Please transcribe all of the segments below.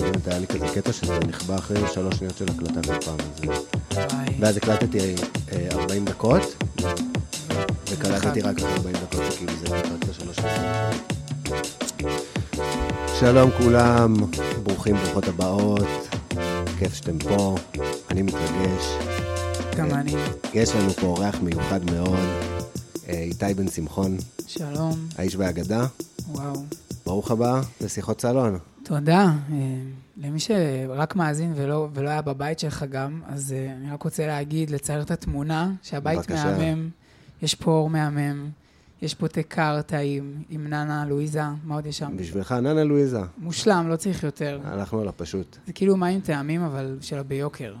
באמת היה לי כזה קטע שזה נחבא אחרי שלוש שניות של הקלטה כל פעם. אז... אה, וואי. ואז הקלטתי אה, 40 דקות, וקלטתי אחד. רק אחרי 40 דקות, שכאילו זה קלטת שלוש שניות. שלום כולם, ברוכים, ברוכות הבאות, כיף שאתם פה, אני מתרגש. גם אני. יש לנו פה אורח מיוחד מאוד, אה, איתי בן שמחון, שלום. האיש והאגדה. וואו. ברוך הבא לשיחות סלון. תודה. אה, למי שרק מאזין ולא, ולא היה בבית שלך גם, אז אה, אני רק רוצה להגיד, לצייר את התמונה, שהבית בבקשה. מהמם, יש פה אור מהמם, יש פה תה קר טעים עם ננה, לואיזה, מה עוד יש שם? בשבילך, ננה לואיזה, מושלם, לא צריך יותר. הלכנו על הפשוט. זה כאילו מים טעמים, אבל של הביוקר.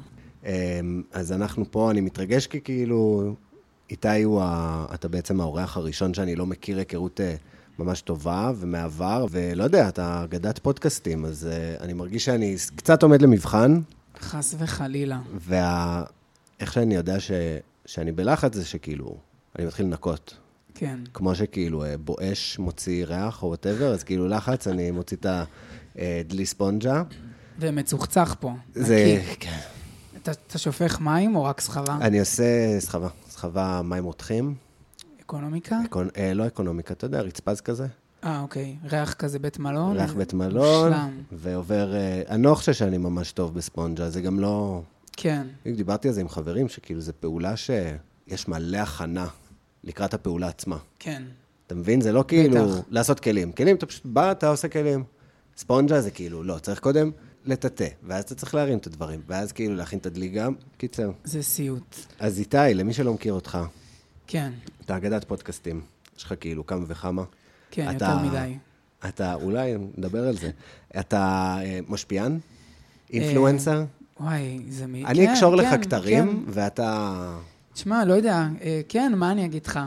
אמ, אז אנחנו פה, אני מתרגש כי כאילו, איתי הוא, ה... אתה בעצם האורח הראשון שאני לא מכיר היכרות אה, ממש טובה ומעבר, ולא יודע, אתה אגדת פודקאסטים, אז אה, אני מרגיש שאני ס- קצת עומד למבחן, חס וחלילה. וה... איך שאני יודע ש... שאני בלחץ זה שכאילו, אני מתחיל לנקות. כן. כמו שכאילו אה, בואש מוציא ריח או וואטאבר, אז כאילו לחץ, אני מוציא את הדלי ספונג'ה. ומצוחצח פה. זה, נקי. כן. אתה, אתה שופך מים או רק סחבה? אני עושה סחבה, סחבה מים רותחים. אקונומיקה? אקונ... אה, לא אקונומיקה, אתה יודע, רצפז כזה. אה, אוקיי. ריח כזה בית מלון? אה, ריח בית מלון, אוקיי. מושלם. ועובר... אה, אני לא חושב שאני ממש טוב בספונג'ה, זה גם לא... כן. בדיוק דיברתי על זה עם חברים, שכאילו זו פעולה שיש מלא הכנה לקראת הפעולה עצמה. כן. אתה מבין? זה לא כאילו בטח. לעשות כלים. כלים, אתה פשוט בא, אתה עושה כלים. ספונג'ה זה כאילו, לא, צריך קודם לטאטא, ואז אתה צריך להרים את הדברים, ואז כאילו להכין את הדלי גם. קיצר. זה סיוט. אז איתי, למי שלא מכיר אותך, כן. אתה אגדת פודקאסטים, יש לך כאילו כמה וכמה. כן, אתה- יותר מדי. אתה, אולי נדבר על זה. אתה אה, משפיען? אינפלואנסר? וואי, זה מי... אני אה, כן, אקשור לך כן, כתרים, כן. ואתה... תשמע, לא יודע. אה, כן, מה אני אגיד לך?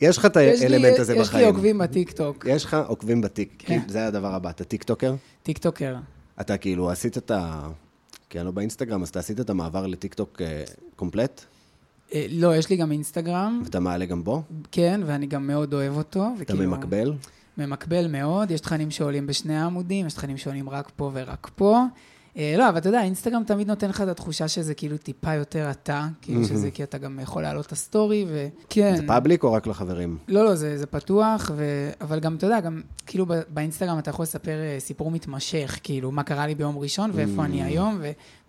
יש לך את יש לי- האלמנט אה, הזה בחיים. יש לי עוקבים בטיקטוק. יש לך עוקבים בטיק. כן. כי זה הדבר הבא, אתה טיקטוקר? טיקטוקר. אתה כאילו עשית את ה... כי אני לא באינסטגרם, אז אתה עשית את המעבר לטיקטוק אה, קומפלט, אה, לא, יש לי גם אינסטגרם, ואתה מעלה גם בו? כן, ואני גם מאוד אוהב אותו. אתה וכאילו- ממקבל? ממקבל מאוד, יש תכנים שעולים בשני העמודים, יש תכנים שעולים רק פה ורק פה. אה, לא, אבל אתה יודע, אינסטגרם תמיד נותן לך את התחושה שזה כאילו טיפה יותר אתה, כאילו שזה כי אתה גם יכול להעלות את הסטורי, וכן. זה פאבליק או רק לחברים? לא, לא, זה, זה פתוח, ו... אבל גם, אתה יודע, גם כאילו ב- באינסטגרם אתה יכול לספר אה, סיפור מתמשך, כאילו, מה קרה לי ביום ראשון ואיפה אני היום,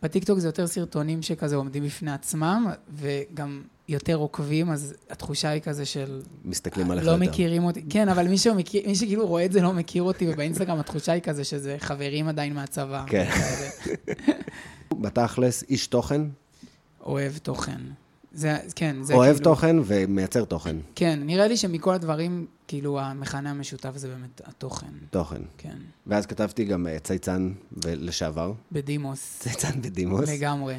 ובטיקטוק זה יותר סרטונים שכזה עומדים בפני עצמם, וגם יותר עוקבים, אז התחושה היא כזה של... מסתכלים עליך לא יותר. מכירים אותי, כן, אבל מי, שמכיר, מי שכאילו רואה את זה לא מכיר אותי, ובאינסטגרם התחושה היא כזה שזה חברים עדיין מהצבא. כן. כזה. בתכלס, איש תוכן, אוהב תוכן. זה, כן, זה אוהב כאילו... תוכן ומייצר תוכן. כן, נראה לי שמכל הדברים, כאילו, המכנה המשותף זה באמת התוכן. תוכן. כן, ואז כתבתי גם אה, צייצן ב- לשעבר, בדימוס, צייצן בדימוס. לגמרי.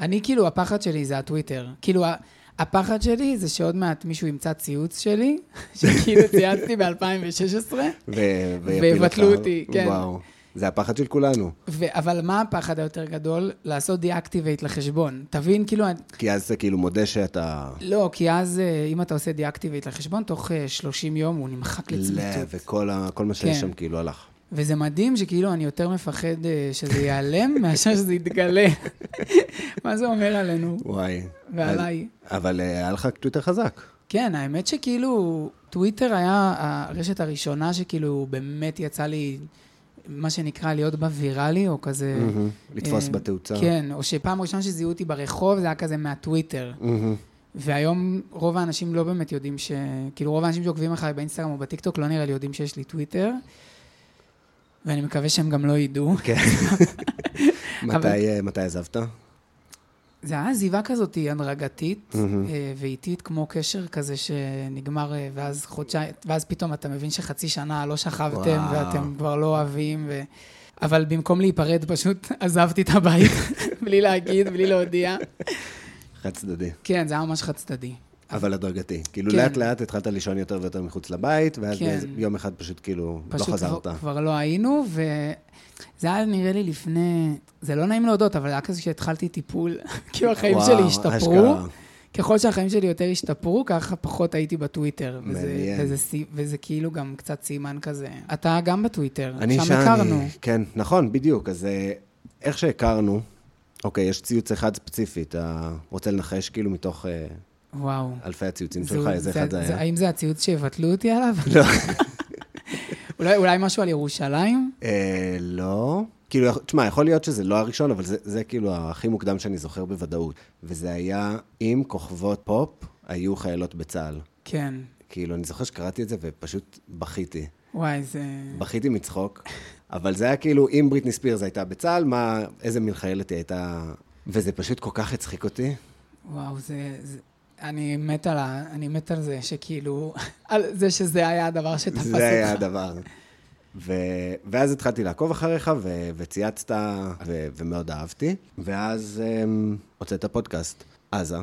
אני, כאילו, הפחד שלי זה הטוויטר. כאילו, ה- הפחד שלי זה שעוד מעט מישהו ימצא ציוץ שלי, שכאילו צייצתי ב-2016, ו- ויפילו ויבטלו אותך. אותי, כן. וואו. זה הפחד של כולנו. ו- אבל מה הפחד היותר גדול? לעשות deactivate לחשבון. תבין, כאילו, אני- כי אז אתה כאילו מודה שאתה... לא, כי אז אה, אם אתה עושה deactivate לחשבון, תוך אה, 30 יום הוא נמחק לצמיתות. וכל ה- כל מה שיש כן. שם כאילו הלך. וזה מדהים שכאילו אני יותר מפחד אה, שזה ייעלם מאשר שזה יתגלה. מה זה אומר עלינו וואי. ועליי? אבל אה, היה לך טוויטר חזק. כן, האמת שכאילו, טוויטר היה הרשת הראשונה שכאילו באמת יצא לי, מה שנקרא, להיות בה ויראלי, או כזה... לתפוס אה, בתאוצה. כן, או שפעם ראשונה שזיהו אותי ברחוב, זה היה כזה מהטוויטר. מהמם. והיום רוב האנשים לא באמת יודעים ש... כאילו, רוב האנשים שעוקבים אחריי באינסטגרם או בטיקטוק לא נראה לי יודעים שיש לי טוויטר, ואני מקווה שהם גם לא ידעו. כן. מתי, אה, מתי עזבת? זה היה עזיבה כזאת הדרגתית אה, ואיטית, כמו קשר כזה שנגמר, אה, ואז חודשיים, ואז פתאום אתה מבין שחצי שנה לא שכבתם, וואו. ואתם כבר לא אוהבים, ו... אבל במקום להיפרד, פשוט עזבתי את הבית, בלי להגיד, בלי להודיע. חד צדדי. כן, זה היה ממש חד צדדי. אבל הדרגתי. כאילו כן. לאט לאט התחלת לישון יותר ויותר מחוץ לבית, ואז כן. באיזה- יום אחד פשוט כאילו לא פשוט חזרת. כבר, כבר לא היינו, וזה היה נראה לי לפני, זה לא נעים להודות, אבל היה כזה שהתחלתי טיפול, כאילו החיים וואו, שלי השתפרו. אשכרה. ככל שהחיים שלי יותר השתפרו, ככה פחות הייתי בטוויטר. וזה- מעניין. וזה סי- וזה כאילו גם קצת סימן כזה. אתה גם בטוויטר, אני שם הכרנו. כן, נכון, בדיוק. אז אה, איך שהכרנו, אוקיי, יש ציוץ אחד ספציפי, אתה רוצה לנחש כאילו מתוך אה, וואו. אלפי הציוצים זה- שלך, איזה אחד זה היה? האם זה הציוץ שיבטלו אותי עליו? לא. אולי- אולי משהו על ירושלים? אה, לא. כאילו, יכ- תשמע, יכול להיות שזה לא הראשון, אבל זה, זה כאילו הכי מוקדם שאני זוכר בוודאות. וזה היה אם כוכבות פופ היו חיילות בצה"ל. כן. כאילו, אני זוכר שקראתי את זה ופשוט בכיתי. וואי, זה... בכיתי מצחוק, אבל זה היה כאילו, אם בריטני ספירס הייתה בצה"ל, מה, איזה מין חיילת היא הייתה... וזה פשוט כל כך הצחיק אותי. וואו, זה... זה- אני מת על ה... אני מת על זה שכאילו... על זה שזה היה הדבר שתפס אותך. זה היה הדבר. ו... ואז התחלתי לעקוב אחריך, ו... וצייצת, ו... ומאוד אהבתי. ואז אמ... הוצאת פודקאסט, עזה,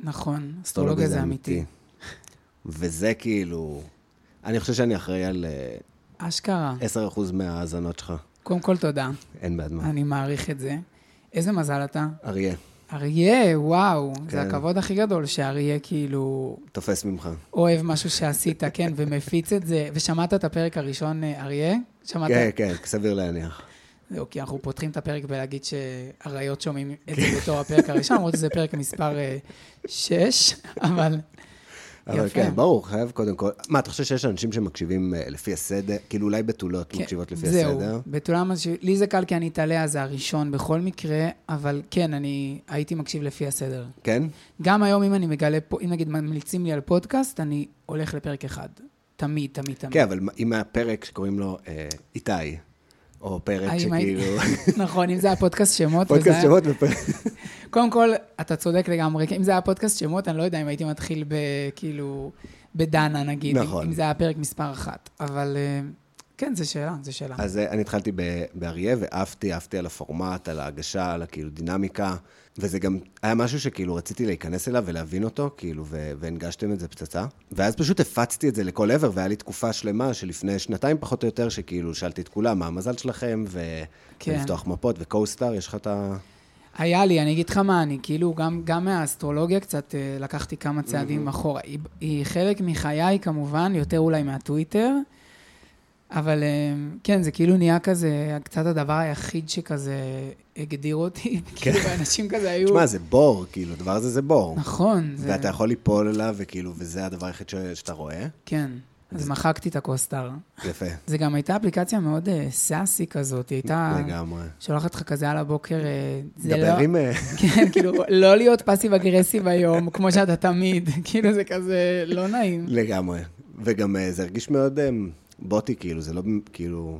נכון, אסטרולוגיה זה אמיתי. אמיתי. וזה כאילו... אני חושב שאני אחראי על אה, אשכרה. 10% מההאזנות שלך. קודם כל, תודה. אין בעד מה. אני מעריך את זה. איזה מזל אתה. אריה, אריה, וואו, זה כן. הכבוד הכי גדול שאריה כאילו תופס ממך. אוהב משהו שעשית, כן, ומפיץ את זה. ושמעת את הפרק הראשון, אה, אריה? שמעת? כן, כן, סביר להניח. זהו, כי אנחנו פותחים את הפרק בלהגיד שאריות שומעים כן. את זה בתור הפרק הראשון, למרות שזה פרק מספר 6, אבל אבל יפה. כן, ברור, חייב קודם כל. מה, אתה חושב שיש אנשים שמקשיבים אה, לפי הסדר? כאילו, אולי בתולות מקשיבות לפי הסדר? כן, זהו, בתולם, אז ש- לי זה קל כי אני תליה, זה הראשון בכל מקרה, אבל כן, אני הייתי מקשיב לפי הסדר. כן? גם היום, אם אני מגלה פה, אם נגיד ממליצים לי על פודקאסט, אני הולך לפרק אחד. תמיד, תמיד, תמיד. כן, אבל מה- אם היה פרק שקוראים לו אה, איתי, או פרק האם אה, הייתי- שכאילו... נכון, אם זה היה פודקאסט שמות, וזה פודקאסט היה- שמות ופרק... קודם כל, אתה צודק לגמרי, כי אם זה היה פודקאסט שמות, אני לא יודע אם הייתי מתחיל בכאילו, בדנה נגיד, אם- נכון. אם זה היה פרק מספר אחת. אבל אה, כן, זו שאלה, זו שאלה. אז אה, אני התחלתי ב- באריה, ועפתי, עפתי על הפורמט, על ההגשה, על הכאילו דינמיקה, וזה גם היה משהו שכאילו רציתי להיכנס אליו ולהבין אותו, כאילו, ו- והנגשתם את זה פצצה. ואז פשוט הפצתי את זה לכל עבר, והיה לי תקופה שלמה שלפני שנתיים פחות או יותר, שכאילו שאלתי את כולם, מה המזל שלכם, ו- כן. ולפתוח מפות, וקוסטאר, יש לך את ה... היה לי, אני אגיד לך מה, אני כאילו, גם, גם מהאסטרולוגיה קצת אה, לקחתי כמה צעדים אחורה. היא, היא חלק מחיי כמובן, יותר אולי מהטוויטר, אבל אה, כן, זה כאילו נהיה כזה, קצת הדבר היחיד שכזה הגדיר אותי. כאילו, אנשים כזה היו... כן. תשמע, זה בור, כאילו, הדבר הזה זה בור. נכון, זה... ואתה יכול ליפול עליו, וכאילו, וזה הדבר היחיד ש- שאתה רואה. כן. אז מחקתי את הקוסטר. יפה, זה גם הייתה אפליקציה מאוד אה, סאסי כזאת, היא הייתה... לגמרי. שולחת לך כזה על הבוקר, אה, זה דבר לא... עם... אה, כן, כאילו, לא להיות פאסיב אגרסיב היום, כמו שאתה תמיד, כאילו זה כזה לא נעים. לגמרי. וגם אה, זה הרגיש מאוד אה, בוטי, כאילו, זה לא כאילו...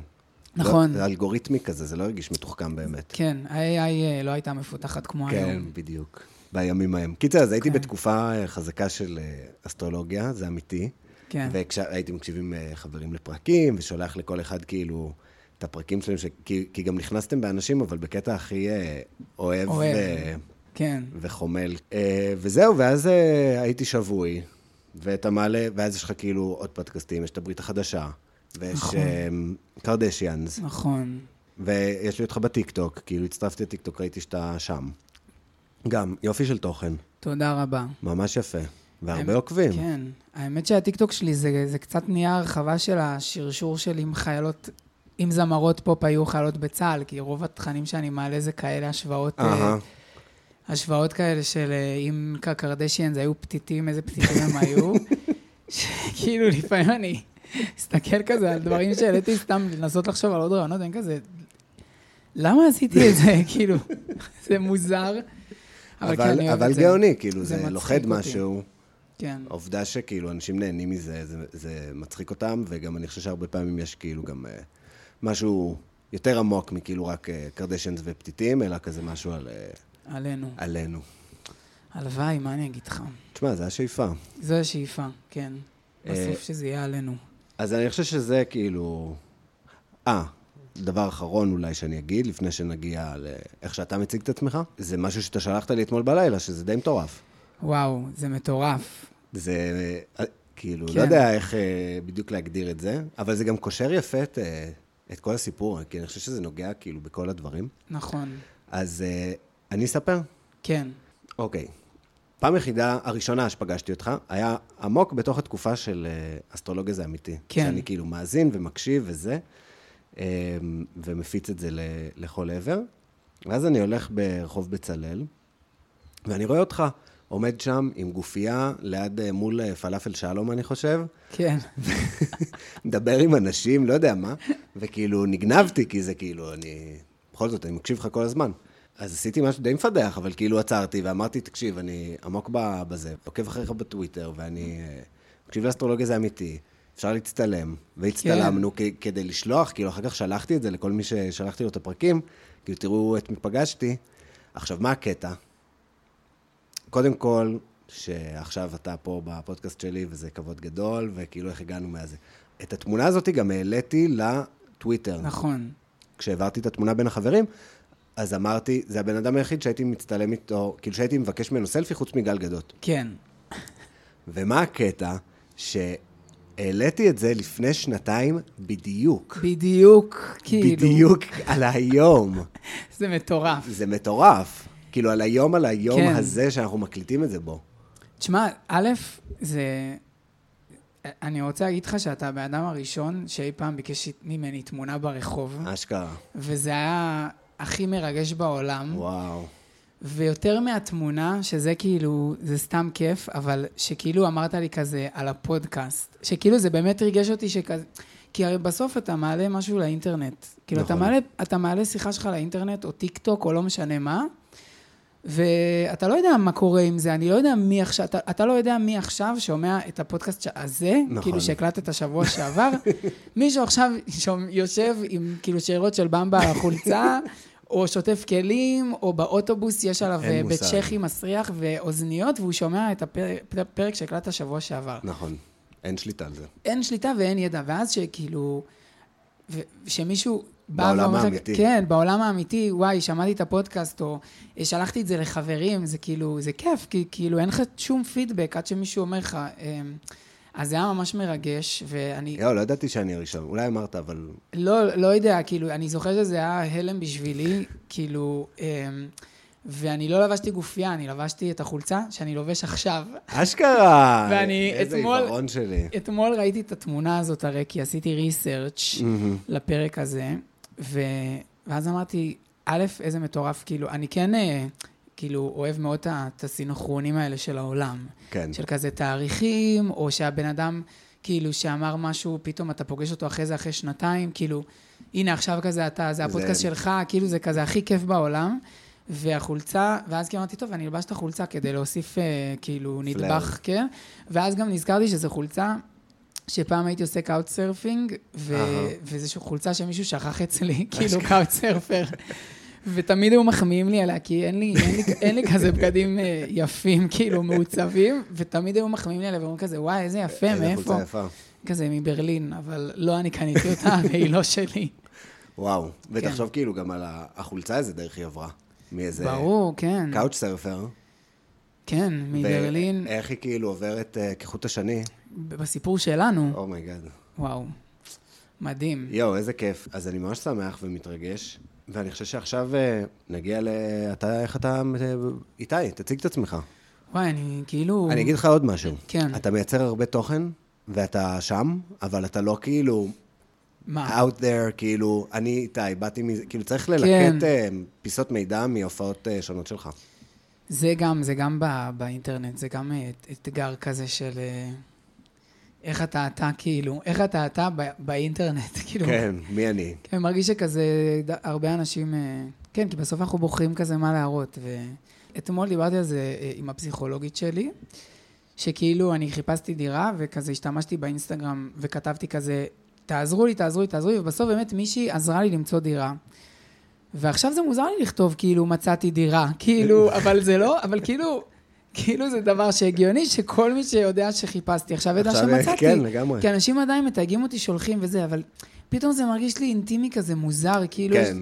נכון. לא, זה אלגוריתמי כזה, זה לא הרגיש מתוחכם באמת. כן, ה-AI אה, לא הייתה מפותחת כמו כן, היום. בדיוק. בימים ההם. קיצר, אז הייתי כן. בתקופה אה, חזקה של אה, אסטרולוגיה, זה אמיתי. כן. והייתי מקשיבים אה, חברים לפרקים, ושולח לכל אחד כאילו את הפרקים שלהם, ש... כי, כי גם נכנסתם באנשים, אבל בקטע הכי אה, אוהב, אוהב. אה, כן. וחומל. אה, וזהו, ואז אה, הייתי שבוי, ואתה מעלה, ואז יש לך כאילו עוד פודקאסטים, יש את הברית החדשה, ויש נכון. קרדשיאנס, נכון. ויש לי אותך בטיקטוק, כאילו הצטרפתי לטיקטוק, ראיתי שאתה שם. גם, יופי של תוכן, תודה רבה. ממש יפה, והרבה האמת- עוקבים. כן. האמת שהטיקטוק שלי זה, זה קצת נהיה הרחבה של השרשור שלי עם חיילות, עם זמרות פופ היו חיילות בצה"ל, כי רוב התכנים שאני מעלה זה כאלה השוואות... אהה, אה, השוואות כאלה של אה, אם קרדשיאנס היו פתיתים, איזה פתיתים הם היו. שכאילו, לפעמים אני מסתכל כזה על דברים שהעליתי סתם לנסות לחשוב על עוד רעיונות, אני כזה, למה עשיתי את זה? כאילו, זה מוזר. אבל, כן, אבל, אני אוהב אבל את זה. גאוני, כאילו, זה זה, מצחיק לוכד אותי. משהו. כן. העובדה שכאילו אנשים נהנים מזה, זה, זה מצחיק אותם, וגם אני חושב שהרבה פעמים יש כאילו גם אה, משהו יותר עמוק מכאילו רק אה, קרדשנס ופתיתים, אלא כזה משהו על, אה, עלינו. עלינו. הלוואי, מה אני אגיד לך? תשמע, זה השאיפה. זו השאיפה, כן. אה, בסוף שזה יהיה עלינו. אז אני חושב שזה כאילו... אה, דבר אחרון אולי שאני אגיד, לפני שנגיע לאיך שאתה מציג את עצמך, זה משהו שאתה שלחת לי אתמול בלילה, שזה די מטורף. וואו, זה מטורף. זה, אה, כאילו, כן. לא יודע איך אה, בדיוק להגדיר את זה, אבל זה גם קושר יפה את, אה, את כל הסיפור, כי אני חושב שזה נוגע כאילו בכל הדברים. נכון. אז אה, אני אספר? כן. אוקיי. פעם יחידה, הראשונה שפגשתי אותך, היה עמוק בתוך התקופה של אה, אסטרולוגיה זה אמיתי. כן. שאני כאילו מאזין ומקשיב וזה, אה, ומפיץ את זה ל- לכל עבר. ואז אני הולך ברחוב בצלאל, ואני רואה אותך עומד שם עם גופייה ליד, אה, מול אה, פלאפל שלום, אני חושב. כן. מדבר עם אנשים, לא יודע מה, וכאילו נגנבתי, כי זה כאילו, אני... בכל זאת, אני מקשיב לך כל הזמן. אז עשיתי משהו די מפדח, אבל כאילו עצרתי ואמרתי, תקשיב, אני עמוק ב- בזה, עוקב אחריך בטוויטר, ואני אה, מקשיב לאסטרולוגיה זה אמיתי, אפשר להצטלם. והצטלמנו כן. כ- כדי לשלוח, כאילו, אחר כך שלחתי את זה לכל מי ששלחתי לו את הפרקים, כאילו, תראו את מי פגשתי. עכשיו, מה הקטע? קודם כל, שעכשיו אתה פה בפודקאסט שלי, וזה כבוד גדול, וכאילו איך הגענו מהזה. את התמונה הזאת גם העליתי לטוויטר. נכון. כשהעברתי את התמונה בין החברים, אז אמרתי, זה הבן אדם היחיד שהייתי מצטלם איתו, כאילו שהייתי מבקש ממנו סלפי חוץ מגל גדות. כן. ומה הקטע? שהעליתי את זה לפני שנתיים בדיוק. בדיוק, כאילו. בדיוק על היום. זה מטורף. זה מטורף. כאילו, על היום, על היום כן. הזה שאנחנו מקליטים את זה בו. תשמע, א', זה... אני רוצה להגיד לך שאתה הבן אדם הראשון שאי פעם ביקש ממני תמונה ברחוב, אשכרה. וזה היה הכי מרגש בעולם. וואו. ויותר מהתמונה, שזה כאילו, זה סתם כיף, אבל שכאילו אמרת לי כזה על הפודקאסט, שכאילו זה באמת ריגש אותי שכזה, כי הרי בסוף אתה מעלה משהו לאינטרנט. כאילו, נכון. אתה מעלה, אתה מעלה שיחה שלך לאינטרנט, או טיק טוק, או לא משנה מה, ואתה לא יודע מה קורה עם זה, אני לא יודע מי עכשיו, אתה, אתה לא יודע מי עכשיו שומע את הפודקאסט ש- הזה, נכון. כאילו שהקלטת שבוע שעבר, מישהו עכשיו שום- יושב עם כאילו שאריות של במבה על החולצה, או שוטף כלים, או באוטובוס יש עליו אין אה, מושג. בצ'כי מסריח ואוזניות, והוא שומע את הפר- הפרק שהקלטת שבוע שעבר. נכון, אין שליטה על זה. אין שליטה ואין ידע, ואז שכאילו, ו- שמישהו בא בעולם ואומר לך- האמיתי. כן, בעולם האמיתי, וואי, שמעתי את הפודקאסט, או אה, שלחתי את זה לחברים, זה כאילו, זה כיף, כי כאילו אין לך שום פידבק עד שמישהו אומר לך, אמ, אז זה היה ממש מרגש, ואני יואו, לא ידעתי שאני הראשון. אולי אמרת, אבל... לא, לא יודע, כאילו, אני זוכר שזה היה הלם בשבילי, כאילו, אמ, ואני לא לבשתי גופייה, אני לבשתי את החולצה שאני לובש עכשיו. אשכרה! ואני איזה אתמול- עיוורון שלי. אתמול ראיתי את התמונה הזאת הרי, כי עשיתי ריסרצ' לפרק הזה, ו... ואז אמרתי, א', איזה מטורף, כאילו, אני כן, אה, כאילו, אוהב מאוד את ה- את הסינכרונים האלה של העולם. כן. של כזה תאריכים, או שהבן אדם, כאילו, שאמר משהו, פתאום אתה פוגש אותו אחרי זה, אחרי שנתיים, כאילו, הנה, עכשיו כזה אתה, זה הפודקאסט זה- שלך, כאילו, זה כזה הכי כיף בעולם. והחולצה, ואז כאילו אמרתי, טוב, אני אלבש את החולצה כדי להוסיף, אה, כאילו, פלר. נדבך, כן? ואז גם נזכרתי שזו חולצה שפעם הייתי עושה קאוטסרפינג, ו... אהה. וזו חולצה שמישהו שכח אצלי, כאילו קאוטסרפר. ותמיד היו מחמיאים לי עליה, כי אין לי, אין לי, אין לי כזה בגדים אה, יפים, כאילו, מעוצבים, ותמיד היו מחמיאים לי עליה ואומרים כזה, וואי, איזה יפה, איזה מאיפה? חולצה יפה. כזה מברלין, אבל לא אני קניתי אותה, והיא לא שלי. וואו. ותחשוב כאילו גם על ה- החולצה, איזה דרך היא עברה. מאיזה... כן. ברור, כן. קאוץ' סרפר. כן, מברלין, ואיך היא כאילו עוברת אה, כחוט השני. ב- בסיפור שלנו, אומייגאד. וואו, מדהים. יואו, איזה כיף. אז אני ממש שמח ומתרגש, ואני חושב שעכשיו אה, נגיע ל... אתה, איך אתה... אה, איתי, תציג את עצמך. וואי, אני כאילו... אני אגיד לך עוד משהו. כן. אתה מייצר הרבה תוכן, ואתה שם, אבל אתה לא כאילו מה? out there, כאילו, אני איתי, באתי מזה, כאילו צריך ללקט כן. אה, פיסות מידע מהופעות אה, שונות שלך. זה גם, זה גם ב- באינטרנט, זה גם אה, את- אתגר כזה של אה, איך אתה אתה, כאילו, איך אתה אתה ב- באינטרנט, כאילו. כן, מי אני? כן, מרגיש שכזה, ד- הרבה אנשים, אה, כן, כי בסוף אנחנו בוחרים כזה מה להראות. ואתמול דיברתי על זה אה, עם הפסיכולוגית שלי, שכאילו אני חיפשתי דירה, וכזה השתמשתי באינסטגרם, וכתבתי כזה, תעזרו לי, תעזרו לי, תעזרו לי, ובסוף באמת מישהי עזרה לי למצוא דירה. ועכשיו זה מוזר לי לכתוב, כאילו, מצאתי דירה, כאילו, אבל זה לא, אבל כאילו, כאילו זה דבר שהגיוני, שכל מי שיודע שחיפשתי עכשיו ידע עכשיו, אה, שמצאתי. כן, לגמרי. כי אנשים עדיין מתייגים אותי, שולחים וזה, אבל פתאום זה מרגיש לי אינטימי כזה מוזר, כאילו, כן,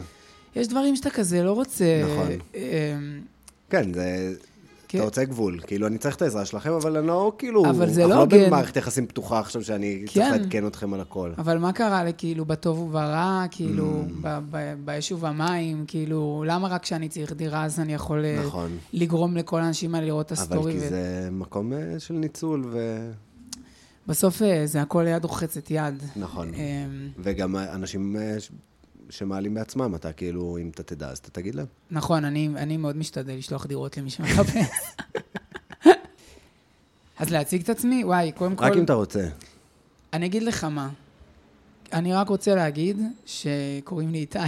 יש, יש דברים שאתה כזה לא רוצה... נכון. אה, כן, זה... כן. אתה רוצה גבול. כאילו, אני צריך את העזרה שלכם, אבל אני לא, כאילו... אבל זה לא אנחנו הוגן. לא במערכת יחסים פתוחה עכשיו, שאני צריך כן. לעדכן אתכם על הכל. אבל מה קרה לי, כאילו, בטוב וברע, כאילו, Mm. ב- ב- באש ובמים, כאילו, למה רק כשאני צריך דירה אז אני יכול אה, נכון. לגרום לכל האנשים האלה לראות את אבל הסטורי? כי ו- זה מקום אה, של ניצול, ו... בסוף אה, זה הכל יד רוחצת יד. נכון. אמ, וגם אנשים אה, ש- שמעלים בעצמם, אתה כאילו, אם אתה תדע, אז אתה תגיד להם. נכון, אני, אני מאוד משתדל לשלוח דירות למי שמחפש. אז להציג את עצמי? וואי, קודם כל... רק אם אתה רוצה. אני אגיד לך מה. אני רק רוצה להגיד שקוראים לי איתי.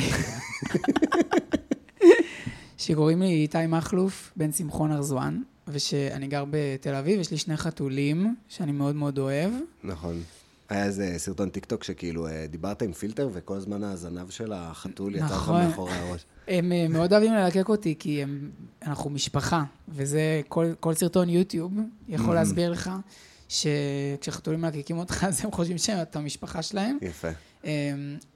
שקוראים לי איתי מכלוף, בן שמחון ארזואן, ושאני גר בתל אביב, יש לי שני חתולים שאני מאוד מאוד אוהב. נכון. היה איזה סרטון טיקטוק שכאילו אה, דיברת עם פילטר, וכל הזמן הזנב של החתול יצא לך נכון. מאחורי הראש. הם אה, מאוד אוהבים ללקק אותי, כי הם, אנחנו משפחה, וזה כל, כל סרטון יוטיוב Mm-hmm. יכול להסביר לך שכשחתולים מלקקים אותך, אז הם חושבים שאתה משפחה שלהם. יפה. אה,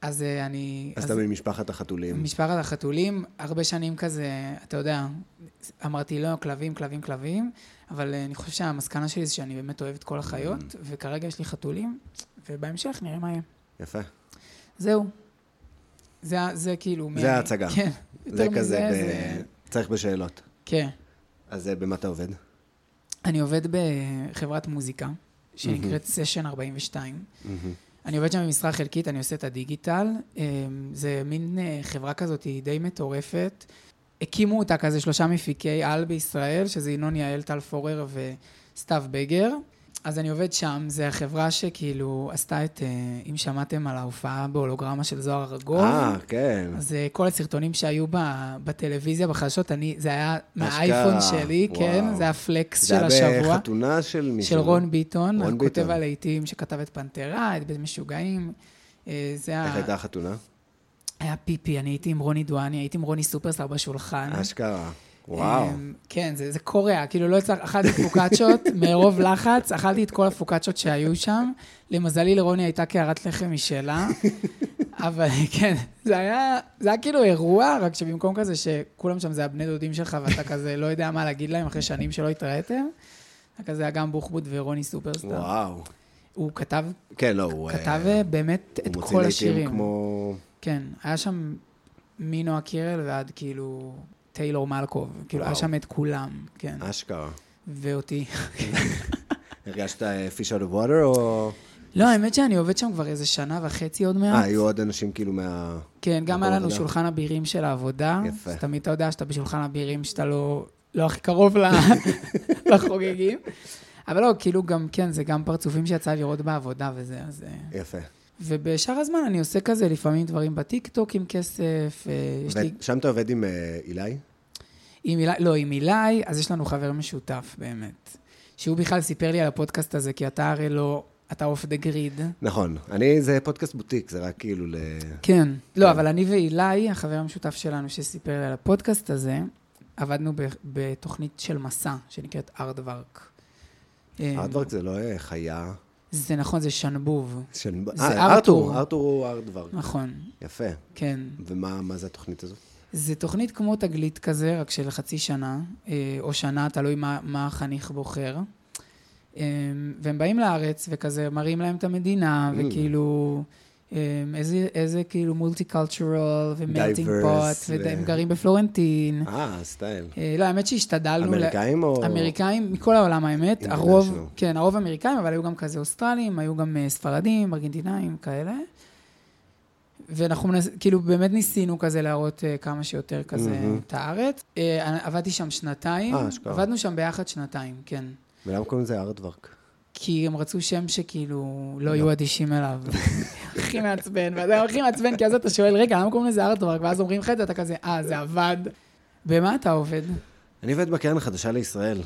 אז אה, אני... אז אתה ממשפחת החתולים. משפחת החתולים, הרבה שנים כזה, אתה יודע, אמרתי לא, כלבים, כלבים, כלבים, אבל אה, אני חושב שהמסקנה שלי זה שאני באמת אוהב את כל החיות, Mm. וכרגע יש לי חתולים, ובהמשך נראה מה יהיה. יפה. זהו. זה, ה- זה כאילו... זה ההצגה. כן. זה יותר כזה, מזה, ב- זה- צריך בשאלות. כן. אז אה, במה אתה עובד? אני עובד בחברת מוזיקה, שנקראת סשן 42. אני עובד שם במשרה חלקית, אני עושה את הדיגיטל. אמ, זה מין אה, חברה כזאת, היא די מטורפת. הקימו אותה כזה שלושה מפיקי על בישראל, שזה ינון יעל, טל פורר וסתיו בגר. אז אני עובד שם, זו החברה שכאילו עשתה את, אה, אם שמעתם על ההופעה בהולוגרמה של זוהר ארגוב, אה, כן. אז אה, כל הסרטונים שהיו ב- בטלוויזיה, בחדשות, אני, זה היה אשכרה, מהאייפון שלי, וואו. כן? זה הפלקס של זה השבוע. היה בחתונה של מישהו. של רון ביטון, רון הכותב ביטון. הלהיטים שכתב את פנתרה, את בית משוגעים. אה, זה איך ה- הייתה החתונה? היה פיפי, אני הייתי עם רוני דואני, הייתי עם רוני סופרסטאר בשולחן. אשכרה. אה, וואו. אמ, כן, זה, זה קורע, כאילו לא הצלחתי, אכלתי פוקאצ'ות מרוב לחץ, אכלתי את כל הפוקאצ'ות שהיו שם. למזלי לרוני הייתה קערת לחם משלה, אבל כן, זה היה, זה היה כאילו אירוע, רק שבמקום כזה שכולם שם זה הבני דודים שלך ואתה כזה לא יודע מה להגיד להם אחרי שנים שלא התראיתם, היה כזה אגם בוחבוט ורוני סופרסטאר. וואו. הוא כתב, כן, לא, הוא... אה, כתב אה, באמת את הוא מוציא כל לעיתים השירים. כמו... כן, היה שם מנועה קירל ועד כאילו טיילור מלקוב, כאילו היה וואו. אה? שם את כולם, כן, אשכרה. ואותי. הרגשת אה, fish out of water או... לא, האמת שאני עובד שם כבר איזה שנה וחצי עוד אה, מעט. היו עוד אנשים כאילו מה... כן, גם היה לנו עבודה. שולחן אבירים של העבודה. יפה. יפה. אז תמיד אתה יודע שאתה בשולחן אבירים שאתה לא, לא הכי קרוב ל- לחוגגים. אבל לא, כאילו גם, כן, זה גם פרצופים שיצא לי לראות בעבודה וזה, אז... אה, יפה. ובשאר הזמן אני עושה כזה לפעמים דברים בטיקטוק עם כסף, אה, יש לי... ושם אתה עובד עם אה, אילי? עם אילי, לא, עם אילי, אז יש לנו חבר משותף באמת. שהוא בכלל סיפר לי על הפודקאסט הזה, כי אתה הרי לא, אתה אוף דה גריד. נכון. אני, זה פודקאסט בוטיק, זה רק כאילו ל... כן. לא, אבל אני ואילי, החבר המשותף שלנו שסיפר לי על הפודקאסט הזה, עבדנו ב- בתוכנית של מסע, שנקראת ארדוורק. אה, ארטוורק זה לא אה, חיה זה נכון, זה שנבוב. של... זה אה, ארתור. ארתור הוא ארטוורק. נכון, יפה. כן. ומה מה זה התוכנית הזאת? זה תוכנית כמו תגלית כזה, רק של חצי שנה, אה, או שנה, תלוי מה, מה החניך בוחר. אה, והם באים לארץ וכזה מראים להם את המדינה, Mm. וכאילו, אה, איזה, איזה כאילו מולטי קולטורל ומלטינג Diverse, פוט, ו- והם גרים בפלורנטין. אה, סטייל. אה, לא, האמת שהשתדלנו... ל- אמריקאים או... אמריקאים, מכל העולם האמת, International. הרוב, כן, הרוב אמריקאים, אבל היו גם כזה אוסטרלים, היו גם אה, ספרדים, ארגנטינאים, כאלה. ואנחנו מנס... כאילו באמת ניסינו כזה להראות אה, כמה שיותר כזה מהמם. את הארץ. אה, אני- עבדתי שם שנתיים, אה, אשכרה. עבדנו שם ביחד שנתיים, כן. ולמה קוראים לזה ארטוורק? כי הם רצו שם שכאילו לא לא. יהיו אדישים אליו. הכי מעצבן, וזה הכי מעצבן, כי אז אתה שואל, רגע, למה קוראים לזה ארטוורק? ואז אומרים לך את זה, אתה כזה, אה, זה עבד. במה אתה עובד? אני עובד בקרן החדשה לישראל.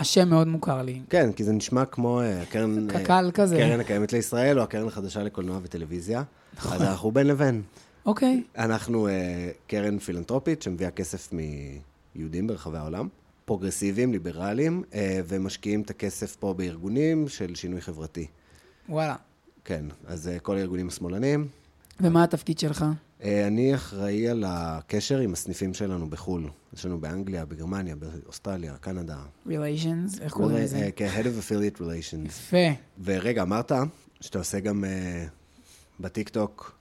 השם מאוד מוכר לי. כן, כי זה נשמע כמו אה, הקרן... אה, קק"ל כזה. הקרן הקיימת לישראל, או הקרן החדשה לקולנוע וטלוויזיה. נכון. אז אנחנו בין לבין. אוקיי. אנחנו אה, קרן פילנטרופית שמביאה כסף מיהודים ברחבי העולם, פרוגרסיביים, ליברליים, אה, ומשקיעים את הכסף פה בארגונים של שינוי חברתי. וואלה. כן, אז אה, כל הארגונים השמאלנים, ומה התפקיד שלך? אה, אני אחראי על הקשר עם הסניפים שלנו בחו"ל. יש לנו באנגליה, בגרמניה, באוסטרליה, קנדה. אה, Relations? איך קוראים לזה? כ-Head of Affiliate Relations. יפה. ורגע, אמרת שאתה עושה גם אה, בטיקטוק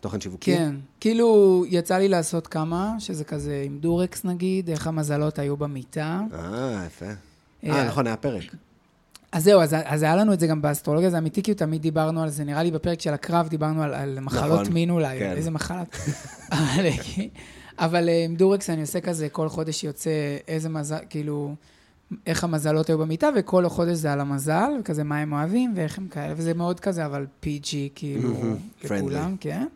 תוכן שיווקי? כן. כאילו, יצא לי לעשות כמה, שזה כזה עם דורקס נגיד, איך המזלות היו במיטה. אה, יפה. אה, אה, נכון, היה פרק. אז זהו, אז, אז היה לנו את זה גם באסטרולוגיה, זה אמיתי, כי תמיד דיברנו על זה, נראה לי בפרק של הקרב דיברנו על, על מחלות נכון, מין אולי, כן. כן. איזה מחלת. אבל, אבל אה, עם דורקס אני עושה כזה, כל חודש יוצא איזה מזל, כאילו, איך המזלות היו במיטה, וכל חודש זה על המזל, וכזה מה הם אוהבים ואיך הם כאלה, וזה מאוד כזה, אבל פיג'י, כאילו, מהמם, לכולם, כן.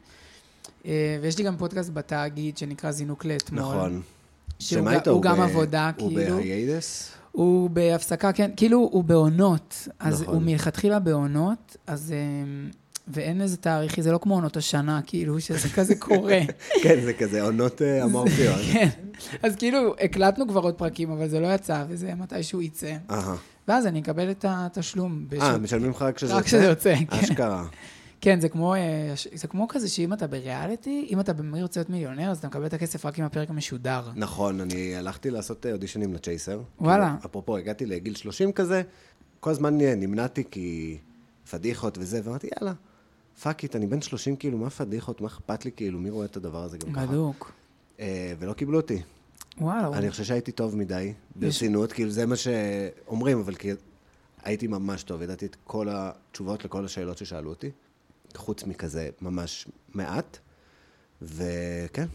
אה, ויש לי גם פודקאסט בתאגיד שנקרא זינוק לאתמול. נכון. שהוא שמה ג- איתו? הוא גם ב- עבודה, כאילו. הוא בהיידס? הוא בהפסקה, כן, כאילו, הוא בעונות. אז נכון. נכון. הוא מלכתחילה בעונות, אז... אמ, ואין איזה תאריכי, זה לא כמו עונות השנה, כאילו, שזה כזה קורה. כן, זה כזה עונות אה, אמורפיות. כן. אז כאילו, הקלטנו כבר עוד פרקים, אבל זה לא יצא, וזה מתישהו יצא. אהה. ואז אני אקבל את התשלום. בש- אה, משלמים לך רק כשזה רק כשזה יוצא, כן. אשכרה. כן, זה כמו, אה, ש- זה כמו כזה שאם אתה בריאליטי, אם אתה במי רוצה להיות מיליונר, אז אתה מקבל את הכסף רק אם הפרק משודר. נכון, אני הלכתי לעשות אה, אודישנים לצ'ייסר. וואלה. כאילו, אפרופו, הגעתי לגיל 30 כזה, כל הזמן אה, נמנעתי כי פדיחות וזה, ואמרתי, יאללה, פאק איט, אני בן 30, כאילו, מה פדיחות, מה אכפת לי, כאילו, מי רואה את הדבר הזה גם ככה? בדוק. אה, ולא קיבלו אותי. וואו. אני חושב שהייתי טוב מדי, ברצינות, כאילו, זה מה שאומרים, אבל כי הייתי ממש טוב, ידעתי את כל התשובות לכל השאלות ששאלו אותי, חוץ מכזה ממש מעט, וכן,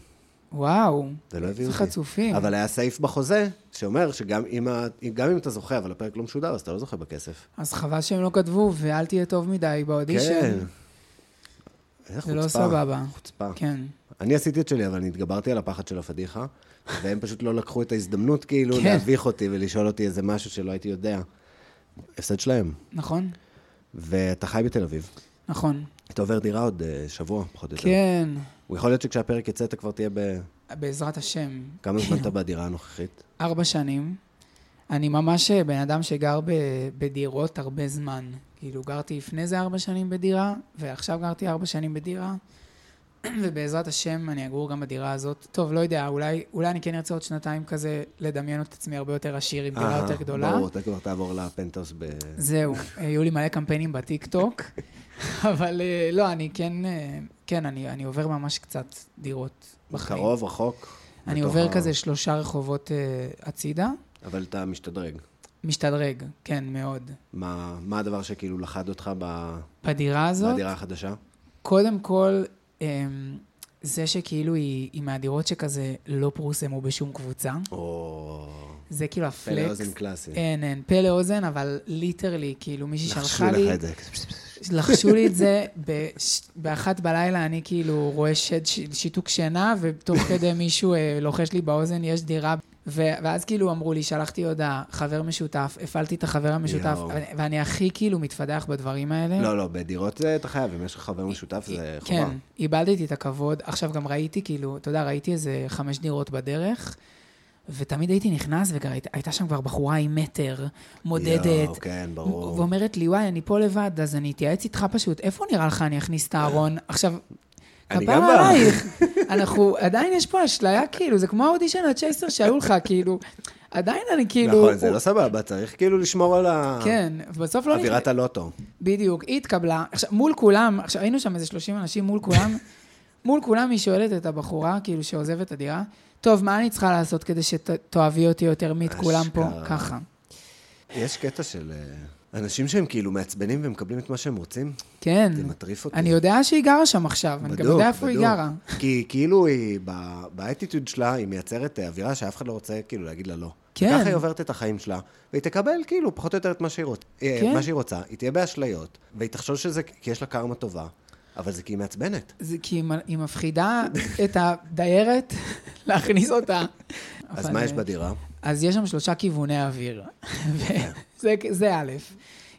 וואו. ולא הביאו איזה לא אותי. חצופים. אבל היה סעיף בחוזה שאומר שגם אם, ה... גם אם אתה זוכה, אבל הפרק לא משודר, אז אתה לא זוכה בכסף. אז חבל שהם לא כתבו, ואל תהיה טוב מדי באודישן. כן. איזה זה לא חוצפה. סבבה. חוצפה. כן. אני עשיתי את שלי, אבל אני התגברתי על הפחד של הפדיחה, והם פשוט לא לקחו את ההזדמנות כאילו כן. להביך אותי ולשאול אותי איזה משהו שלא הייתי יודע. הפסד שלהם. נכון? ואתה חי בתל אביב, נכון. אתה עובר דירה עוד אה, שבוע, פחות או יותר. כן, הוא יכול להיות שכשהפרק יצא אתה כבר תהיה ב... בעזרת השם. כמה זמן אתה בדירה הנוכחית? ארבע שנים. אני ממש אה, בן אדם שגר ב, בדירות הרבה זמן. כאילו, גרתי לפני זה ארבע שנים בדירה, ועכשיו גרתי ארבע שנים בדירה, ובעזרת השם אני אגור גם בדירה הזאת. טוב, לא יודע, אולי, אולי אני כן ארצה עוד שנתיים כזה לדמיין את עצמי הרבה יותר עשיר עם אה, דירה יותר גדולה. ברור, אתה כבר תעבור לפנטהאוס ב... זהו, אה, היו לי מלא קמפיינים בטיקטוק, אבל אה, לא, אני כן, אה, כן, אני, אני עובר ממש קצת דירות בחיים. קרוב, רחוק. אני בתוך עובר ה- כזה שלושה רחובות אה, הצידה, אבל אתה משתדרג. משתדרג, כן, מאוד. מה מה הדבר שכאילו לחד אותך ב- בדירה הזאת, בדירה החדשה? קודם כל, אמ, זה שכאילו היא, היא מהדירות שכזה לא פורסמו בשום קבוצה, או... זה כאילו פלא הפלקס. אוזן קלאסי. אין, אין, פלא אוזן, אבל ליטרלי, כאילו מישהי לחשו שלחה לי... לך את זה. כן. לחשו לי את זה בש... באחת בלילה, אני כאילו רואה שד, ש... שיתוק שינה, ותוך כדי מישהו אה, לוחש לי באוזן, יש דירה. ו... ואז כאילו אמרו לי, שלחתי הודעה, חבר משותף, הפעלתי את החבר המשותף, יואו. ואני- ואני הכי כאילו מתפדח בדברים האלה. לא, לא, בדירות אה, אתה חייב, אם יש לך חבר משותף זה חובה. כן, איבדתי את הכבוד. עכשיו גם ראיתי, כאילו, אתה יודע, ראיתי איזה חמש דירות בדרך, ותמיד הייתי נכנס, והייתה שם כבר בחורה עם מטר, מודדת, יואו, כן, ברור. ואומרת לי, וואי, אני פה לבד, אז אני אתייעץ איתך פשוט, איפה נראה לך אני אכניס את הארון? עכשיו, אני כפרה גם נכון, בא. עלייך. אנחנו, עדיין יש פה אשליה, כאילו, זה כמו האודישן הצ'ייסר שהיו לך, כאילו, עדיין אני כאילו... נכון, זה הוא- לא סבבה, צריך כאילו לשמור על ה- כן, בסוף לא אווירת הלוטו. בדיוק, היא התקבלה. עכשיו, מול כולם, עכשיו, היינו שם איזה 30 אנשים, מול כולם, מול כולם היא שואלת את הבחורה, כאילו, שעוזבת את הדירה, טוב, מה אני צריכה לעשות כדי שתאהבי אותי יותר מאת כולם פה? אשכרה. ככה. יש קטע של אה, אנשים שהם כאילו מעצבנים והם מקבלים את מה שהם רוצים. כן. זה מטריף אותי. אני יודע שהיא גרה שם עכשיו, אני גם בדוק, יודע איפה היא בדוק. גרה. כי כאילו היא, ב- באטיטוד שלה, היא מייצרת אה, אווירה שאף אחד לא רוצה כאילו להגיד לה לא. כן. ככה היא עוברת את החיים שלה, והיא תקבל כאילו פחות או יותר את מה שהיא, רוצ... אה, כן. מה שהיא רוצה, היא תהיה באשליות, והיא תחשוב שזה כי יש לה קרמה טובה, אבל זה כי היא מעצבנת. זה כי היא מ- היא מפחידה את הדיירת להכניס אותה. אז אבל, מה יש אה, בדירה? אז יש שם שלושה כיווני אוויר. כן. וזה, זה א',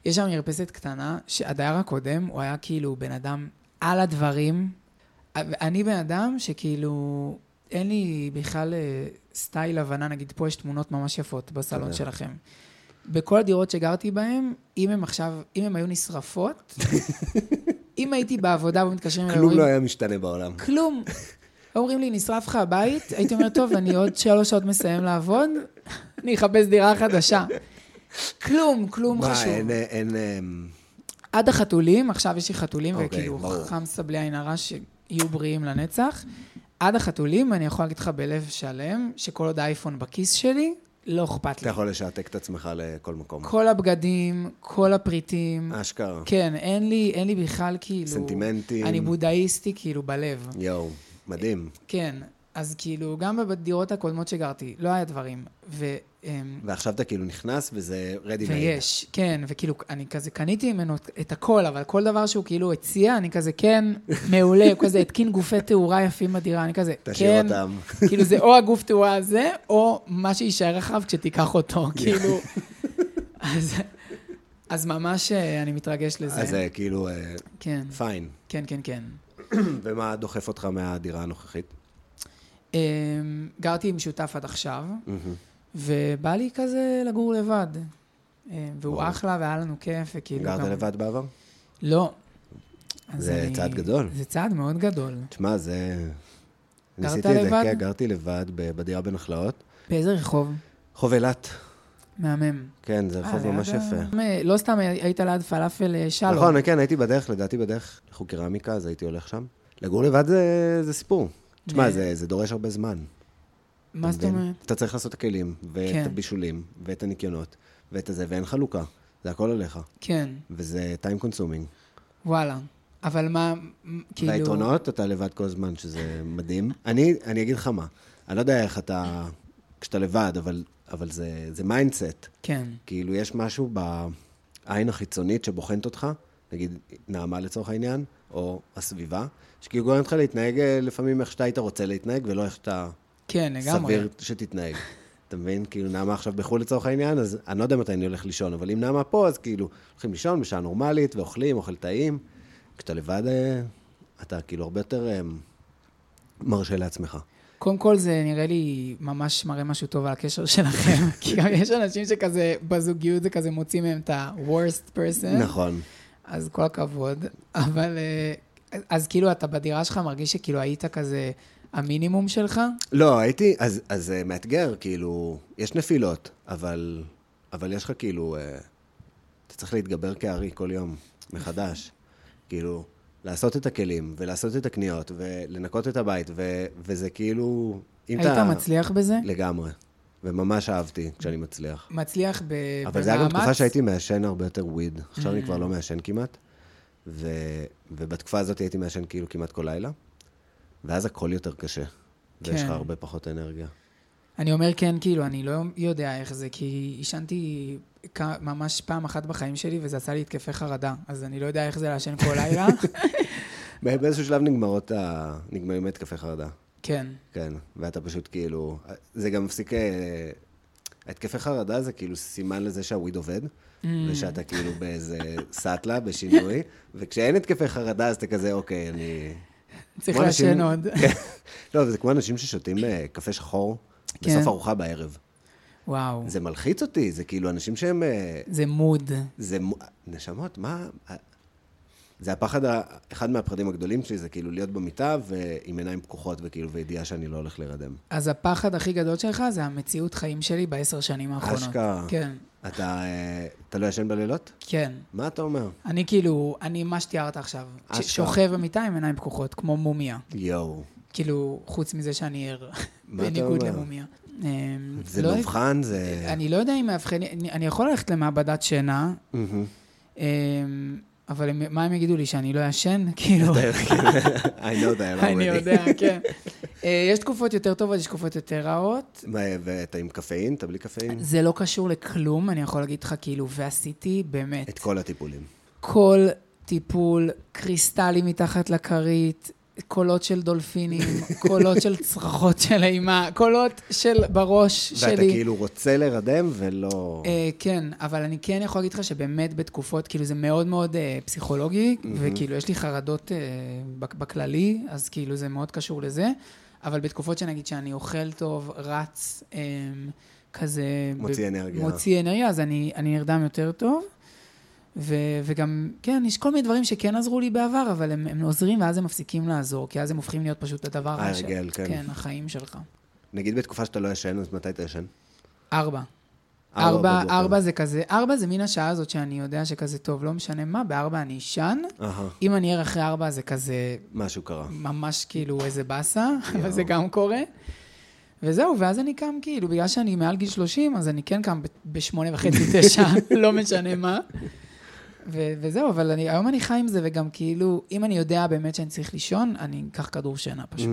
יש שם מרפסת קטנה, שהדייר הקודם, הוא היה כאילו בן אדם על הדברים. אני בן אדם שכאילו, אין לי בכלל אה, סטייל הבנה, נגיד פה יש תמונות ממש יפות בסלון תודה. שלכם. בכל הדירות שגרתי בהן, אם הן עכשיו, אם הן היו נשרפות, אם הייתי בעבודה ומתקשרים אליי, כלום אומרים, לא היה משתנה בעולם. כלום. אומרים לי, נשרף לך הבית? הייתי אומרת, טוב, אני עוד שלוש שעות מסיים לעבוד, אני אחפש דירה חדשה. כלום, כלום מה, חשוב. אין, אה, אין... אה, עד החתולים, עכשיו יש לי חתולים, אוקיי, וכאילו ברור. חמסה בלי עין הרע, שיהיו בריאים לנצח. עד החתולים, אני יכול להגיד לך בלב שלם, שכל עוד האייפון בכיס שלי, לא אכפת אתה לי. יכול לשעתק את עצמך לכל מקום. כל הבגדים, כל הפריטים. אשכרה. כן, אין לי, אין לי בכלל כאילו... אה. סנטימנטים. אני בודהיסטי כאילו בלב. יואו, מדהים. כן, אז כאילו, גם בדירות הקודמות שגרתי, לא היה דברים. ו... אמ, ועכשיו אתה כאילו נכנס וזה רדי ויש, כן, וכאילו, אני כזה קניתי ממנו את הכל, אבל כל דבר שהוא כאילו הציע, אני כזה, כן, מעולה, הוא כזה התקין גופי תאורה יפים בדירה, אני כזה, כן. תשאיר אותם. כאילו, זה או הגוף תאורה הזה, או מה שיישאר אחריו כשתיקח אותו, כאילו. אז, אז ממש אה, אני מתרגש לזה. אז זה כאילו, אה, כן, פיין. כן, כן, כן. ומה דוחף אותך מהדירה הנוכחית? אמ, גרתי עם שותף עד עכשיו, ובא לי כזה לגור לבד. אמ, והוא ברור. אחלה, והיה לנו כיף, וכאילו... גרת כאילו גם- לבד בעבר? לא. אז זה צעד גדול. זה צעד מאוד גדול. תשמע, זה... גרת ניסיתי את זה, לבד? כן, גרתי לבד ב- בדירה בנחלאות. באיזה רחוב? חוב אילת. מהמם. כן, זה רחוב אה, ממש ליד ה- יפה. אה, לא סתם היית ליד פלאפל אה, שלום. נכון, כן, הייתי בדרך, לדעתי בדרך לחוג קרמיקה, אז הייתי הולך שם. לגור לבד זה- זה סיפור. תשמע, אה. זה- זה דורש הרבה זמן. מה זאת אתה מבין? אומרת? אתה צריך לעשות את הכלים, ואת כן. הבישולים, ואת הניקיונות, ואת הזה, ואין חלוקה. זה הכל עליך, כן, וזה time consuming. וואלה. אבל מה, מ- כאילו... והיתרונות, אתה לבד כל הזמן, שזה מדהים. אני, אני אגיד לך מה, אני לא יודע איך אתה, כשאתה לבד, אבל, אבל זה, זה מיינדסט. כן, כאילו, יש משהו בעין החיצונית שבוחנת אותך, נגיד נעמה לצורך העניין, או הסביבה, שכאילו גורמת לך להתנהג אה, לפעמים איך שאתה היית רוצה להתנהג, ולא איך שאתה כן, לגמרי. סביר שתתנהג. אתה מבין? כאילו, נעמה עכשיו בחו"ל לצורך העניין, אז אני לא יודע מתי אני הולך לישון, אבל אם נעמה פה, אז כאילו, הולכים לישון בשעה נורמלית, ואוכלים, אוכל טעים. כשאתה לבד, אה, אתה כאילו הרבה יותר אה, מרשה לעצמך. קודם כל, זה נראה לי ממש מראה משהו טוב על הקשר שלכם. כי גם יש אנשים שכזה, בזוגיות זה כזה מוציא מהם את ה-worst person. נכון. אז כל הכבוד. אבל... אה, אז כאילו, אתה בדירה שלך מרגיש שכאילו היית כזה המינימום שלך? לא, הייתי, אז, אז זה מאתגר, כאילו, יש נפילות, אבל, אבל יש לך כאילו, אה, אתה צריך להתגבר כארי כל יום, מחדש. כאילו, לעשות את הכלים, ולעשות את הקניות, ולנקות את הבית, ו, וזה כאילו, אם היית אתה... מצליח בזה? לגמרי. וממש אהבתי כשאני מצליח. מצליח ב- במאמץ? אבל זה היה גם תקופה שהייתי מעשן הרבה יותר וויד. עכשיו אני כבר לא מעשן כמעט. ו... ובתקופה הזאת הייתי מעשן כאילו כמעט כל לילה. ואז הכל יותר קשה. ויש לך כן. הרבה פחות אנרגיה. אני אומר כן, כאילו, אני לא יודע איך זה, כי עישנתי כ- ממש פעם אחת בחיים שלי, וזה עשה לי התקפי חרדה. אז אני לא יודע איך זה לעשן כל לילה. בא- באיזשהו שלב נגמרות ה... נגמרים התקפי חרדה. כן, כן. ואתה פשוט כאילו... זה גם מפסיק... אה, התקפי חרדה זה כאילו סימן לזה שהוויד עובד, ושאתה כאילו באיזה סאטלה, בשינוי, וכשאין התקפי חרדה אז אתה כזה, אוקיי, אני... צריך כמו אנשים- לעשן עוד. כן. לא, אבל זה כמו אנשים ששותים אה, קפה שחור כן. בסוף ארוחה בערב. וואו, זה מלחיץ אותי, זה כאילו אנשים שהם... אה, זה מוד. זה... מו- נשמות, מה... אה, זה הפחד, ה- אחד מהפחדים הגדולים שלי, זה כאילו להיות במיטה ועם עיניים פקוחות וכאילו, וידיעה שאני לא הולך להירדם. אז הפחד הכי גדול שלך זה המציאות חיים שלי בעשר שנים האחרונות. אשכרה. כן, אתה, אה, אתה לא ישן בלילות? כן. מה אתה אומר? אני כאילו, אני מה שתיארת עכשיו. ש- אשכרה. שוכב במיטה עם עיניים פקוחות, כמו מומיה. יואו, כאילו, חוץ מזה שאני ער. מה אתה בניגוד אומר? למומיה. אמ, זה לא- מאובחן, זה... אני לא יודע אם מאבחנים, אני- אני יכול ללכת למעבדת שינה, מהמם. אמ, אבל הם- מה הם יגידו לי, שאני לא ישן? כאילו, I know that already. אני יודע, כן. אה, יש תקופות יותר טובות, יש תקופות יותר רעות. מה, ואתה עם קפאין? אתה בלי קפאין? זה לא קשור לכלום, אני יכול להגיד לך, כאילו, ועשיתי באמת את כל הטיפולים. כל טיפול, קריסטלים מתחת לכרית, קולות של דולפינים, קולות של צרחות של אימה, קולות של בראש שלי. ואתה כאילו רוצה להירדם ולא... אה, כן, אבל אני כן יכול להגיד לך שבאמת בתקופות, כאילו זה מאוד מאוד אה, פסיכולוגי, וכאילו יש לי חרדות אה, בק- בכללי, אז כאילו זה מאוד קשור לזה, אבל בתקופות שנגיד שאני אוכל טוב, רץ, אה, כזה... מוציא אנרגיה. מוציא אנרגיה, אז אני, אני נרדם יותר טוב. ו- וגם, כן, יש כל מיני דברים שכן עזרו לי בעבר, אבל הם, הם עוזרים ואז הם מפסיקים לעזור, כי אז הם הופכים להיות פשוט הדבר ש- ההרגל, כן. כן, החיים שלך. נגיד בתקופה שאתה לא ישן, אז מתי אתה ישן? ארבע. ארבע, אה, לא, בבוקר. ארבע זה כזה, ארבע זה מין השעה הזאת שאני יודע שכזה טוב, לא משנה מה, בארבע אני אשן. אהה, אם אני ער אחרי ארבע זה כזה משהו קרה. ממש כאילו איזה באסה, אבל זה גם קורה. וזהו, ואז אני קם כאילו, בגלל שאני מעל גיל 30, אז אני כן קם ב- בשמונה וחצי, תשע, לא משנה מה. ו- וזהו, אבל אני, היום אני חי עם זה, וגם כאילו, אם אני יודע באמת שאני צריך לישון, אני אקח כדור שינה פשוט.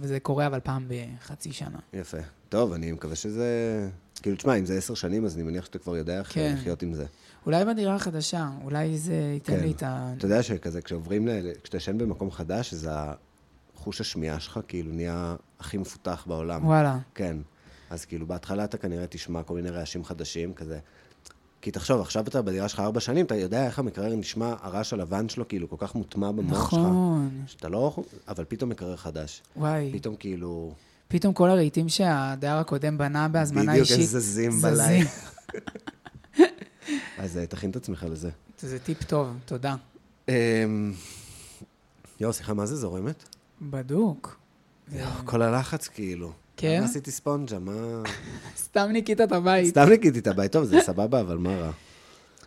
וזה קורה אבל פעם בחצי שנה. יפה. טוב, אני מקווה שזה... כאילו, תשמע, אם זה עשר שנים, אז אני מניח שאתה כבר יודע איך כן. לחיות עם זה. אולי בדירה החדשה, אולי זה ייתן כן. לי את ה... אתה יודע שכזה, כשעוברים ל... כשאתה ישן במקום חדש, אז החוש השמיעה שלך כאילו נהיה הכי מפותח בעולם. וואלה. כן. אז כאילו, בהתחלה אתה כנראה תשמע כל מיני רעשים חדשים, כזה... כי תחשוב, עכשיו אתה בדירה שלך ארבע שנים, אתה יודע איך המקרר נשמע, הרעש הלבן שלו כאילו כל כך מוטמע במוח שלך. נכון. שאתה לא... אבל פתאום מקרר חדש. וואי. פתאום כאילו... פתאום כל הרהיטים שהדייר הקודם בנה בהזמנה בדיוק, אישית. הם זזים בלילה. אז אה, תכין את עצמך לזה. זה טיפ טוב, תודה. אמ, יואו, סליחה, מה זה זורמת? בדוק. יואו, כל הלחץ כאילו. כן? למה עשיתי ספונג'ה? מה... סתם ניקית את הבית. סתם ניקיתי את הבית. טוב, זה סבבה, אבל מה רע?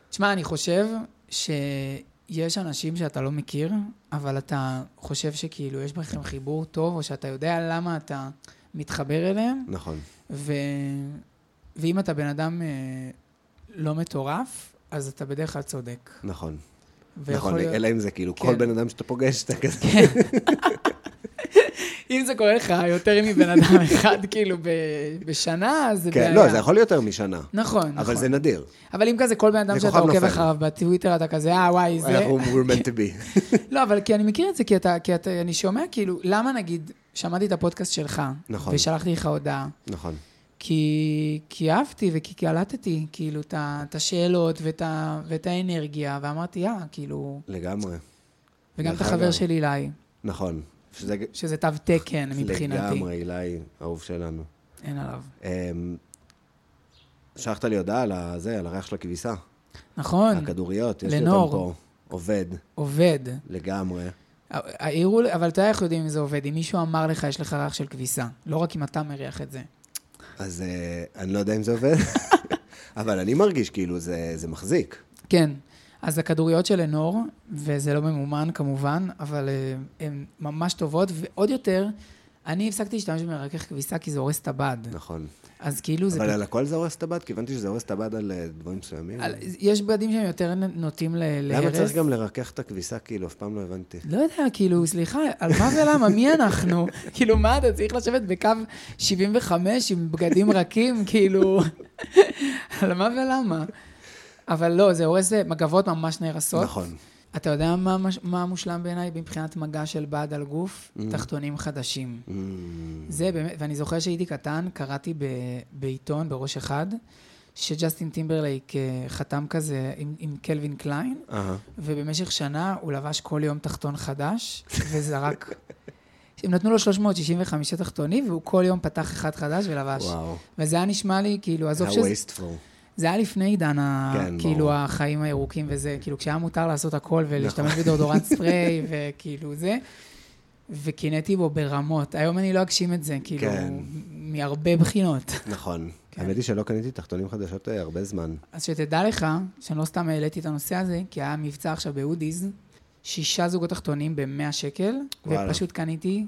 תשמע, אני חושב שיש אנשים שאתה לא מכיר, אבל אתה חושב שכאילו יש בכם חיבור טוב, או שאתה יודע למה אתה מתחבר אליהם, נכון. ו... ואם אתה בן אדם אה, לא מטורף, אז אתה בדרך כלל צודק. נכון. ויכול נכון, להיות- אלא אם זה כאילו, כן. כל בן אדם שאתה פוגש, אתה כזה... אם זה קורה לך יותר מבן אדם אחד, כאילו, ב- בשנה, אז זה כן, בעיה. לא, זה יכול יותר משנה. נכון, נכון. אבל זה נדיר. אבל אם כזה כל בן אדם זה שאתה כוכב עוקב נופל. אחריו בטוויטר, אתה כזה, אה, וואי, זה... אנחנו we're meant to be. לא, אבל כי אני מכיר את זה, כי אתה, כי אתה, אני שומע, כאילו, למה נגיד, שמעתי את הפודקאסט שלך, נכון. ושלחתי לך הודעה, נכון. כי, כי אהבתי וכי קלטתי, כאילו, את ה- את השאלות ואת, ה, ואת האנרגיה, ואמרתי, אה, כאילו, לגמרי. וגם את דרך החבר אגב. שלי, אילי, נכון. שזה שזה תו תקן מבחינתי. לגמרי, אילי, אהוב שלנו. אין עליו. אמ, שלחת לי הודעה על הזה, על הריח של הכביסה. נכון, הכדוריות, יש לי לנור. אותם פה. עובד, עובד. לגמרי. העירו, לי- אבל אתה יודע איך יודעים אם זה עובד, אם מישהו אמר לך, יש לך ריח של כביסה, לא רק אם אתה מריח את זה. אז אה, אני לא יודע אם זה עובד, אבל אני מרגיש כאילו זה זה מחזיק. כן, אז הכדוריות של לנור, וזה לא ממומן כמובן, אבל אה, הן ממש טובות, ועוד יותר, אני הפסקתי להשתמש במרכך כביסה כי זה הורס את הבד. נכון. אז כאילו כן. זה... אבל על הכל זה הורס את הבד? כי הבנתי שזה הורס את הבד על אה, דברים מסוימים. על- יש בדים שהם יותר נ- נוטים ל- להרס. למה צריך גם לרכך את הכביסה? כאילו, אף פעם לא הבנתי. לא יודע, כאילו, סליחה, על מה ולמה? מי אנחנו? כאילו, מה, אתה צריך לשבת בקו 75 עם בגדים רכים? כאילו, על מה ולמה? אבל לא, זה הורס, אה, מגבות ממש נהרסות. נכון. אתה יודע מה, מש- מה מושלם בעיניי מבחינת מגע של בד על גוף? תחתונים חדשים. Mm, זה באמת, ואני זוכר שהייתי קטן, קראתי ב, בעיתון, בראש אחד, שג'סטין טימברלייק אה, חתם כזה עם, עם קלווין קליין, אהה. ובמשך שנה הוא לבש כל יום תחתון חדש, וזרק... הם נתנו לו 365 תחתונים, והוא כל יום פתח אחד חדש ולבש. וואו. וזה היה נשמע לי, כאילו, עזוב שזה... ה-wasteful. זה היה לפני עידן, ה- כן, כאילו, ברור. נכון. החיים הירוקים וזה, כאילו, כשהיה מותר לעשות הכל ולהשתמש בדורדורנט ספרי וכאילו זה, וקינאתי בו ברמות. היום אני לא אגשים את זה, כאילו, כן. מ- מהרבה בחינות. נכון. כן. האמת היא שלא קניתי תחתונים חדשות אה, הרבה זמן. אז שתדע לך, שאני לא סתם העליתי את הנושא הזה, כי היה מבצע עכשיו באודי'ס, שישה זוגות תחתונים ב-100 שקל, וואלה. ופשוט קניתי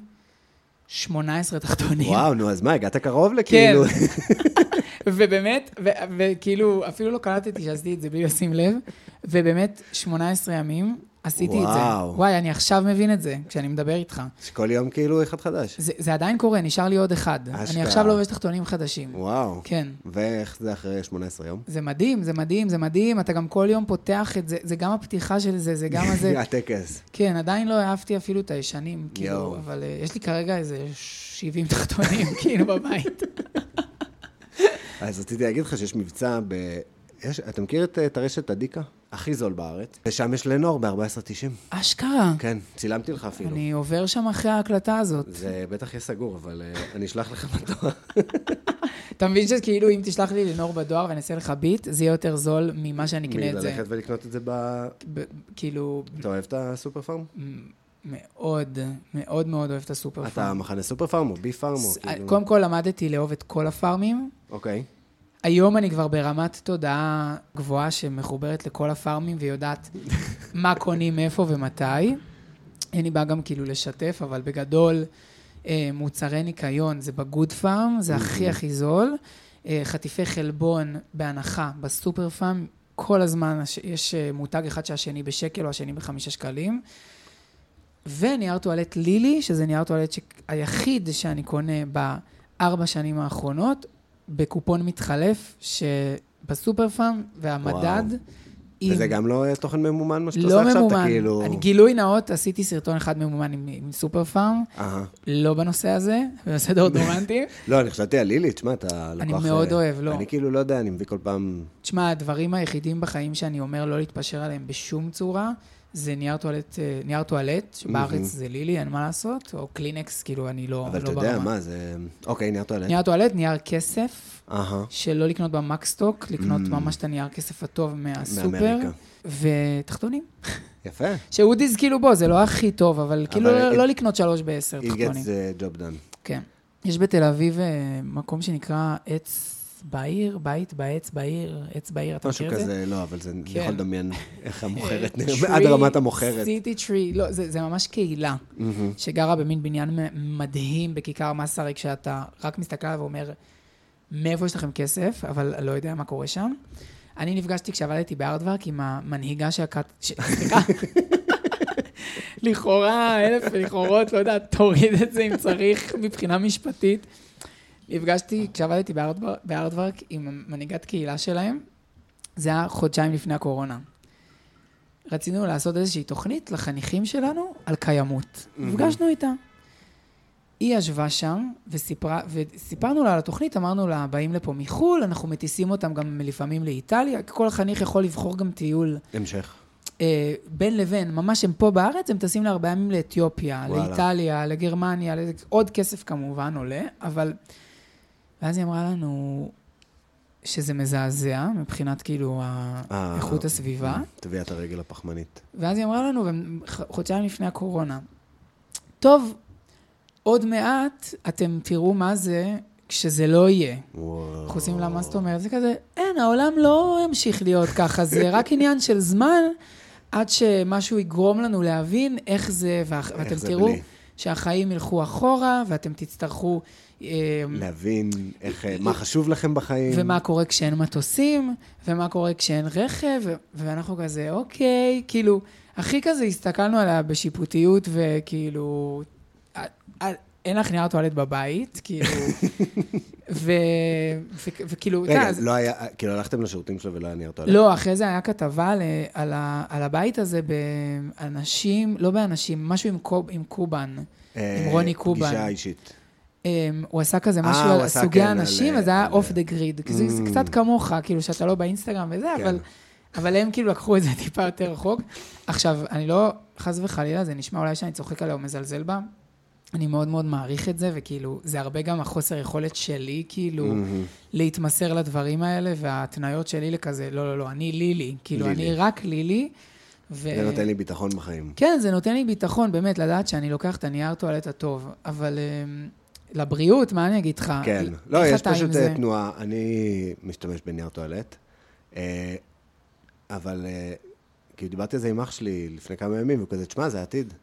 18 תחתונים. וואו, נו, אז מה, הגעת קרוב כן. לכאילו? ובאמת, ו- וכאילו, אפילו לא קלטתי שעשיתי את זה בלי לשים לב, ובאמת, 18 ימים עשיתי את זה. וואו. וואי, אני עכשיו מבין את זה, כשאני מדבר איתך. שכל יום כאילו אחד חדש. זה, זה עדיין קורה, נשאר לי עוד אחד. אני אשכרה. עכשיו לא לובש תחתונים חדשים. וואו. כן. ואיך זה אחרי 18 יום? זה מדהים, זה מדהים, זה מדהים, אתה גם כל יום פותח את זה, זה גם הפתיחה של זה, זה גם הזה. הטקס. כן, עדיין לא אהבתי אפילו את הישנים, כאילו, יואו. אבל אה, יש לי כרגע איזה 70 תחתונים, כאילו, בבית. אז רציתי להגיד לך שיש מבצע ב... יש, אתה מכיר את, אה, את הרשת אדיקה? הכי זול בארץ. ושם יש לנור ב-14.90. אשכרה. כן, צילמתי לך אפילו. אני עובר שם אחרי ההקלטה הזאת. זה בטח יהיה סגור, אבל אה, אני אשלח לך בטוח. אתה מבין שכאילו, אם תשלח לי לנור בדואר ואני אעשה לך ביט, זה יהיה יותר זול ממה שאני אקנה את זה. מללכת ולקנות את זה ב... ב- כאילו, אתה אוהב את הסופר פארם? מ- מאוד, מאוד מאוד אוהב את הסופר אתה פארם. מחנה סופר פארם או בי פארם? או ס- כאילו- קודם כל למדתי לאהוב את כל הפארמים. אוקיי. היום אני כבר ברמת תודעה גבוהה שמחוברת לכל הפארמים ויודעת מה קונים איפה ומתי. אין לי בעיה גם כאילו לשתף, אבל בגדול אה, מוצרי ניקיון זה בגוד פארם, Mm-hmm. זה הכי הכי זול. אה, חטיפי חלבון בהנחה בסופר פארם, כל הזמן הש- יש אה, מותג אחד שהשני בשקל או השני בחמישה שקלים. ונייר טואלט לילי, שזה נייר טואלט ש... היחיד שאני קונה בארבע שנים האחרונות, בקופון מתחלף שבסופר פארם, והמדד... וואו. עם- וזה גם לא אה, תוכן ממומן, מה שאתה עושה לא עכשיו? אתה ממומן. כאילו... אני גילוי נאות, עשיתי סרטון אחד ממומן עם, עם סופר פארם, אהה. לא בנושא הזה, בנושא דאודורנטים. לא, אני חשבתי על לילי, תשמע, אתה לקוח... אני מאוד אה, אוהב, לא. אני כאילו לא יודע, אני מביא כל פעם... תשמע, הדברים היחידים בחיים שאני אומר לא להתפשר עליהם בשום צורה, זה נייר טואלט, אה, נייר טואלט, שבארץ זה לילי, אין מה לעשות, או קלינקס, כאילו, אני לא, אבל לא אתה יודע, מה, זה... אוקיי, נייר טואלט. נייר טואלט, נייר כסף, אהה. שלא לקנות במקסטוק, לקנות ממש את הנייר כסף הטוב מהסופר. מאמריקה. ותחתונים. יפה. שאודי'ס כאילו בוא, זה לא הכי טוב, אבל כאילו לא- it- לא לקנות שלוש בעשר, It תחתונים. gets the job done. כן. יש בתל אביב אה, מקום שנקרא עץ בעיר, בית בעץ בעיר, עץ בעיר, אתה משהו מכיר את זה? כזה, לא, אבל זה, אני כן. יכול לדמיין איך המוכרת נראית, אה, Tree- עד רמת המוכרת. City tree, לא, זה, זה ממש קהילה שגרה במין בניין מ- מדהים בכיכר מסריק, שאתה רק מסתכל עליו ואומר, מאיפה יש לכם כסף, אבל לא יודע מה קורה שם. אני נפגשתי כשעבדתי בהרדוורק עם המנהיגה שהקט... ש- סליחה. לכאורה, אלף לכאורות, לא יודעת, תוריד את זה אם צריך מבחינה משפטית. נפגשתי כשעבדתי בהרדוור- בהרדוורק עם מנהיגת קהילה שלהם, זה היה חודשיים לפני הקורונה. רצינו לעשות איזושהי תוכנית לחניכים שלנו על קיימות. נפגשנו איתה. היא ישבה שם, וסיפרה, וסיפרנו לה על התוכנית, אמרנו לה, באים לפה מחו"ל, אנחנו מטיסים אותם גם לפעמים לאיטליה, כל חניך יכול לבחור גם טיול המשך. אה, בין לבין, ממש הם פה בארץ, הם טסים לארבעה ימים לאתיופיה, וואלה. וואלה. לאיטליה, לגרמניה, לזה- עוד כסף כמובן עולה, אבל... ואז היא אמרה לנו שזה מזעזע מבחינת כאילו אה, ה- איכות הסביבה. טביעת הרגל הפחמנית. ואז היא אמרה לנו, והם- ח- חודשיים לפני הקורונה, טוב, עוד מעט אתם תראו מה זה כשזה לא יהיה. וואו. אנחנו עושים לה, מה זאת אומרת? זה כזה, אין, העולם לא ימשיך להיות ככה, זה רק עניין של זמן עד שמשהו יגרום לנו להבין איך זה, ואח- איך ואתם זה תראו בלי. שהחיים ילכו אחורה, ואתם תצטרכו... אה, להבין איך, אה, מה חשוב לכם בחיים. ומה קורה כשאין מטוסים, ומה קורה כשאין רכב, ו- ואנחנו כזה, אוקיי, כאילו, הכי כזה הסתכלנו עליה בשיפוטיות, וכאילו, "אה, אה, אין לך נייר טואלט בבית, כאילו, ו- ו- וכאילו, אתה יודע, רגע, כן, אז- לא היה, כאילו הלכתם לשירותים שלו ולא היה נייר טואלט. לא, אחרי זה היה כתבה על, על, ה, על הבית הזה באנשים, לא באנשים, משהו עם, קוב, עם קובן. אה, עם רוני קובן. פגישה אישית. אמ, הוא עשה כזה אה, משהו הוא על עשה, סוגי כן, האנשים, על- אז זה היה על- אה. Mm. אוף דה גריד. זה זה קצת כמוך, כאילו, שאתה לא באינסטגרם וזה, כן. אבל, אבל הם כאילו לקחו את זה טיפה יותר רחוק. עכשיו, אני לא, חס וחלילה, זה נשמע אולי שאני צוחק עליה או מזלזל בה. אני מאוד מאוד מעריך את זה, וכאילו, זה הרבה גם החוסר יכולת שלי, כאילו, Mm. להתמסר לדברים האלה, וההתניות שלי לכזה, לא, לא, לא, אני לילי. כאילו, לילי. אני רק לילי. ו... זה נותן לי ביטחון בחיים. כן, זה נותן לי ביטחון, באמת, לדעת שאני לוקח את הנייר טואלט הטוב, אבל אמ, לבריאות, מה אני אגיד לך? כן. איך לא, יש אתה עם פשוט זה? אה, תנועה. אני משתמש בנייר טואלט, אה, אבל אה, כאילו דיברתי על זה עם אח שלי לפני כמה ימים, והוא כזה, תשמע, זה העתיד.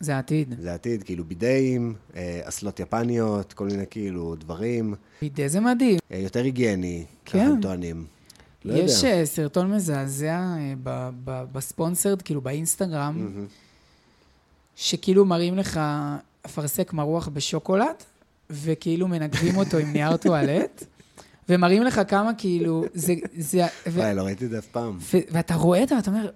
זה העתיד. זה העתיד, כאילו בידאים, אה, אסלות יפניות, כל מיני כאילו דברים. בידי זה מדהים. אה, יותר היגייני, ככה כן. הם טוענים. לא יודע. יש אה, סרטון מזעזע אה, ב- ב- בספונסרד, כאילו באינסטגרם, שכאילו מראים לך אפרסק מרוח בשוקולד, וכאילו מנגבים אותו עם נייר טואלט, ומראים לך כמה כאילו, זה... זה- ו- וואי, לא ראיתי את זה אף פעם. ו- ואתה רואה את זה, ואתה אומר...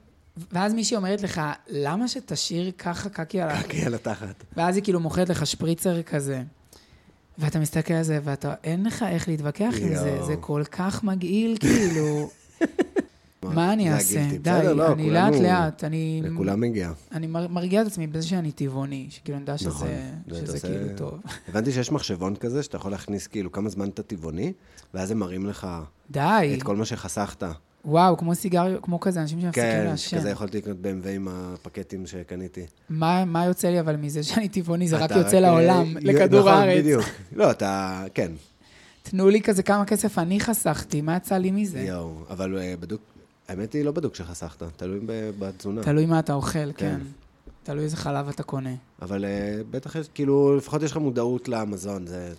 ואז מישהי אומרת לך, למה שתשאיר ככה קקי על ה... חכי על התחת. ואז היא כאילו מוכרת לך שפריצר כזה. ואתה מסתכל על זה, ואתה, אין לך איך להתווכח עם זה, יואו. זה כל כך מגעיל, כאילו. מה, מה אני זה אעשה? הגילטי. די, בסדר, לא, אני כולנו- לאט-לאט, אני... לכולם מגיע. אני מר- מרגיעה את עצמי בזה שאני טבעוני, שכאילו אני יודע נכון. שזה, זה- שזה אתה כאילו עושה- טוב. הבנתי שיש מחשבון כזה, שאתה יכול להכניס כאילו כמה זמן אתה טבעוני, ואז הם מראים לך די, את כל מה שחסכת. וואו, כמו סיגריות, כמו כזה, אנשים שמפסיקים כן, לעשן. שכזה יכולתי לקנות BMW עם הפקטים שקניתי. מה מה יוצא לי אבל מזה שאני טבעוני, זה רק אתה יוצא לעולם, אה, לכדור נכון, הארץ. בדיוק. לא, אתה, כן, תנו לי כזה כמה כסף אני חסכתי, מה יצא לי מזה? יואו, אבל אה, בדוק, האמת היא לא בדוק שחסכת, תלוי ב- בתזונה. תלוי מה אתה כן. אוכל, כן. תלוי איזה חלב אתה קונה. אבל אה, בטח יש, כאילו, לפחות יש לך מודעות למזון, זה...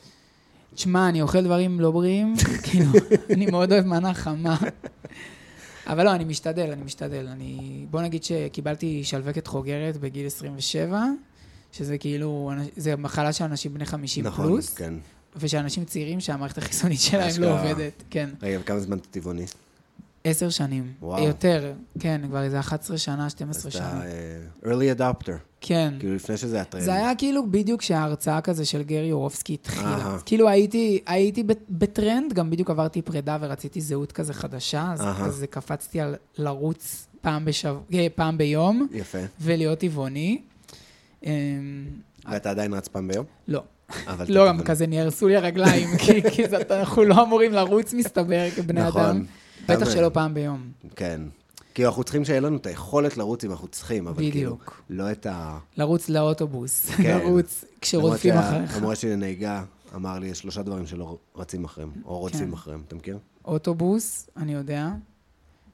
תשמע, אני אוכל דברים לא בריאים, כאילו, אני מאוד אוהב מנה חמה. אבל לא, אני משתדל, אני משתדל. אני... בוא נגיד שקיבלתי שלווקת חוגרת בגיל 27, שזה כאילו, אנ- זה מחלה של אנשים בני 50 נכון, פלוס, כן. ושל אנשים צעירים שהמערכת החיסונית שלהם לא אשכרה. עובדת. כן, רגע, וכמה זמן אתה טבעוני? עשר שנים. וואו. יותר, כן, כבר איזה 11 שנה, אז 12 שנה. אתה אה, early adopter, כן. כאילו לפני שזה הטרנד. זה היה כאילו בדיוק כשההרצאה כזה של גרי יורובסקי התחילה. אהה. אז כאילו הייתי, הייתי בט- בטרנד, גם בדיוק עברתי פרידה ורציתי זהות כזה חדשה, אז אהה. כזה קפצתי על לרוץ פעם, בשב... אה, פעם ביום יפה. ולהיות טבעוני. אמ, ואתה עדיין רץ פעם ביום? לא, אבל אתה לא, גם טבעוני. כזה נהרסו לי הרגליים, כי, כי זה, אנחנו לא אמורים לרוץ, מסתבר, כבני נכון. אדם. בטח גם- שלא פעם ביום. כן. כאילו, אנחנו צריכים שיהיה לנו את היכולת לרוץ אם אנחנו צריכים, אבל כאילו, בדיוק. לא את ה... לרוץ לאוטובוס, כן. לרוץ כשרודפים למרות אחריך. שהמורה שלי לנהיגה אמר לי, יש שלושה דברים שלא רצים אחריהם, או כן. רודפים אחריהם, אתה מכיר? אוטובוס, אני יודע.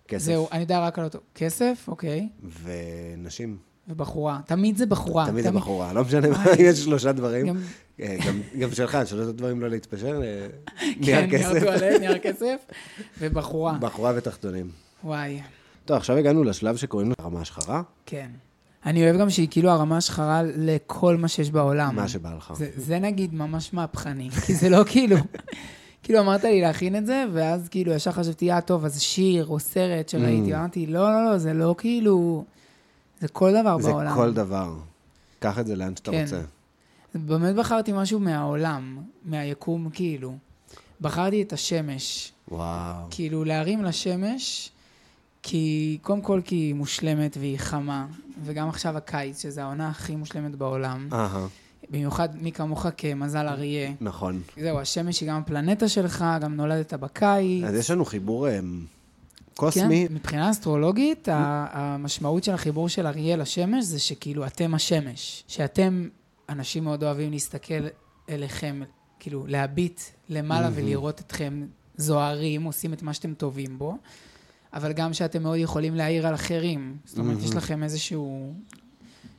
כסף. זהו, אני יודע רק על אותו. כסף, אוקיי. ונשים. ובחורה. תמיד זה בחורה. אה, תמיד זה בחורה, לא משנה מה, יש שלושה דברים. גם- אה, גם- גם שלך, שלושה דברים לא להתפשר, אה, כן, נהיה נייר כסף. טואלט, נייר כסף. ובחורה. בחורה ותחתונים. וואי, טוב, עכשיו הגענו לשלב שקוראים לו רמה השחרה, כן. אני אוהב גם שהיא כאילו הרמה שחרה לכל מה שיש בעולם. מה שבא לך. זה- זה נגיד ממש מהפכני, כי זה לא כאילו... כאילו אמרת לי להכין את זה, ואז כאילו ישר חשבתי, אה, טוב, אז שיר או סרט Mm. שראיתי, אמרתי, לא, לא, לא, זה לא כאילו... זה כל דבר זה בעולם. כל דבר. קח את זה לאן שאתה כן. רוצה. באמת בחרתי משהו מהעולם, מהיקום, כאילו. בחרתי את השמש. וואו. כאילו, להרים לשמש, כי קודם כל כי היא מושלמת והיא חמה, וגם עכשיו הקיץ, שזו העונה הכי מושלמת בעולם. אהה, במיוחד מי כמוך כמזל אריה. נכון. זהו, השמש היא גם הפלנטה שלך, גם נולדת בקיץ. אז יש לנו חיבור אה, כן, קוסמי. מבחינה אסטרולוגית, ה- המשמעות של החיבור של אריה לשמש זה שכאילו אתם השמש. שאתם, אנשים מאוד אוהבים להסתכל אליכם, כאילו להביט למעלה ולראות אתכם זוהרים, עושים את מה שאתם טובים בו, אבל גם שאתם מאוד יכולים להעיר על אחרים. זאת אומרת, יש לכם איזשהו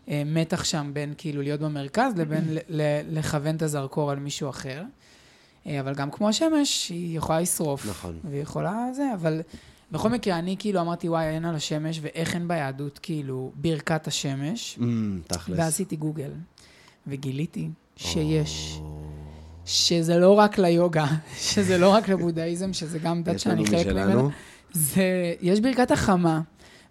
אה, מתח שם בין כאילו להיות במרכז לבין ל- ל- לכוון את הזרקור על מישהו אחר. אה, אבל גם כמו השמש, היא יכולה לשרוף. נכון. והיא יכולה זה, אבל בכל מקרה, אני כאילו אמרתי, וואי, אין על השמש, ואיך אין ביהדות, כאילו, ברכת השמש. אמ, תכלס. ועשיתי גוגל, וגיליתי שיש, או, שזה לא רק ליוגה, שזה לא רק לבודהיזם, שזה גם דת יש לנו שאני חלק משלנו. ממנה. זה, יש ברכת החמה,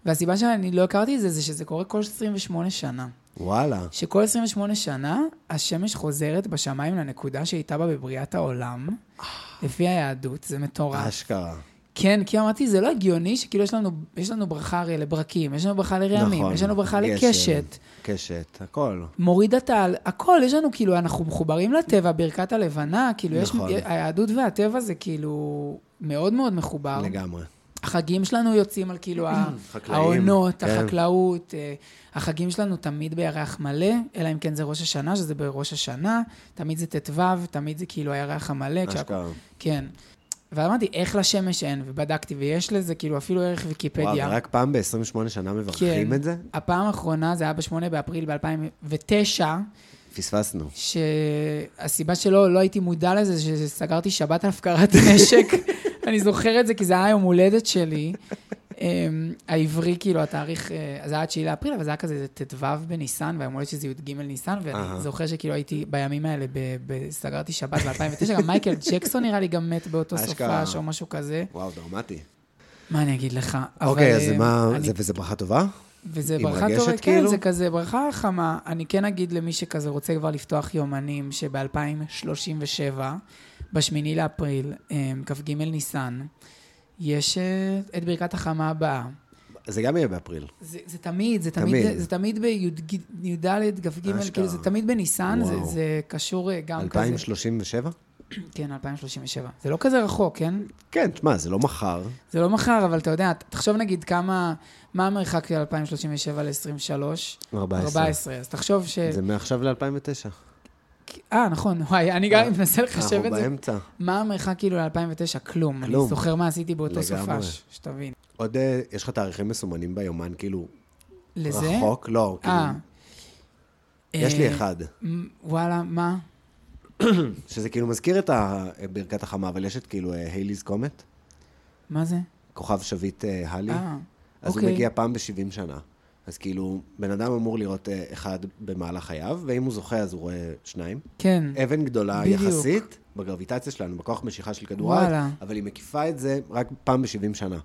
והסיבה שאני לא הכרתי את זה, זה שזה קורה כל 28 שנה. וואלה. שכל 28 שנה, השמש חוזרת בשמיים לנקודה שהייתה בה בבריאת העולם, אה. לפי היהדות, זה מטורף. אשכרה. כן, כי אמרתי, זה לא הגיוני שכאילו יש לנו, יש לנו ברכה הרי לברקים, יש לנו ברכה לרעמים, נכון. אה. יש לנו ברכה גשם, לקשת, קשת, הכל. מוריד הטל, הכל, יש לנו כאילו, אנחנו מחוברים לטבע, ברכת הלבנה, כאילו, נכון. יש, היהדות והטבע זה כאילו מאוד מאוד מחובר. לגמרי. החגים שלנו יוצאים על כאילו ה- חקלאים, העונות, כן. החקלאות, אה, החגים שלנו תמיד בירח מלא, אלא אם כן זה ראש השנה, שזה בראש השנה, תמיד זה ט"ו, תמיד זה כאילו הירח המלא, כשה- אשכרה. כן. ואמרתי, איך לשמש אין? ובדקתי, ויש לזה כאילו אפילו ערך וואו, ויקיפדיה. ורק פעם ב-28 שנה מברכים כן. את זה? הפעם האחרונה, זה היה ב-8 באפריל ב-2009, פספסנו. שהסיבה שלא, לא הייתי מודע לזה, שסגרתי שבת על הפקרת נשק. אני זוכר את זה, כי זה היה יום הולדת שלי. אמ, העברי, כאילו, התאריך, אה, אז זה היה 9 לאפריל, אבל זה היה כזה איזה ט"ו בניסן, והיום הולדת שזה י"ג ניסן, אהה. ואני זוכר שכאילו הייתי בימים האלה, ב- ב- סגרתי שבת ב-2009, גם מייקל ג'קסון נראה לי גם מת באותו אשכרה. סופש או משהו כזה. וואו, דרמטי. מה אני אגיד לך? אוקיי, אבל, אז זה אה, מה, אני- זה- וזה ברכה טובה? וזה היא ברכה מרגשת טובה, כן, כאילו? זה כזה ברכה חמה. אני כן אגיד למי שכזה רוצה כבר לפתוח יומנים, שב-2037, ב-8 לאפריל, אה, כ"ג ניסן, יש אה, את ברכת החמה הבאה. זה גם יהיה באפריל. זה, זה תמיד, זה תמיד, תמיד. זה, זה תמיד בי"ד, כ"ג, אשכרה. כאילו זה תמיד בניסן, זה, וואו. זה קשור אה, גם כזה. 2037? כן, 2037. זה לא כזה רחוק, כן? כן, תשמע, זה לא מחר. זה לא מחר, אבל אתה יודע, ת- תחשוב נגיד כמה, מה המרחק של 2037 ל-23? 14. 14. אז תחשוב ש... זה מעכשיו ל-2009. אה, נכון, וואי, אני גם מנסה אנחנו לחשב את זה. באמצע. מה המרחק כאילו ל-2009? כלום. אני כלום. זוכר מה עשיתי באותו לגמרי. סופש, שתבין. עוד, אה, יש לך תאריכים מסומנים ביומן, כאילו, לזה? רחוק? לא, כאילו, אה. יש לי אה, אחד, מ- וואלה, מה? שזה כאילו מזכיר את ה- ברכת החמה, אבל יש את כאילו הייליז קומט, מה זה? כוכב שביט אה, הלי, אה, אז הוא אוקיי. מגיע פעם ב-70 שנה. אז כאילו, בן אדם אמור לראות אה, אחד במהלך חייו, ואם הוא זוכה אז הוא רואה שניים. כן. אבן גדולה בדיוק. יחסית, בגרביטציה שלנו, בכוח משיכה של כדור הארץ, וואלה. אבל היא מקיפה את זה רק פעם ב-70 שנה.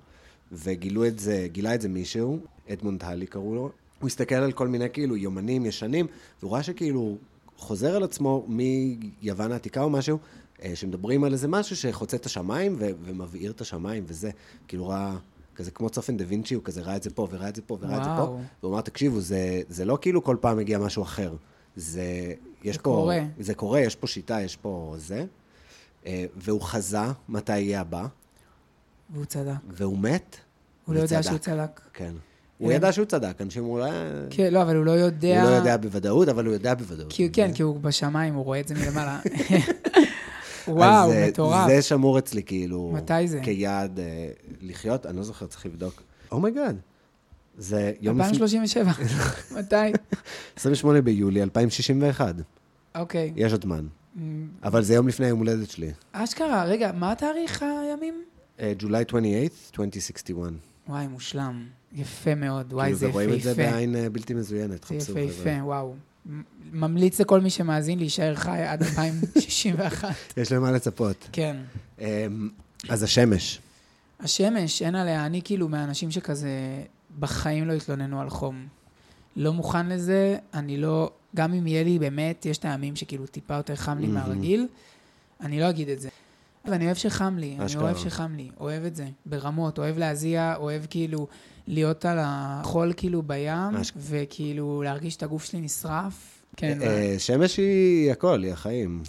וגילו את זה, גילה את זה מישהו, אדמונד הלי קראו לו, הוא הסתכל על כל מיני כאילו יומנים ישנים, והוא ראה שכאילו חוזר על עצמו מיוון העתיקה או משהו, אה, שמדברים על איזה משהו שחוצה את השמיים ו- ומבעיר את השמיים וזה, כאילו ראה... כזה כמו צופן דה וינצ'י, הוא כזה ראה את זה פה, וראה את זה פה, וראה את זה וואו. פה. והוא אמר, תקשיבו, זה, זה לא כאילו כל פעם מגיע משהו אחר. זה, יש זה פה... קורה. זה קורה, יש פה שיטה, יש פה זה. אה, והוא חזה מתי יהיה הבא, והוא צדק. והוא מת. הוא לא יודע וצדק. שהוא צדק. כן. הוא ידע שהוא צדק, אנשים אולי... הוא כן, לא, אבל הוא לא יודע... לא יודע בוודאות, אבל הוא יודע בוודאות. כי, כן, כי הוא בשמיים, הוא רואה את זה מלמעלה. וואו, אז, אה, מטורף. זה שמור אצלי, כאילו... מתי זה? כיעד אה, לחיות, אני לא זוכר, צריך לבדוק. אומייגאד. זה יום... לפני- 2037. מתי? 28 ביולי 2061. אוקיי. יש עוד זמן. אמ, אבל זה יום לפני היום הולדת שלי. אשכרה, רגע, מה התאריך הימים? אה, ג'ולי 28th, 2061. וואי, מושלם. יפה מאוד, וואי, כאילו, זה ורואים את זה יפהפה. בעין אה, בלתי מזוינת, זה חפשו. חבר'ה. יפהפה, וואו. מ- ממליץ לכל מי שמאזין להישאר חי עד 2061. יש למה לצפות. כן. אמ, אז השמש. השמש, אין עליה, אני כאילו מהאנשים שכזה בחיים לא התלוננו על חום. לא מוכן לזה, אני לא, גם אם יהיה לי באמת, יש את הימים שכאילו טיפה יותר חם לי מהמם. מהרגיל, אני לא אגיד את זה. אבל אני אוהב שחם לי, אני אשכרה. אוהב שחם לי, אוהב את זה, ברמות, אוהב להזיע, אוהב כאילו להיות על החול כאילו בים, אשכ- וכאילו להרגיש את הגוף שלי נשרף. כן, אה, שמש היא הכל, היא החיים.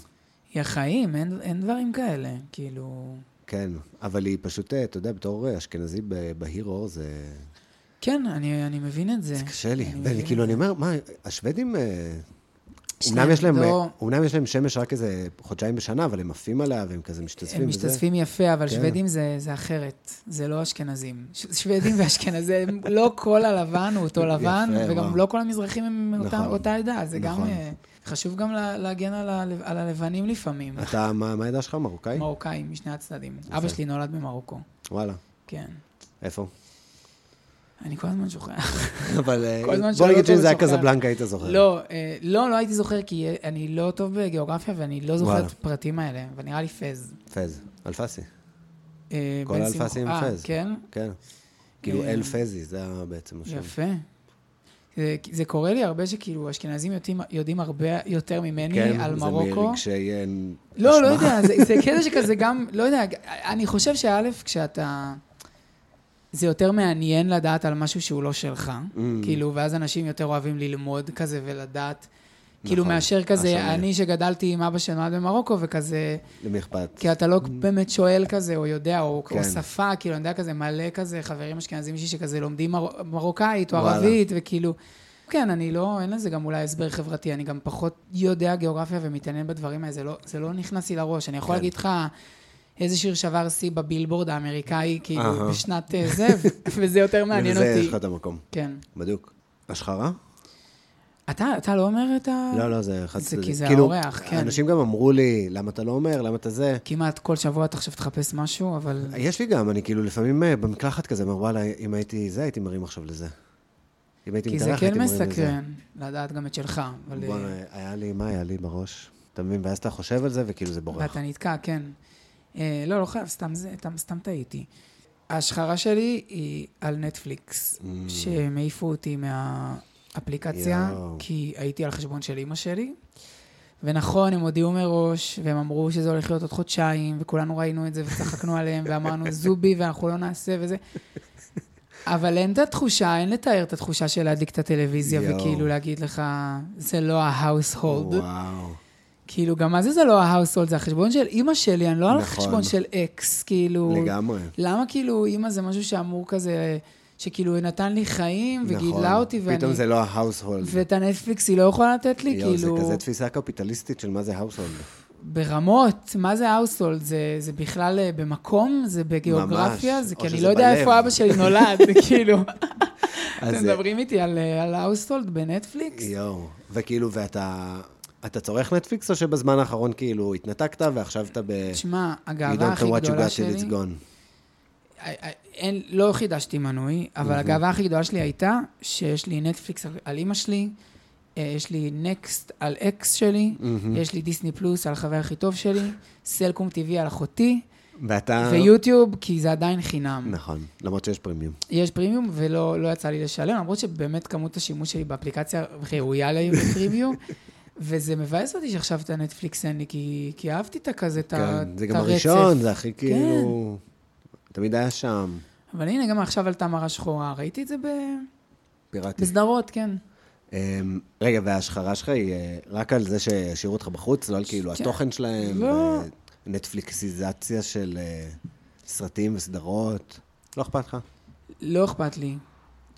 היא החיים, אין, אין דברים כאלה, כאילו... כן, אבל היא פשוט, אה, אתה יודע, בתור אה, אשכנזי ב- בהיר אור, זה כן, אני, אני מבין את זה. זה קשה לי. אני מבין ואני את כאילו, זה. אני אומר, מה, השוודים... אה, שניהם אומנם יש, להם, לא- אה, אומנם יש להם שמש רק איזה חודשיים בשנה, אבל הם עפים עליה והם כזה משתזפים. הם וזה. משתתפים יפה, אבל כן. שוודים זה זה אחרת. זה לא אשכנזים. ש- שוודים ואשכנזים, לא כל הלבן הוא אותו לבן, יפה, וגם וואו. לא כל המזרחים הם אותה- נכון. אותה עדה. זה גם נכון. אה, חשוב גם לה- להגן על ה- על הלבנים לפעמים. אתה, מה מה העדה שלך, מרוקאי? מרוקאים משני הצדדים. אבא שלי נולד במרוקו, וואלה, כן. איפה? אני כל הזמן שוכח. אבל אה, כל הזמן בוא שואל נגיד אותו שאם זה היה וזוכר. קזבלנקה, היית זוכר. לא, אה, לא, לא הייתי זוכר, כי אה, אני לא טוב בגיאוגרפיה, ואני לא זוכר וואלה. את הפרטים האלה, ונראה לי פז. פז, אלפסי, אה, כל בן האלפסים שמחון. אה, פז. כן? כן. כאילו אה, אל פזי, זה היה בעצם השם. יפה. זה, זה קורה לי הרבה שכאילו אשכנזים יודעים, יודעים הרבה יותר ממני כן, על זה מרוקו. מרגשי אה, לא, לא אשמה. יודע, זה, זה קטע שכזה גם, לא יודע, אני חושב שא', כשאתה... זה יותר מעניין לדעת על משהו שהוא לא שלך, mm. כאילו, ואז אנשים יותר אוהבים ללמוד כזה ולדעת, כאילו, נכון, מאשר כזה, השונה. אני שגדלתי עם אבא שנולד במרוקו, וכזה, למי אכפת? כי אתה לא באמת שואל כזה, או יודע, או, כן. כן. או שפה, כאילו, אני יודע כזה מלא כזה חברים אשכנזים אישי שכזה לומדים מר... מרוקאית או וואלה. ערבית, וכאילו... כן, אני לא, אין לזה גם אולי הסבר חברתי, אני גם פחות יודע גיאוגרפיה ומתעניין בדברים האלה, זה לא, זה לא נכנס לי לראש. אני יכול כן. להגיד לך איזה שיר שבר שיא בבילבורד האמריקאי, כאילו, אהה. בשנת אה, זה, ו- וזה יותר מעניין ולזה אותי. יש לך את כאילו, המקום, כן. בדיוק. השחרה? אתה, אתה לא אומר את ה... לא, לא, זה חד זה כי זה כאילו, האורח, כן. אנשים גם אמרו לי, למה אתה לא אומר, למה אתה זה? כמעט כל שבוע אתה עכשיו תחפש משהו, אבל... יש לי גם, אני כאילו לפעמים אה, במקלחת כזה, אומר, וואלה, אם הייתי זה, הייתי מרים עכשיו לזה. אם הייתי כי מתארח, זה הייתי כן מרים לזה. מסקרן, לדעת גם את שלך. אבל, אה, בוא'נה, היה לי, מה היה לי בראש? אתה מבין? ואז אתה חושב על זה, וכאילו זה בורח. ואתה נתקע, כן. אה, לא, לא חייב, סתם זה, סתם, סתם טעיתי. ההשחרה שלי היא על נטפליקס, mm. שהם העיפו אותי מהאפליקציה, יואו. כי הייתי על חשבון של אימא שלי, ונכון, הם הודיעו מראש, והם אמרו שזה הולך להיות עוד חודשיים, וכולנו ראינו את זה וצחקנו עליהם, ואמרנו זובי ואנחנו לא נעשה וזה. אבל אין את התחושה, אין לתאר את התחושה של להדליק את הטלוויזיה יואו. וכאילו להגיד לך, זה לא ההאוס-הולד. וואו. כאילו, גם מה זה זה לא ההאוס-הולד? זה החשבון של אימא שלי, אני לא על נכון. החשבון של אקס, כאילו... לגמרי. למה כאילו אימא זה משהו שאמור כזה, שכאילו נתן לי חיים וגידלה נכון. אותי, ואני... פתאום זה לא ההאוסהולד. ואת הנטפליקס היא לא יכולה לתת לי, יואו, כאילו... זה כזה תפיסה קפיטליסטית של מה זה האוסהולד. ברמות, מה זה האוסולד? זה, זה בכלל אה, במקום? זה בגיאוגרפיה? ממש, זה או כי אני שזה לא יודע בלב. איפה אבא שלי נולד, כאילו. אתם אז, מדברים איתי על, אה, על האוסולד בנטפליקס? יואו. וכאילו, ואתה... אתה צורך נטפליקס, או שבזמן האחרון כאילו התנתקת ועכשיו אתה ב... תשמע, You הגאווה don't הכי know what you גדולה got till שלי... it's gone. אה, אה, אין, לא חידשתי מנוי, אבל הגאווה הכי גדולה שלי הייתה שיש לי נטפליקס על, על אימא שלי, אה, יש לי נקסט על אקס שלי, יש לי דיסני פלוס על החבר הכי טוב שלי, סלקום TV על אחותי, ואתה... ויוטיוב, כי זה עדיין חינם. נכון, למרות שיש פרימיום. יש פרימיום ולא לא יצא לי לשלם, למרות שבאמת כמות השימוש שלי באפליקציה ראויה לפרימיום. וזה מבאס אותי שעכשיו את הנטפליקס אין לי, כי, כי אהבתי את הכזה, את ה- כן, זה את גם הרצף. הראשון, זה הכי כאילו... כן. תמיד היה שם, אבל הנה, גם עכשיו עלתה מראה שחורה, ראיתי את זה ב... פיראטי. בסדרות, כן. אמ, רגע, וההשחרה שלך היא אה, רק על זה שהשאירו אותך בחוץ? לא על כאילו כן. התוכן שלהם? לא. נטפליקסיזציה של אה, סרטים וסדרות? לא אכפת לך? לא אכפת לי.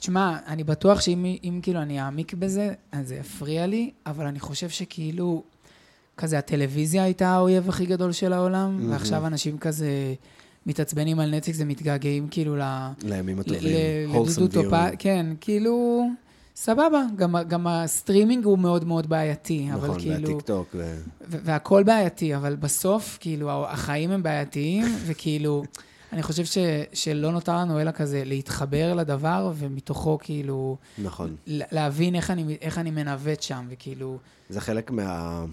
תשמע, אני בטוח שאם אם, כאילו אני אעמיק בזה, אז זה יפריע לי, אבל אני חושב שכאילו, כזה הטלוויזיה הייתה האויב הכי גדול של העולם, mm-hmm. ועכשיו אנשים כזה מתעצבנים על נטפליקס ומתגעגעים כאילו ל... לימים הטובים. ל- ל- wholesome לדודו טופז, viewing. כן, כאילו, סבבה, גם, ה- גם הסטרימינג הוא מאוד מאוד בעייתי, אבל נכון, כאילו, והטיקטוק. ו- ו- והכל בעייתי, אבל בסוף, כאילו, ה- החיים הם בעייתיים, וכאילו, אני חושב ש, שלא נותר לנו אלא כזה להתחבר לדבר, ומתוכו כאילו, נכון. לה- להבין איך אני, איך אני מנווט שם, וכאילו, זה חלק מה...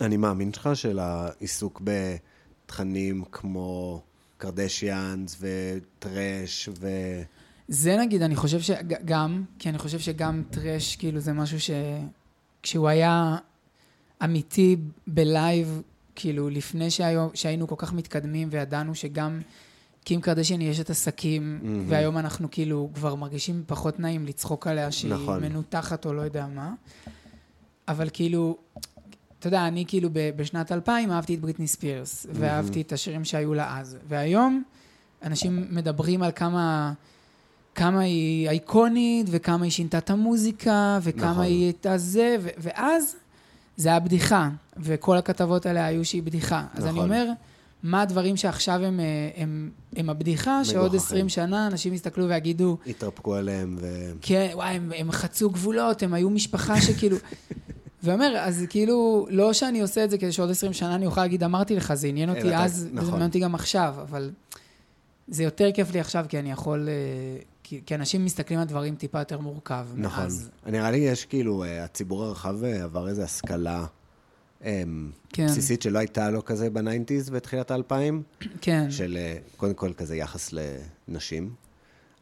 אני מאמין שלך, של העיסוק בתכנים כמו קרדשיאנס וטרש ו... זה נגיד, אני חושב שגם, כי אני חושב שגם טרש, כאילו, זה משהו ש... כשהוא היה אמיתי בלייב, כאילו, לפני שהיו, שהיינו כל כך מתקדמים וידענו שגם קים קרדשן יש את עסקים, mm-hmm. והיום אנחנו כאילו כבר מרגישים פחות נעים לצחוק עליה שהיא נכון. נכון. מנותחת או לא יודע מה. אבל כאילו, אתה יודע, אני כאילו ב- בשנת 2000 אהבתי את בריטני ספירס, ואהבתי את השירים שהיו לה אז. והיום אנשים מדברים על כמה... כמה היא אייקונית, וכמה היא שינתה את המוזיקה, וכמה נכון. נכון. היא הייתה זה, ו- ואז זה היה בדיחה, וכל הכתבות עליה היו שהיא בדיחה. נכון. אז אני נכון. אומר, מה הדברים שעכשיו הם, אה, הם, הם הבדיחה, שעוד מגוחכים. 20 שנה אנשים יסתכלו ויגידו, התרפקו עליהם ו... כן, וואי, הם, הם חצו גבולות, הם היו משפחה שכאילו... ואומר, אז כאילו, לא שאני עושה את זה כדי שעוד 20 שנה אני אוכל להגיד, אמרתי לך, זה עניין אלא אותי אתה- אז, וזה נכון. מעניין אותי גם עכשיו, אבל זה יותר כיף לי עכשיו, כי אני יכול... אה, כי, כי אנשים מסתכלים על דברים טיפה יותר מורכב. נכון. מאז. נראה לי יש כאילו, אה, הציבור הרחב אה, עבר איזו השכלה אמ, כן. בסיסית שלא הייתה לו כזה בניינטיז בתחילת האלפיים, כן. של אה, קודם כל כזה יחס לנשים,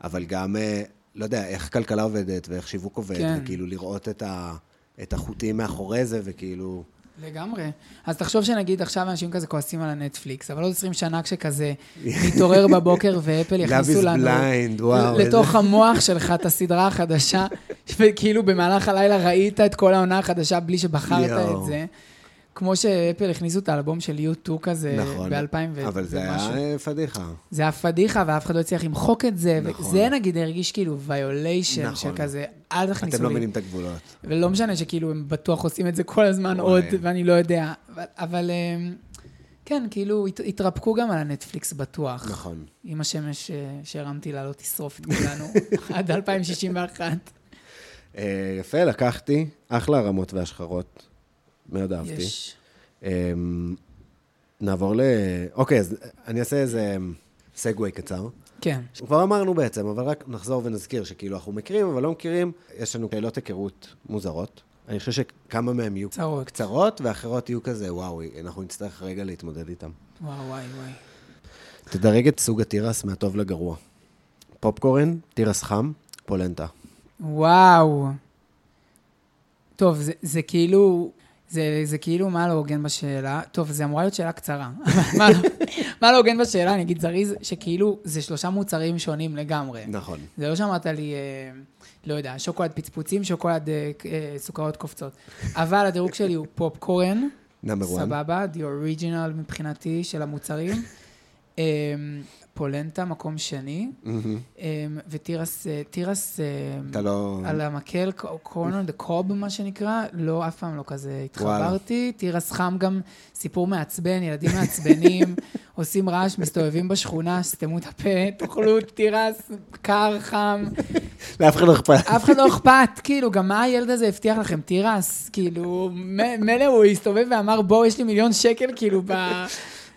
אבל גם, אה, לא יודע, איך כלכלה עובדת ואיך שיווק עובד, כן. וכאילו לראות את ה- את החוטים מאחורי זה, וכאילו... לגמרי. אז תחשוב שנגיד עכשיו אנשים כזה כועסים על הנטפליקס, אבל עוד 20 שנה כשכזה נתעורר בבוקר ואפל Love יכניסו is לנו... blind, וואו, איזה- לתוך המוח שלך את הסדרה החדשה, וכאילו במהלך הלילה ראית את כל העונה החדשה בלי שבחרת יואו. את זה. כמו שאפל הכניסו את האלבום של U2 כזה, נכון. ב-2000 ומשהו. אבל זה היה אה, פדיחה. זה היה פדיחה, ואף אחד לא הצליח למחוק את זה. נכון. וזה נגיד הרגיש כאילו ויוליישן נכון. של כזה, אל תכניסו לי. אתם לא מבינים את הגבולות. ולא משנה שכאילו הם בטוח עושים את זה כל הזמן וואי. עוד, ואני לא יודע. אבל, אבל אמ, כן, כאילו, הת, התרפקו גם על הנטפליקס בטוח. נכון. עם השמש אה, שהרמתי לה לא תשרוף את כולנו עד 2061. אה, יפה, לקחתי, אחלה הרמות והשחרות. מאוד אהבתי. יש. אמ, נעבור ל... אוקיי, אז אני אעשה איזה אמ, סגווי קצר. כן. כבר אמרנו בעצם, אבל רק נחזור ונזכיר שכאילו אנחנו מכירים, אבל לא מכירים. יש לנו שאלות היכרות מוזרות. אני חושב שכמה מהן יהיו צרות. קצרות, ואחרות יהיו כזה, וואו, אנחנו נצטרך רגע להתמודד איתן. וואי, וואי, וואי. תדרג את סוג התירס מהטוב לגרוע. פופקורן, תירס חם, כן. פולנטה. וואו. טוב, זה, זה כאילו... זה, זה כאילו מה לא הוגן בשאלה, טוב, זו אמורה להיות שאלה קצרה. מה, מה לא הוגן בשאלה, אני אגיד זריז, שכאילו זה שלושה מוצרים שונים לגמרי. נכון. זה לא שאמרת לי, אה, לא יודע, שוקולד פצפוצים, שוקולד אה, אה, סוכרות קופצות. אבל הדירוג שלי הוא פופקורן, נאמר וואן. סבבה, the original מבחינתי של המוצרים. אה, פולנטה, מקום שני, אה, ותירס, אה, תירס אה, אתה לא... על המקל, קורנר דה קוב, מה שנקרא, לא, אף פעם לא כזה וואלה. התחברתי. תירס חם גם סיפור מעצבן, ילדים מעצבנים, עושים רעש, מסתובבים בשכונה, סתמו את הפה, תאכלו תירס, קר, חם, לאף אחד לא אכפת. אף אחד לא אכפת, כאילו, גם מה הילד הזה הבטיח לכם, תירס? כאילו, מ- מילא הוא הסתובב ואמר, בואו, יש לי מיליון שקל, כאילו, ב...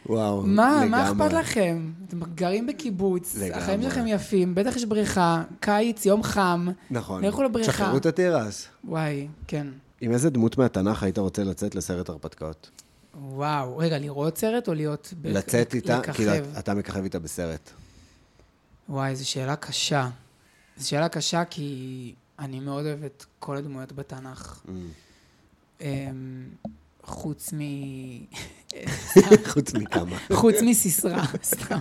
וואו, מה, מה לגמרי. אכפת לכם? אתם גרים בקיבוץ, לגמרי. החיים שלכם יפים, בטח יש בריכה, קיץ, יום חם. נכון. לכו לבריכה. שחררו את התירס. וואי, כן. עם איזה דמות מהתנ"ך היית רוצה לצאת לסרט הרפתקאות? וואו, רגע, לראות סרט או להיות... ב- לצאת לק- איתה, לככב? כאילו, את- אתה מככב איתה בסרט. וואי, זו שאלה קשה. זו שאלה קשה כי אני מאוד אוהב את כל הדמויות בתנ"ך. Mm. אמ, חוץ מ... חוץ מכמה. חוץ מסיסרא, סתם.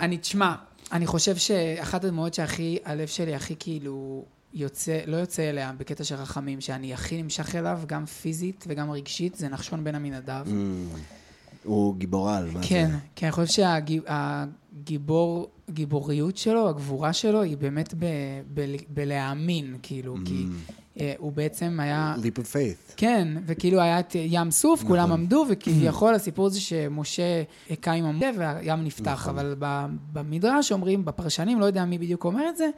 אני, תשמע, אני חושב שאחת הדמויות שהכי, הלב שלי הכי כאילו יוצא, לא יוצא אליה בקטע של רחמים, שאני הכי נמשך אליו, גם פיזית וגם רגשית, זה נחשון בן עמינדב. Mm. הוא גיבור על, מה זה? כן, כן, אני חושב שהגיבור, הגיבוריות שלו, הגבורה שלו, היא באמת ב, ב, בלהאמין, כאילו, כי אה, הוא בעצם היה... Leap of faith. כן, וכאילו היה את ים סוף, נכון. כולם עמדו, וכביכול הסיפור זה שמשה הכה עם המודה והים נפתח, נכון. אבל ב- במדרש אומרים, בפרשנים, לא יודע מי בדיוק אומר את זה,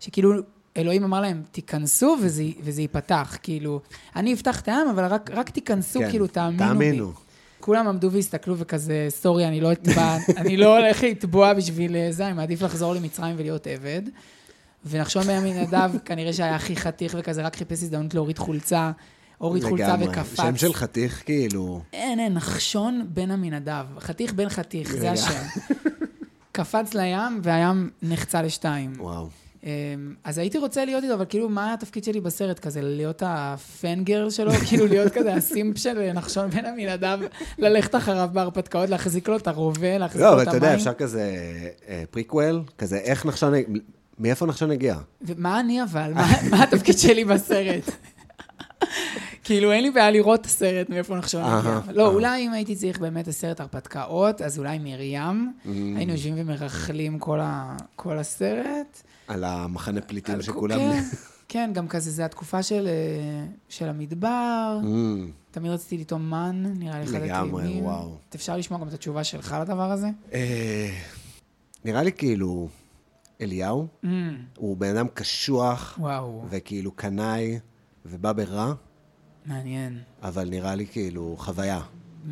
שכאילו אלוהים אמר להם, תיכנסו וזה- וזה ייפתח, כאילו, אני אפתח את הים, אבל רק- רק תיכנסו, כן, כאילו, תאמינו בי. תאמינו. כולם עמדו והסתכלו וכזה, סורי, אני לא אטבע, אני לא הולך לתבוע בשביל אה, זה, אני מעדיף לחזור למצרים ולהיות עבד. ונחשון בימין נדב, כנראה שהיה הכי חתיך וכזה, רק חיפש הזדמנות להוריד חולצה, הוריד חולצה לגמרי. וקפץ. אה. שם של חתיך, כאילו. אין, אין, נחשון בן עמינדב. חתיך בן חתיך, זה רגע. השם. קפץ לים, והים נחצה לשתיים. וואו. אמ, אז הייתי רוצה להיות איתו, אבל כאילו, מה התפקיד שלי בסרט? כזה להיות הפנגר שלו? כאילו, להיות כזה הסימפ של נחשון בן עמינדב, ללכת אחריו בהרפתקאות, להחזיק לו את הרובה, להחזיק לא, לו אבל את אתה יודע, המים. אפשר כזה פריקוול, כזה איך נחשון, מאיפה נחשון הגיע? ומה אני אבל? מה- מה התפקיד שלי בסרט? כאילו, אין לי בעיה לראות את הסרט מאיפה נחשון הגיע. אהה, לא, אהה. אולי אם הייתי צריך באמת הסרט הרפתקאות, אז אולי מרים. Mm-hmm. היינו יושבים ומרכלים כל ה- כל הסרט. על המחנה פליטים על- כאילו שכולם... כן, כן, גם כזה, זה התקופה של, אה, של המדבר. אמ, תמיד רציתי לטעום מן, נראה לי אחד הטעימים. לגמרי, וואו. אפשר לשמוע גם את התשובה שלך לדבר הזה? אה, נראה לי כאילו, אליהו, Mm, הוא בן אדם קשוח, וואו, וכאילו קנאי, ובא ברע, מעניין. אבל נראה לי כאילו חוויה.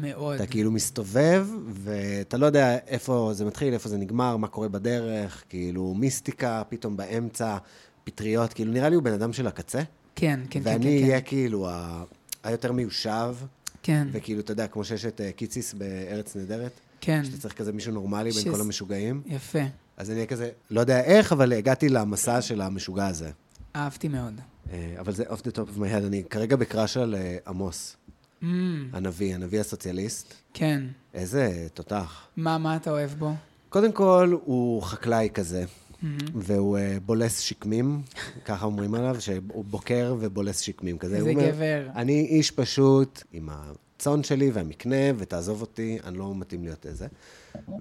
מאוד. אתה כאילו מסתובב, ואתה לא יודע איפה זה מתחיל, איפה זה נגמר, מה קורה בדרך, כאילו מיסטיקה, פתאום באמצע, פטריות, כאילו נראה לי הוא בן אדם של הקצה, כן, כן, כן, ואני כן, אהיה כן. כאילו ה- היותר מיושב, כן, וכאילו, אתה יודע, כמו שיש את אה, קיציס בארץ נהדרת, כן, שאתה צריך כזה מישהו נורמלי שזה- בין כל המשוגעים, יפה. אז אני אהיה כזה, לא יודע איך, אבל הגעתי למסע של המשוגע הזה. אהבתי מאוד. אה, אבל זה off the top of my head, אני כרגע בקראש על אה, עמוס, Mm, הנביא, הנביא הסוציאליסט. כן. איזה תותח. מה, מה אתה אוהב בו? קודם כל, הוא חקלאי כזה, Mhm. והוא אה, בולס שקמים, ככה אומרים עליו, שהוא בוקר ובולס שקמים כזה. איזה הוא אומר, גבר. אני איש פשוט עם הצאן שלי והמקנה, ותעזוב אותי, אני לא מתאים להיות איזה.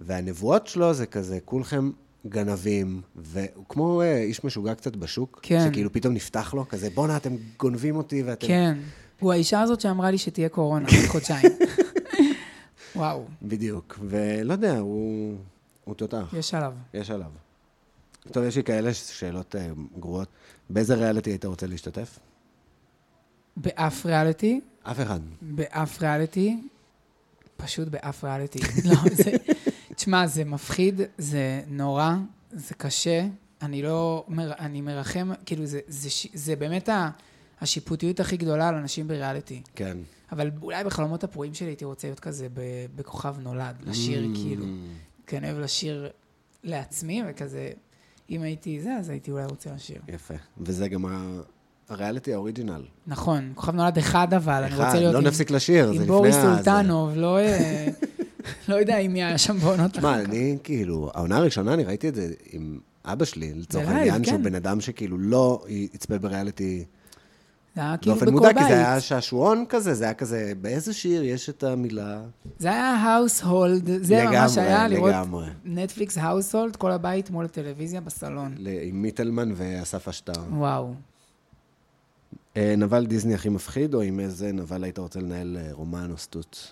והנבואות שלו זה כזה, כולכם גנבים, והוא כמו אה, איש משוגע קצת בשוק, כן. שכאילו פתאום נפתח לו, כזה, בואנה, אתם גונבים אותי ואתם... כן. הוא האישה הזאת שאמרה לי שתהיה קורונה עוד חודשיים. וואו, בדיוק. ולא יודע, הוא, הוא תותח, יש עליו. יש עליו. טוב, יש לי כאלה ש- שאלות אה, גרועות. באיזה ריאליטי היית רוצה להשתתף? באף ריאליטי, אף אחד. באף ריאליטי, פשוט באף ריאליטי. לא, זה... תשמע, זה מפחיד, זה נורא, זה קשה. אני לא... מר... אני מרחם, כאילו, זה, זה, ש... זה באמת ה... השיפוטיות הכי גדולה על אנשים בריאליטי. כן. אבל אולי בחלומות הפרועים שלי הייתי רוצה להיות כזה ב... בכוכב נולד, לשיר Mm, כאילו. כי אני אוהב לשיר לעצמי, וכזה... אם הייתי זה, אז הייתי אולי רוצה לשיר. יפה. וזה גם ה- הריאליטי האוריג'ינל. נכון, כוכב נולד אחד אבל, אני אחד, רוצה להיות לא עם- נפסיק לשיר, זה לפני... עם בוריס ה- זה- סולטנוב, לא אה, לא יודע אם היה שם בעונות תשמע, אחר כך. אני כאילו, העונה הראשונה, אני ראיתי את זה עם אבא שלי, לצורך בלייב, העניין, שהוא כן. בן אדם שכאילו לא יצפה בריאליטי זה היה כאילו באופן בכל מודע, כי זה היה בית. שעשועון כזה, זה היה כזה, באיזה שיר יש את המילה? זה היה household, זה לגמרי, ממש היה לראות לגמרי. נטפליקס household, כל הבית מול הטלוויזיה בסלון. ל- עם מיטלמן ואסף אשטר. וואו. אה, נבל דיסני הכי מפחיד, או עם איזה נבל היית רוצה לנהל אה, רומן או סטוץ?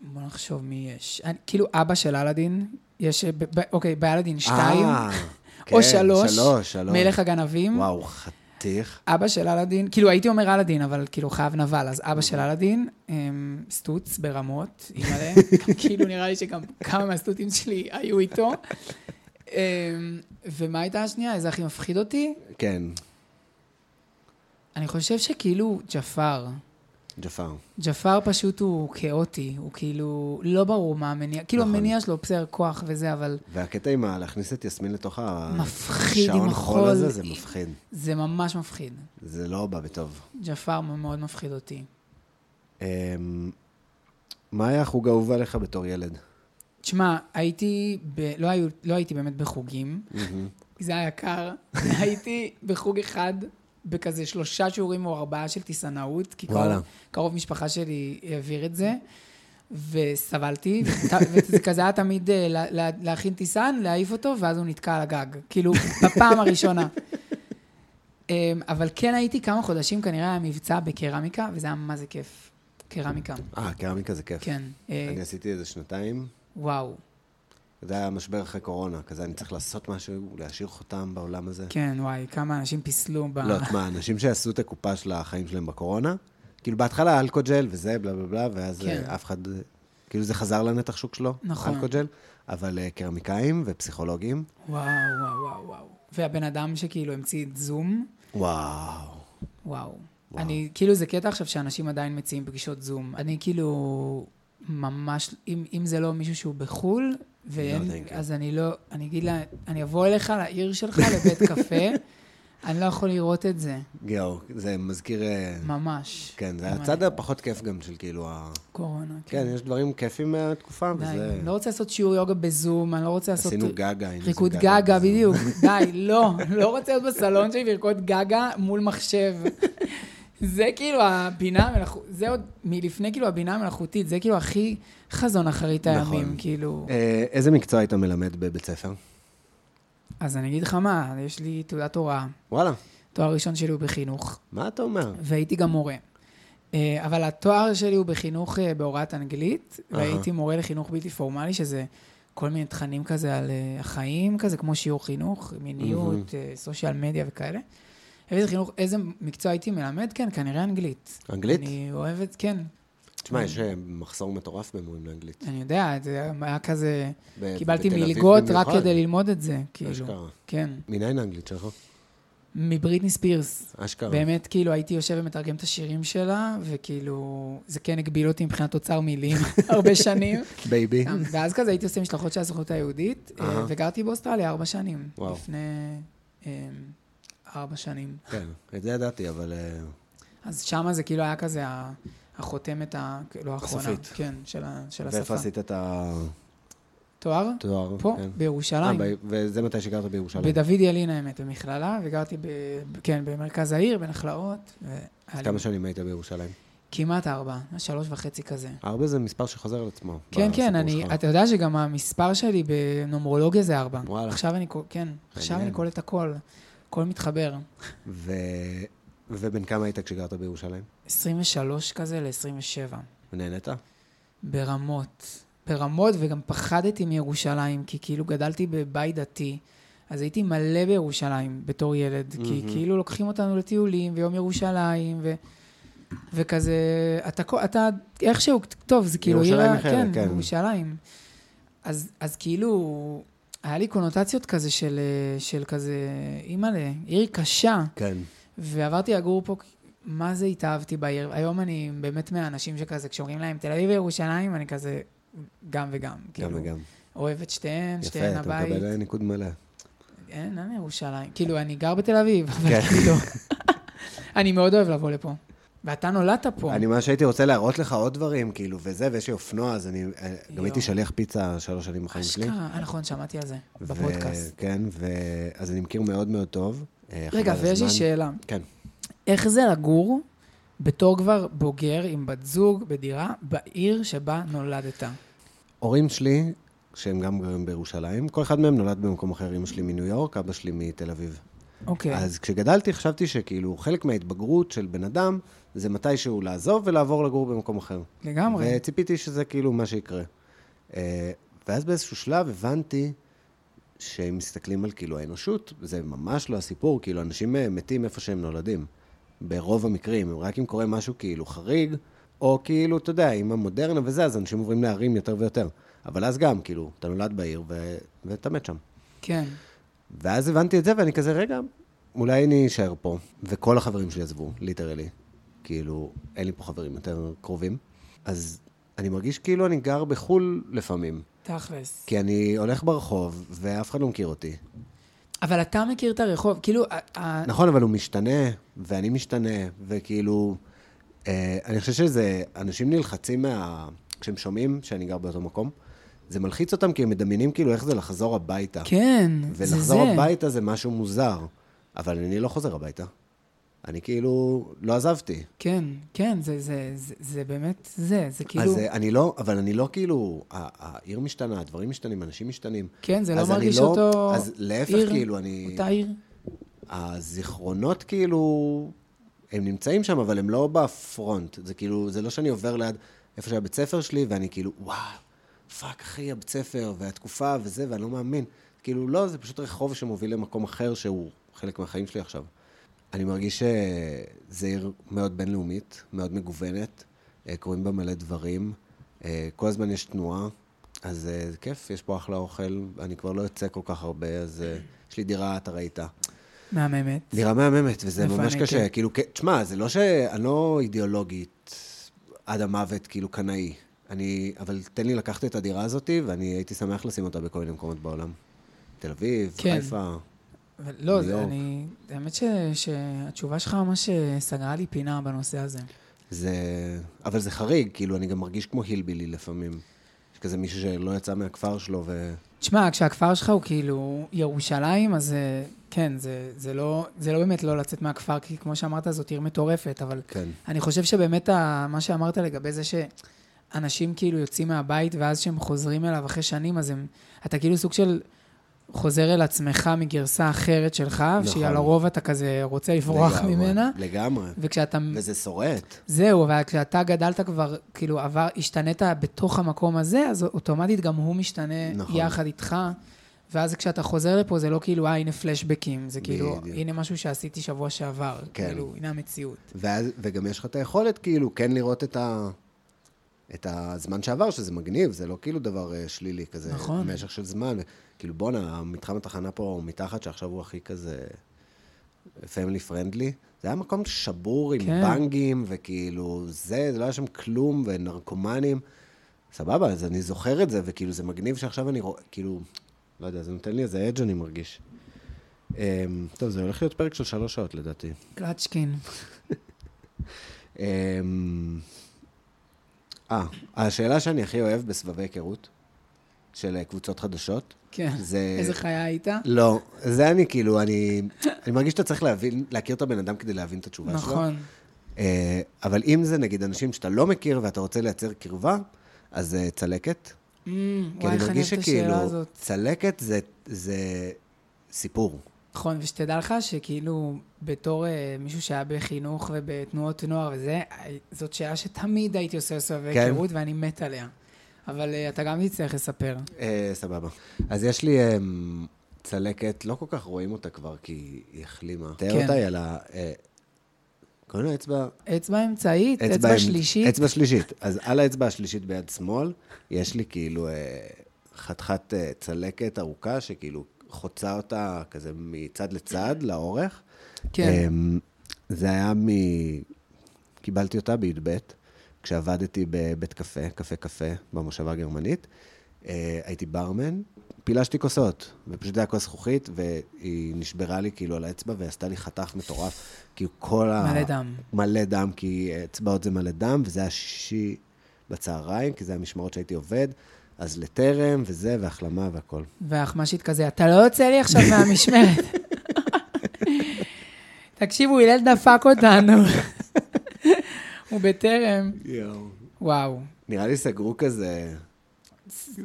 בוא נחשוב מי יש. אני- כאילו אבא של אלאדין, יש, ב- ב- אוקיי, באלאדין 2, אה, או כן, 3, שלוש, שלוש. מלך הגנבים. וואו, חתיך. אבא של אלאדין, כאילו הייתי אומר אלאדין, אבל כאילו חייב נבל, אז אבא של אלאדין, אמ, סטוץ ברמות, אימא'לה, כאילו נראה לי שגם כמה מהסטוטים שלי היו איתו. אמ, ומה הייתה השנייה? איזה הכי מפחיד אותי? כן, אני חושב שכאילו ג'פר. ג'פר. ג'פר פשוט הוא כאוטי, הוא כאילו, לא ברור מה המניע, כאילו נכון. המניע שלו בסדר כוח וזה, אבל והקטע עם ה- להכניס את יסמין לתוך ה- מפחיד, עם שעון חול החול. הזה, זה מפחיד. זה ממש מפחיד. זה לא בא בטוב. ג'פר מאוד מפחיד אותי. אמ, מה היה החוג האהוב עליך בתור ילד? תשמע, הייתי, ב... לא, היו... לא הייתי באמת בחוגים, כי זה היה יקר. הייתי בחוג אחד, בכזה שלושה שיעורים או ארבעה של טיסנאות, כי וואלה. קרוב, קרוב משפחה שלי העביר את זה, וסבלתי, ות- וזה כזה היה תמיד אה, לה- לה- להכין טיסן, להעיף אותו, ואז הוא נתקע על הגג, כאילו, בפעם הראשונה. אמ, אבל כן הייתי כמה חודשים, כנראה היה מבצע בקרמיקה, וזה היה מה זה כיף. קרמיקה, אה, קרמיקה זה כיף. כן. אה, אני עשיתי איזה שנתיים. וואו. זה היה משבר אחרי קורונה, כזה אני צריך לעשות משהו, להשאיר חותם בעולם הזה. כן, וואי, כמה אנשים פיסלו ב... לא, תשמע, אנשים שעשו את הקופה של החיים שלהם בקורונה, כאילו בהתחלה אלכוג'ל וזה, בלה בלה בלה, ואז כן. אה, אף אחד, אה, כאילו זה חזר לנתח שוק שלו, נכון. אלכוג'ל, אבל אה, קרמיקאים ופסיכולוגים, וואו, וואו, וואו, וואו. והבן אדם שכאילו המציא את זום, וואו. וואו. וואו. אני, כאילו, זה קטע עכשיו שאנשים עדיין מציעים פגישות זום. אני כאילו, ממש, אם, אם זה לא מישהו שהוא בחו"ל, ואין, No, thank you. אז אני לא, אני אגיד לה, אני אבוא אליך לעיר שלך לבית קפה, אני לא יכול לראות את זה, יואו, זה מזכיר... אה, ממש. כן, זה ממש. הצד הפחות כיף גם של כאילו ה... קורונה, כן, יש דברים כיפים מהתקופה, די, וזה... אני לא רוצה לעשות שיעור יוגה בזום, אני לא רוצה לעשות... כן, עשינו גגה. היינו עושים ריקוד גגה, בזום. בדיוק. די, לא, לא רוצה להיות בסלון שלי ולרקוד גגה מול מחשב. זה כאילו הבינה המלאכותית, זה עוד מלפני כאילו הבינה המלאכותית, זה כאילו הכי חזון אחרית נכון. הימים, כאילו. אה, איזה מקצוע היית מלמד בבית ספר? אז אני אגיד לך מה, יש לי תעודת הוראה, וואלה, תואר ראשון שלי הוא בחינוך, מה אתה אומר? והייתי גם מורה. אה, אבל התואר שלי הוא בחינוך אה, בהוראת אנגלית, והייתי מורה לחינוך בלתי פורמלי, שזה כל מיני תכנים כזה על אה, החיים, כזה כמו שיעור חינוך, מיניות, אה, סושיאל מדיה וכאלה. איזה חינוך, איזה מקצוע הייתי מלמד? כן, כנראה אנגלית. אנגלית? אני אוהבת, כן, תשמע, יש אה, מחסור מטורף במורים לאנגלית. אני יודע, זה היה כזה, ב- קיבלתי בתל אביב מלגות רק במיוחד. כדי ללמוד את זה, כאילו. אשכרה. כן, מניין האנגלית שלך? מבריטני ספירס. אשכרה. באמת, כאילו, הייתי יושב ומתרגם את השירים שלה, וכאילו, זה כן הגביל אותי מבחינת אוצר מילים הרבה שנים. בייבי. גם- ואז כזה הייתי עושה משלחות של הסוכנות היהודית, אה, אהה. וגרתי באוסטרליה ארבע שנים. וואו. לפני אה, ארבע שנים. כן, את זה ידעתי, אבל... אה, אז שמה זה כאילו היה כזה ה- החותמת, ה- לא האחרונה. הסופית. כן, של ה- של ואיפה השפה. עשית את התואר? תואר? פה, כן. אה, בירושלים. ב- וזה מתי שגרת בירושלים. בדוד ילין, האמת, במכללה, וגרתי, ב- כן, במרכז העיר, בנחלאות. והיה לי- אז כמה שנים היית בירושלים? כמעט ארבע, שלוש וחצי כזה. ארבע זה מספר שחוזר על עצמו. כן, בסיפור כן, אני, שלך. אתה יודע שגם המספר שלי בנומרולוגיה זה ארבע. וואלה. עכשיו אני, קול- כן, עכשיו מעניין. אני קולט הכל, הכל מתחבר. ו- ובן כמה היית כשגרת בירושלים? 23 כזה ל-27. ונהנית? ברמות. ברמות, וגם פחדתי מירושלים, כי כאילו גדלתי בבית דתי, אז הייתי מלא בירושלים בתור ילד, כי מהמם. כאילו לוקחים אותנו לטיולים, ויום ירושלים, ו... וכזה, אתה, כל- אתה איכשהו, טוב, זה כאילו... ירושלים עיר ה- אחרת, כן. כן, ירושלים. אז, אז כאילו, היה לי קונוטציות כזה של, אה, של כזה, אימא'לה, עיר קשה. כן. ועברתי לגור פה, מה זה התאהבתי בעיר. היום אני באמת מהאנשים שכזה, כשאומרים להם תל אביב וירושלים, אני כזה גם וגם. גם כאילו, וגם. אוהב את שתיהן, יפה, שתיהן אתה הבית. מקבל ניקוד מלא. אין, אין ירושלים. כאילו, אני גר בתל אביב, אבל כן. כאילו... אני מאוד אוהב לבוא לפה. ואתה נולדת פה. אני ממש הייתי רוצה להראות לך עוד דברים, כאילו, וזה, ויש לי אופנוע, אז אני... אה, גם יואו. הייתי שליח פיצה שלוש שנים בחיים שלי. אשכרה. אה, נכון, שמעתי על זה, ו- בפודקאסט. כן, ו... אז אני מכיר מאוד מאוד טוב. אה, רגע, חבל ויש לי הזמן. שאלה. כן. איך זה לגור בתור כבר בוגר עם בת זוג בדירה בעיר שבה נולדת? הורים שלי, שהם גם גרים בירושלים, כל אחד מהם נולד במקום אחר, אמא שלי מניו יורק, אבא שלי מתל אביב. אוקיי. אז כשגדלתי חשבתי שכאילו חלק מההתבגרות של בן אדם זה מתישהו לעזוב ולעבור לגור במקום אחר. לגמרי. וציפיתי שזה כאילו מה שיקרה. אה, ואז באיזשהו שלב הבנתי שאם מסתכלים על כאילו האנושות, זה ממש לא הסיפור, כאילו אנשים אה, מתים איפה שהם נולדים. ברוב המקרים, רק אם קורה משהו כאילו חריג, או כאילו, אתה יודע, עם המודרנה וזה, אז אנשים עוברים לערים יותר ויותר. אבל אז גם, כאילו, אתה נולד בעיר ו... ואתה מת שם. כן. ואז הבנתי את זה, ואני כזה, רגע, אולי אני אשאר פה. וכל החברים שלי עזבו, ליטרלי. כאילו, אין לי פה חברים יותר קרובים. אז אני מרגיש כאילו אני גר בחו"ל לפעמים. תכלס. כי אני הולך ברחוב, ואף אחד לא מכיר אותי. אבל אתה מכיר את הרחוב, כאילו, ה- ה- נכון, אבל הוא משתנה, ואני משתנה, וכאילו... אה, אני חושב שזה... אנשים נלחצים מה... כשהם שומעים שאני גר באותו מקום, זה מלחיץ אותם, כי הם מדמיינים כאילו איך זה לחזור הביתה. כן, זה זה. ולחזור הביתה זה משהו מוזר, אבל אני לא חוזר הביתה. אני כאילו לא עזבתי. כן, כן, זה, זה, זה, זה באמת זה, זה כאילו, אז אה, אני לא, אבל אני לא כאילו, ה- העיר משתנה, הדברים משתנים, אנשים משתנים. כן, זה לא אז אני מרגיש לא- אותו אז להפך, עיר, כאילו, אני... אותה עיר. הזיכרונות כאילו, הם נמצאים שם, אבל הם לא בפרונט. זה כאילו, זה לא שאני עובר ליד איפה שהבית ספר שלי, ואני כאילו, וואו, פאק, אחי, הבית ספר, והתקופה, וזה, ואני לא מאמין. כאילו, לא, זה פשוט רחוב שמוביל למקום אחר, שהוא חלק מהחיים שלי עכשיו. אני מרגיש שזו עיר מאוד בינלאומית, מאוד מגוונת, אה, קורים בה מלא דברים, אה, כל הזמן יש תנועה, אז אה, זה כיף, יש פה אחלה אוכל, אני כבר לא יוצא כל כך הרבה, אז אה, יש לי דירה, אתה ראית. מהממת. דירה מהממת, וזה איפה ממש אני, קשה. כן. כאילו, כ- תשמע, זה לא שאני לא אידיאולוגית עד המוות, כאילו, קנאי. אני, אבל תן לי לקחת את הדירה הזאת, ואני הייתי שמח לשים אותה בכל מיני מקומות בעולם. תל אביב, כן. חיפה. אבל לא, ניו זה יורק. אני... האמת ש, שהתשובה שלך ממש אה, סגרה לי פינה בנושא הזה. זה... אבל זה חריג, כאילו, אני גם מרגיש כמו הילבילי לפעמים. יש כזה מישהו שלא יצא מהכפר שלו, ו... תשמע, כשהכפר שלך הוא כאילו ירושלים, אז אה, כן, זה, זה, לא, זה לא באמת לא לצאת מהכפר, כי כמו שאמרת, זאת עיר מטורפת, אבל כן. אני חושב שבאמת ה, מה שאמרת לגבי זה שאנשים כאילו יוצאים מהבית, ואז כשהם חוזרים אליו אחרי שנים, אז הם, אתה כאילו סוג של חוזר אל עצמך מגרסה אחרת שלך, נכון. שהיא על הרוב אתה כזה רוצה לברוח לגמרי, ממנה, לגמרי. וכשאתה... וזה שורט. זהו, אבל כשאתה גדלת כבר, כאילו עבר, השתנית בתוך המקום הזה, אז אוטומטית גם הוא משתנה נכון. נכון. יחד איתך. ואז כשאתה חוזר לפה, זה לא כאילו, אה, הנה פלשבקים, זה כאילו, בדיוק. הנה משהו שעשיתי שבוע שעבר. כן. כן. כאילו, הנה המציאות. ואז, וגם יש לך את היכולת, כאילו, כן לראות את, ה, את הזמן שעבר, שזה מגניב, זה לא כאילו דבר אה, שלילי כזה. נכון. משך של זמן. כאילו, בואנה, מתחם התחנה פה הוא מתחת, שעכשיו הוא הכי כזה פמילי פרנדלי. זה היה מקום שבור עם כן. בנגים, וכאילו, זה, זה לא היה שם כלום, ונרקומנים. סבבה, אז אני זוכר את זה, וכאילו, זה מגניב שעכשיו אני רואה, כאילו, לא יודע, זה נותן לי איזה אדג' אני מרגיש. אמ, טוב, זה הולך להיות פרק של שלוש שעות, לדעתי. קלצ'קין. אמ, אה, השאלה שאני הכי אוהב בסבבי היכרות, של אה, קבוצות חדשות, כן. זה... איזה חיה היית? לא, זה אני כאילו, אני, אני מרגיש שאתה צריך להבין, להכיר את הבן אדם כדי להבין את התשובה שלו. נכון. אה, אבל אם זה נגיד אנשים שאתה לא מכיר ואתה רוצה לייצר קרבה, אז זה צלקת. Mm, כי וואי, אני איך אני מרגיש אוהבת את השאלה שכאילו, הזאת. צלקת זה, זה סיפור. נכון, ושתדע לך שכאילו, בתור אה, מישהו שהיה בחינוך ובתנועות נוער וזה, אה, זאת שאלה שתמיד הייתי עושה סבבי כן. היכרות, ואני מת עליה. אבל אה, אתה גם תצטרך לספר. אה, סבבה. אז יש לי אה, צלקת, לא כל כך רואים אותה כבר, כי היא החלימה. תאר כן. אותה, היא על ה... אה, קוראים לה אצבע... אצבע אמצעית, אצבע, עם- שלישית. אצבע שלישית. אז על האצבע השלישית ביד שמאל, יש לי כאילו אה, חתיכת אה, צלקת ארוכה, שכאילו חוצה אותה כזה מצד לצד, לאורך. כן. אמ, זה היה מ... קיבלתי אותה בי"ב, כשעבדתי בבית קפה, קפה קפה, במושבה הגרמנית, אה, הייתי ברמן, פילשתי כוסות, ופשוט היה כוס זכוכית, והיא נשברה לי כאילו על האצבע, ועשתה לי חתך מטורף, כאילו כל ה... מלא דם. מלא דם, כי אצבעות זה מלא דם, וזה היה שישי בצהריים, כי זה המשמרות שהייתי עובד, אז לטרם, וזה, והחלמה והכל. והחמשית כזה, אתה לא יוצא לי עכשיו מהמשמרת. תקשיבו, הלל דפק אותנו. הוא בטרם. יואו. וואו. נראה לי סגרו כזה,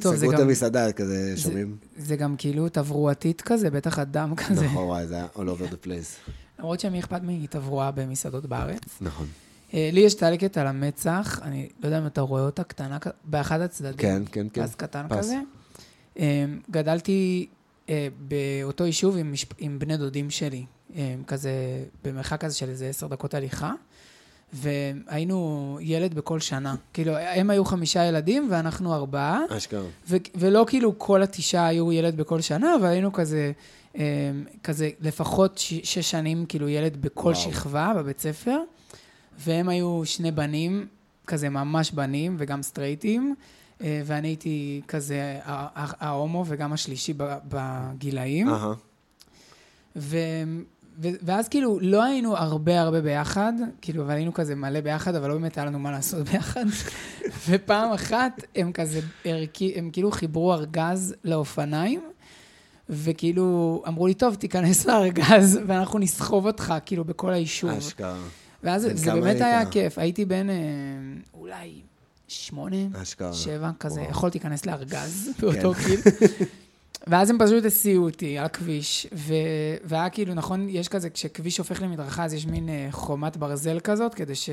טוב, זה סגרו את גם- המסעדה, כזה, זה- שומעים? זה גם כאילו תברואתית כזה, בטח הדם כזה. נכון, וואי, זה היה all over the place. למרות שמי אכפת מתברואה במסעדות בארץ. נכון. אה, לי יש טלקת על המצח, אני לא יודע אם אתה רואה אותה קטנה, כ- באחד הצדדים. כן, כן, כן. פס קטן פס. כזה. אה, גדלתי אה, באותו יישוב עם, משפ... עם בני דודים שלי, אה, כזה במרחק כזה של איזה עשר דקות הליכה, והיינו ילד בכל שנה. כאילו, הם היו חמישה ילדים ואנחנו ארבעה. אשכרה. ו- ולא כאילו כל התשעה היו ילד בכל שנה, אבל היינו כזה, אמ, כזה לפחות ש- שש שנים כאילו ילד בכל וואו. וואו. שכבה בבית ספר, והם היו שני בנים, כזה ממש בנים וגם סטרייטים, אה, ואני הייתי כזה ה- ה- ההומו וגם השלישי ב- בגילאים. אהה. ו... ו- ואז כאילו לא היינו הרבה הרבה ביחד, כאילו, אבל היינו כזה מלא ביחד, אבל לא באמת היה לנו מה לעשות ביחד. ופעם אחת הם כזה, ערכי, הם כאילו חיברו ארגז לאופניים, וכאילו אמרו לי, טוב, תיכנס לארגז ואנחנו נסחוב אותך, כאילו, בכל היישוב. אשכרה. ואז אה, בן זה כמה באמת היית? היה כיף. הייתי בן אה, אולי שמונה, אשכרה. שבע, כזה, וואו. כן. יכולתי להיכנס לארגז באותו גיל. ואז הם פשוט הסיעו אותי על הכביש, ו... והיה כאילו, נכון, יש כזה, כשכביש הופך למדרכה, אז יש מין אה, חומת ברזל כזאת, כדי ש...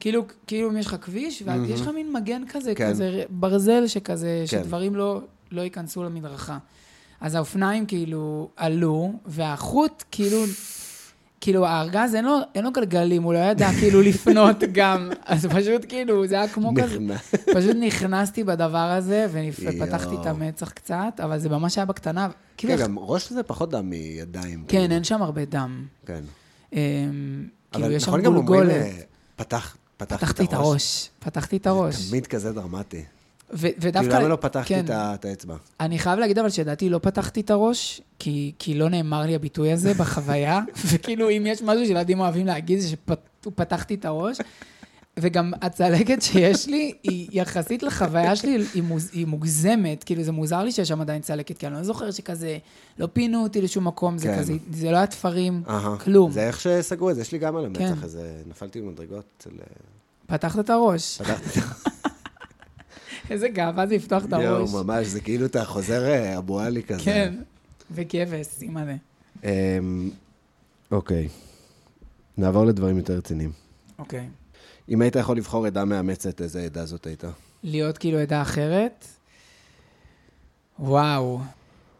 כאילו, כאילו אם יש לך כביש, ואז מהמם. יש לך מין מגן כזה, כן. כזה ברזל שכזה, כן. שדברים לא, לא ייכנסו למדרכה. אז האופניים כאילו עלו, והחוט כאילו, כאילו הארגז אין לו, אין לו גלגלים, הוא לא ידע כאילו לפנות גם. אז פשוט כאילו, זה היה כמו כזה, נכנע. פשוט נכנסתי בדבר הזה, ונפ- יואו. ופתחתי את המצח קצת, אבל זה ממש היה בקטנה. כאילו, כן, גם ראש זה פחות דם מידיים. כאילו. כן, אין שם הרבה דם. כן. אמ, כאילו, אבל יש שם נכון גם אומרים, גולגולת. אה, פתח, פתחתי פתחתי את הראש, פתחתי את הראש. זה תמיד כזה דרמטי. ו- ודווקא... כאילו, למה לא פתחתי כן. את ה- את האצבע? אני חייב להגיד אבל שלדעתי לא פתחתי את הראש, כי, כי לא נאמר לי הביטוי הזה בחוויה, וכאילו אם יש משהו שילדים אוהבים להגיד זה שפתחתי את הראש, וגם הצלקת שיש לי היא יחסית לחוויה שלי היא, מוז, היא מוגזמת, כאילו זה מוזר לי שיש שם עדיין צלקת, כי אני לא זוכר שכזה, לא פינו אותי לשום מקום, זה כן. כזה, זה לא היה תפרים, אהה. כלום. זה איך שסגרו את זה, יש לי גם על המצח כן. איזה, נפלתי במדרגות אצל... אה, פתחת את הראש. פתחתי איזה גאווה זה לפתוח את יואו, הראש. ממש, זה כאילו אתה חוזר אה, אבו עלי כזה. כן, אה, וכבש, אימא'לה. אמ, אוקיי. נעבור לדברים יותר רציניים. אוקיי. אם היית יכול לבחור עדה מאמצת, איזה עדה זאת הייתה? להיות כאילו עדה אחרת? וואו.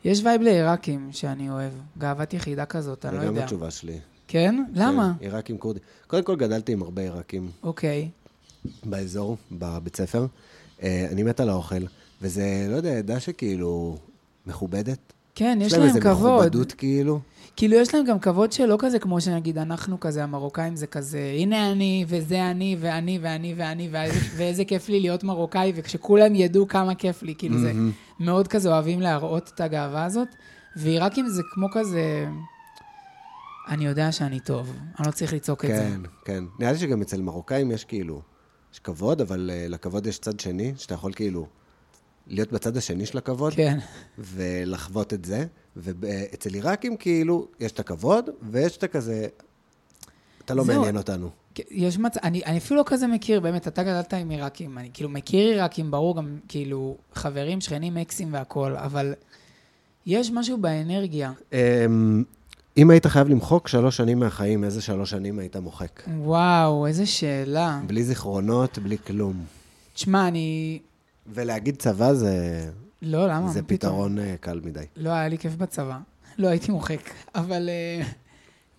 יש וייב לעיראקים שאני אוהב. גאוות יחידה כזאת, אני לא זה גם יודע. התשובה שלי. כן? למה? כן, עיראקים כורדים. קודם כל גדלתי עם הרבה עיראקים אוקיי. באזור, בבית ספר. אה, אני מת על האוכל, וזה, לא יודע, עדה שכאילו מכובדת. כן, יש להם איזה כבוד. מכובדות כאילו. כאילו, יש להם גם כבוד שלא כזה כמו שנגיד אנחנו כזה, המרוקאים זה כזה, הנה אני, וזה אני, ואני, ואני, ואני, ואיזה- ואיזה כיף לי להיות מרוקאי, וכשכולם ידעו כמה כיף לי, כאילו, זה מאוד כזה אוהבים להראות את הגאווה הזאת, ועיראקים זה כמו כזה, אני יודע שאני טוב, אני לא צריך לצעוק את זה. כן, כן. נראה לי שגם אצל מרוקאים יש כאילו, יש כבוד, אבל אה, לכבוד יש צד שני, שאתה יכול כאילו להיות בצד השני של הכבוד, כן. ולחוות את זה. ואצל עיראקים כאילו, יש את הכבוד, ויש את הכזה, אתה לא זהו. מעניין אותנו. כן, יש מצב, אני, אני אפילו לא כזה מכיר, באמת, אתה גדלת עם עיראקים, אני כאילו מכיר עיראקים, ברור, גם כאילו חברים, שכנים, אקסים והכול, אבל יש משהו באנרגיה. אמ, אם היית חייב למחוק שלוש שנים מהחיים, איזה שלוש שנים היית מוחק? וואו, איזה שאלה. בלי זיכרונות, בלי כלום. תשמע, אני... ולהגיד צבא זה, לא, למה? זה מה פתאום? פתרון אה, קל מדי. לא, היה לי כיף בצבא. לא הייתי מוחק, אבל אה,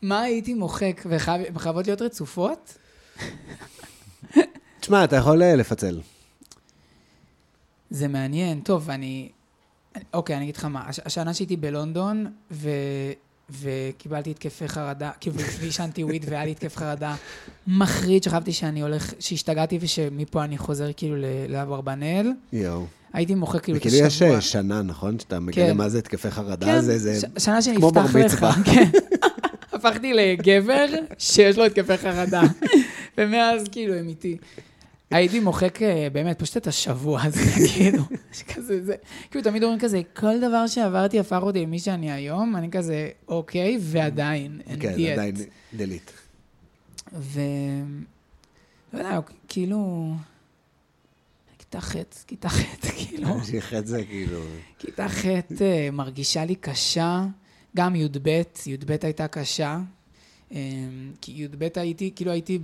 מה הייתי מוחק? וחייב- וחייבות להיות רצופות? תשמע, אתה יכול אה, לפצל. זה מעניין. טוב, אני... אוקיי, אני אגיד לך מה. הש- השנה שהייתי בלונדון, ו... וקיבלתי התקפי חרדה, כאילו, ועישנתי וויד והיה לי התקף חרדה מחריד, שחשבתי שאני הולך, שהשתגעתי ושמפה אני חוזר כאילו ל- לאברבנאל. יואו. הייתי מוחק כאילו את וכאילו השבוע. יש אה, שנה, נכון? שאתה מגלה כן. מה זה התקפי חרדה, כן, זה זה... ש- שנה כמו בר שנפתח לך. מצווה. כן. הפכתי לגבר שיש לו התקפי חרדה, ומאז כאילו הם איתי. הייתי מוחק אה, באמת פשוט את השבוע הזה, כאילו, שכזה זה, כאילו תמיד אומרים כזה, כל דבר שעברתי הפך אותי למי שאני היום, אני כזה, אוקיי, ועדיין, אין כן, דיאט. עדיין דלית. ו... לא יודע, כאילו... כיתה ח', כיתה ח', כאילו... להמשיך את זה, כאילו... כיתה ח' אה, מרגישה לי קשה, גם י"ב, י"ב הייתה קשה. אה, כי י"ב הייתי, כאילו הייתי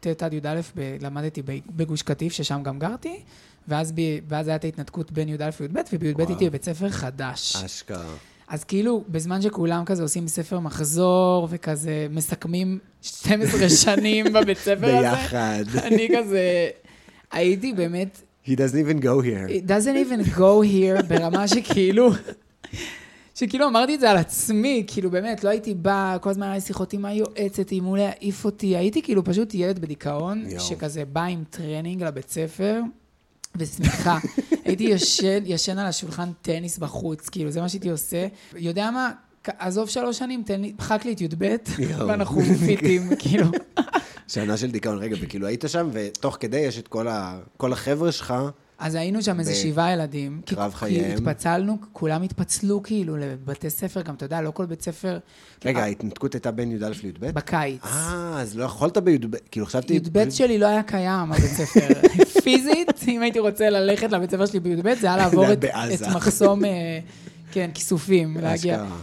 בט' עד י"א, ב- למדתי ב- בגוש קטיף, ששם גם גרתי, ואז, ב, ואז הייתה התנתקות בין י"א לי"ב, ובי"ב וואו. הייתי בבית ספר חדש. אשכרה. אז כאילו, בזמן שכולם כזה עושים ספר מחזור, וכזה מסכמים 12 שנים בבית ספר הזה, ביחד. אני כזה, הייתי באמת He doesn't even go here. It doesn't even go here, ברמה שכאילו, שכאילו אמרתי את זה על עצמי, כאילו באמת, לא הייתי באה, כל הזמן היה לי שיחות עם היועצת, איימו להעיף אותי, הייתי כאילו פשוט ילד בדיכאון, יואו. שכזה בא עם טרנינג לבית ספר, ושמיכה. הייתי ישן, ישן על השולחן טניס בחוץ, כאילו, זה מה שהייתי עושה. יודע מה? כ- עזוב שלוש שנים, תן לי, מחק לי את י"ב, יואו. ואנחנו פיטים, כאילו. שנה של דיכאון. רגע, וכאילו היית שם, ותוך כדי יש את כל ה- כל החבר'ה שלך. אז היינו שם איזה ב- שבעה ילדים. כי- קרב כי חייהם. התפצלנו, כולם התפצלו כאילו לבתי ספר, גם אתה יודע, לא כל בית ספר... רגע, אה, ההתנתקות הייתה בין י"א לי"ב? בקיץ. אה, אז לא יכולת בי"ב, כאילו חשבתי... י"ב שלי לא היה קיים, הבית ספר. פיזית, אם הייתי רוצה ללכת לבית ספר שלי בי"ב, זה היה לעבור היה את- את בעזה. מחסום, אה, כן, כיסופים, להגיע. אשכרה.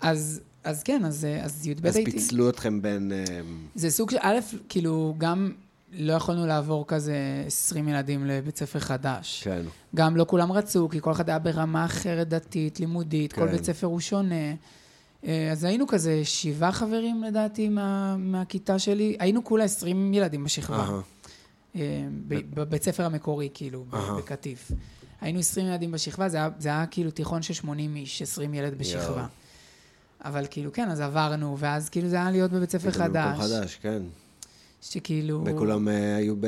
אז אז כן, אז אה, אז י"ב אז הייתי... פיצלו אתכם בין... אה, זה סוג של, א', כאילו, גם לא יכולנו לעבור כזה 20 ילדים לבית ספר חדש. כן. גם לא כולם רצו, כי כל אחד היה ברמה אחרת, דתית, לימודית, כל כן. בית ספר הוא שונה. אה, אז היינו כזה שבעה חברים, לדעתי, מה, מהכיתה שלי. היינו כולה 20 ילדים בשכבה. אהה. אה, ב- בבית ספר המקורי, כאילו, ב- אהה. בקטיף. היינו 20 ילדים בשכבה, זה היה, זה היה כאילו תיכון של 80 איש, 20 ילד יואו. בשכבה. אבל כאילו, כן, אז עברנו, ואז כאילו זה היה להיות בבית ספר הייתם במקום חדש. חדש, כן. שכאילו... וכולם אה, היו ב...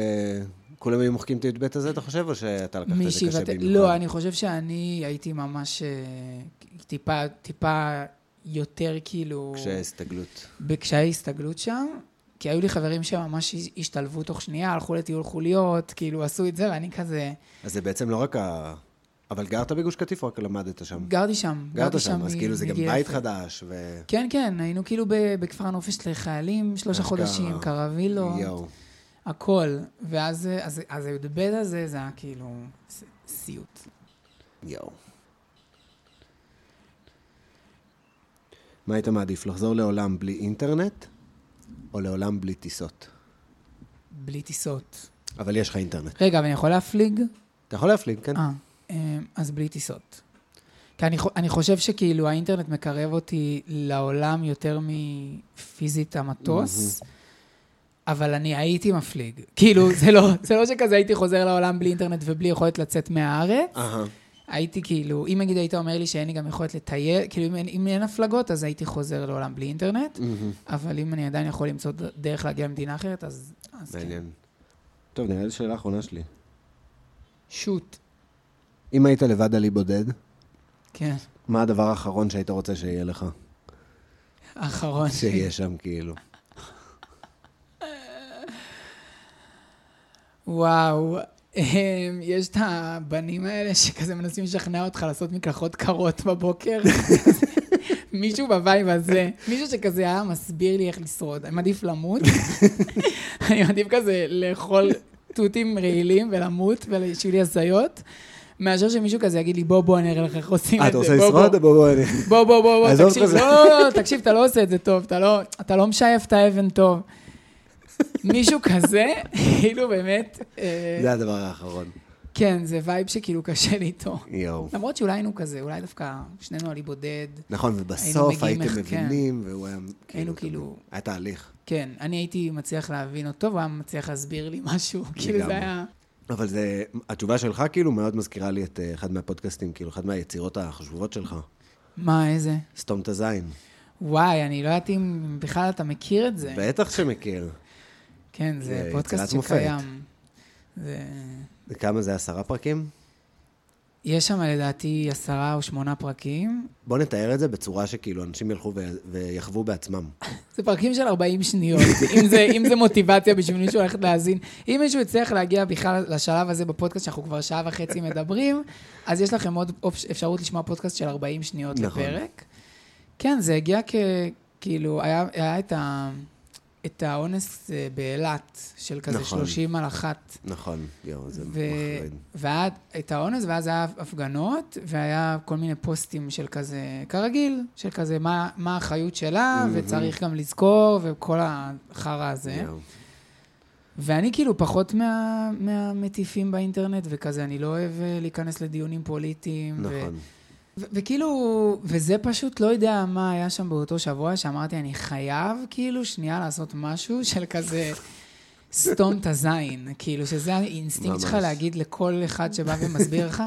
כולם היו מוחקים את הי"ב הזה, אתה חושב, או שאתה לקחת את זה מישהי קשה ואת... במיוחד? לא, אני חושב שאני הייתי ממש אה, טיפה, טיפה יותר כאילו... קשיי הסתגלות. בקשיי הסתגלות שם, כי היו לי חברים שממש השתלבו תוך שנייה, הלכו לטיול חוליות, כאילו עשו את זה, ואני כזה... אז זה בעצם לא רק ה... אבל גרת בגוש קטיף או רק למדת שם? גרתי שם, גרת שם, אז מ- כאילו זה גם מגיל בית אפס. חדש, ו... כן, כן, היינו כאילו ב- בכפר הנופש לחיילים, שלושה אשכרה. חודשים, קרווילות, יואו. הכל. ואז אה, אז- אז הי"ב הזה, זה היה כאילו ס- סיוט. יואו. מה היית מעדיף, לחזור לעולם בלי אינטרנט, או לעולם בלי טיסות? בלי טיסות. אבל יש לך אינטרנט. רגע, אבל אני יכול להפליג? אתה יכול להפליג, כן? אה, אה, אז בלי טיסות. כי אני, חו- אני חושב שכאילו האינטרנט מקרב אותי לעולם יותר מפיזית המטוס, אבל אני הייתי מפליג. כאילו, זה לא, זה לא שכזה הייתי חוזר לעולם בלי אינטרנט ובלי יכולת לצאת מהארץ. אהה. הייתי כאילו, אם נגיד היית אומר לי שאין לי גם יכולת לטייל, כאילו אם אין, אם אין הפלגות, אז הייתי חוזר לעולם בלי אינטרנט, מהמם. אבל אם אני עדיין יכול למצוא ד- דרך להגיע למדינה אחרת, אז, אז כן. מעניין. טוב, נראה לי שאלה אחרונה שלי. שוט. אם היית לבד עלי בודד, כן, מה הדבר האחרון שהיית רוצה שיהיה לך? אחרון. שיהיה שם, כאילו. וואו, הם, יש את הבנים האלה שכזה מנסים לשכנע אותך לעשות מקלחות קרות בבוקר. מישהו בווייב הזה, מישהו שכזה היה מסביר לי איך לשרוד. אני מעדיף למות, אני מעדיף כזה לאכול תותים רעילים ולמות ושיהיו לי הזיות, מאשר שמישהו כזה יגיד לי, בוא, בוא, אני אראה לך איך עושים אה, את אתה זה. רוצה בוא, לשרוד? בוא." בוא, בוא, אני... בוא, בוא, בוא, בוא, עזוב תקשיב, כזה. לא, לא, לא, תקשיב, אתה לא עושה את זה טוב, אתה לא, אתה לא משייף את האבן טוב. מישהו כזה, כאילו באמת, אה, זה הדבר האחרון. כן, זה וייב שכאילו קשה לי איתו. יואו. למרות שאולי היינו כזה, אולי דווקא שנינו עלי בודד. נכון, ובסוף מגיעים הייתם איך- כן. מבינים, והוא היה... היינו כאילו- היה תהליך. כן, אני הייתי מצליח להבין אותו, והוא היה מצליח להסביר לי משהו, כאילו לגמרי. זה היה... אבל זה, התשובה שלך כאילו מאוד מזכירה לי את אה, אחד מהפודקאסטים, כאילו, אחת מהיצירות החשובות שלך, מה, איזה? סתום את הזין. וואי, אני לא יודעת אם בכלל אתה מכיר את זה. בטח שמכיר. כן, זה זה פודקאסט יצירת מופת. שקיים. זה... וכמה זה, עשרה פרקים? יש שם לדעתי עשרה או שמונה פרקים. בוא נתאר את זה בצורה שכאילו אנשים ילכו ו- ויחוו בעצמם. זה פרקים של 40 שניות, אם, זה, אם זה מוטיבציה בשביל מישהו ללכת להאזין. אם מישהו יצטרך להגיע בכלל לשלב הזה בפודקאסט, שאנחנו כבר שעה וחצי מדברים, אז יש לכם עוד אופ- אפשרות לשמוע פודקאסט של 40 שניות נכון. לפרק. כן, זה הגיע כ... כאילו, היה, היה את, ה, את האונס אה, באילת, של כזה נכון. 30 על אחת. נכון, יואו, זה ו- מחריד. והיה את האונס, ואז היה הפגנות, והיה כל מיני פוסטים של כזה, כרגיל, של כזה מה מה האחריות שלה, וצריך גם לזכור, וכל החרא הזה. יואו. ואני כאילו פחות מה- מהמטיפים באינטרנט, וכזה, אני לא אוהב אה, להיכנס לדיונים פוליטיים. ו- נכון. ו- וכאילו, וזה פשוט לא יודע מה היה שם באותו שבוע, שאמרתי, אני חייב כאילו שנייה לעשות משהו של כזה סתום את הזין, כאילו, שזה האינסטינקט שלך ממש. להגיד לכל אחד שבא ומסביר לך.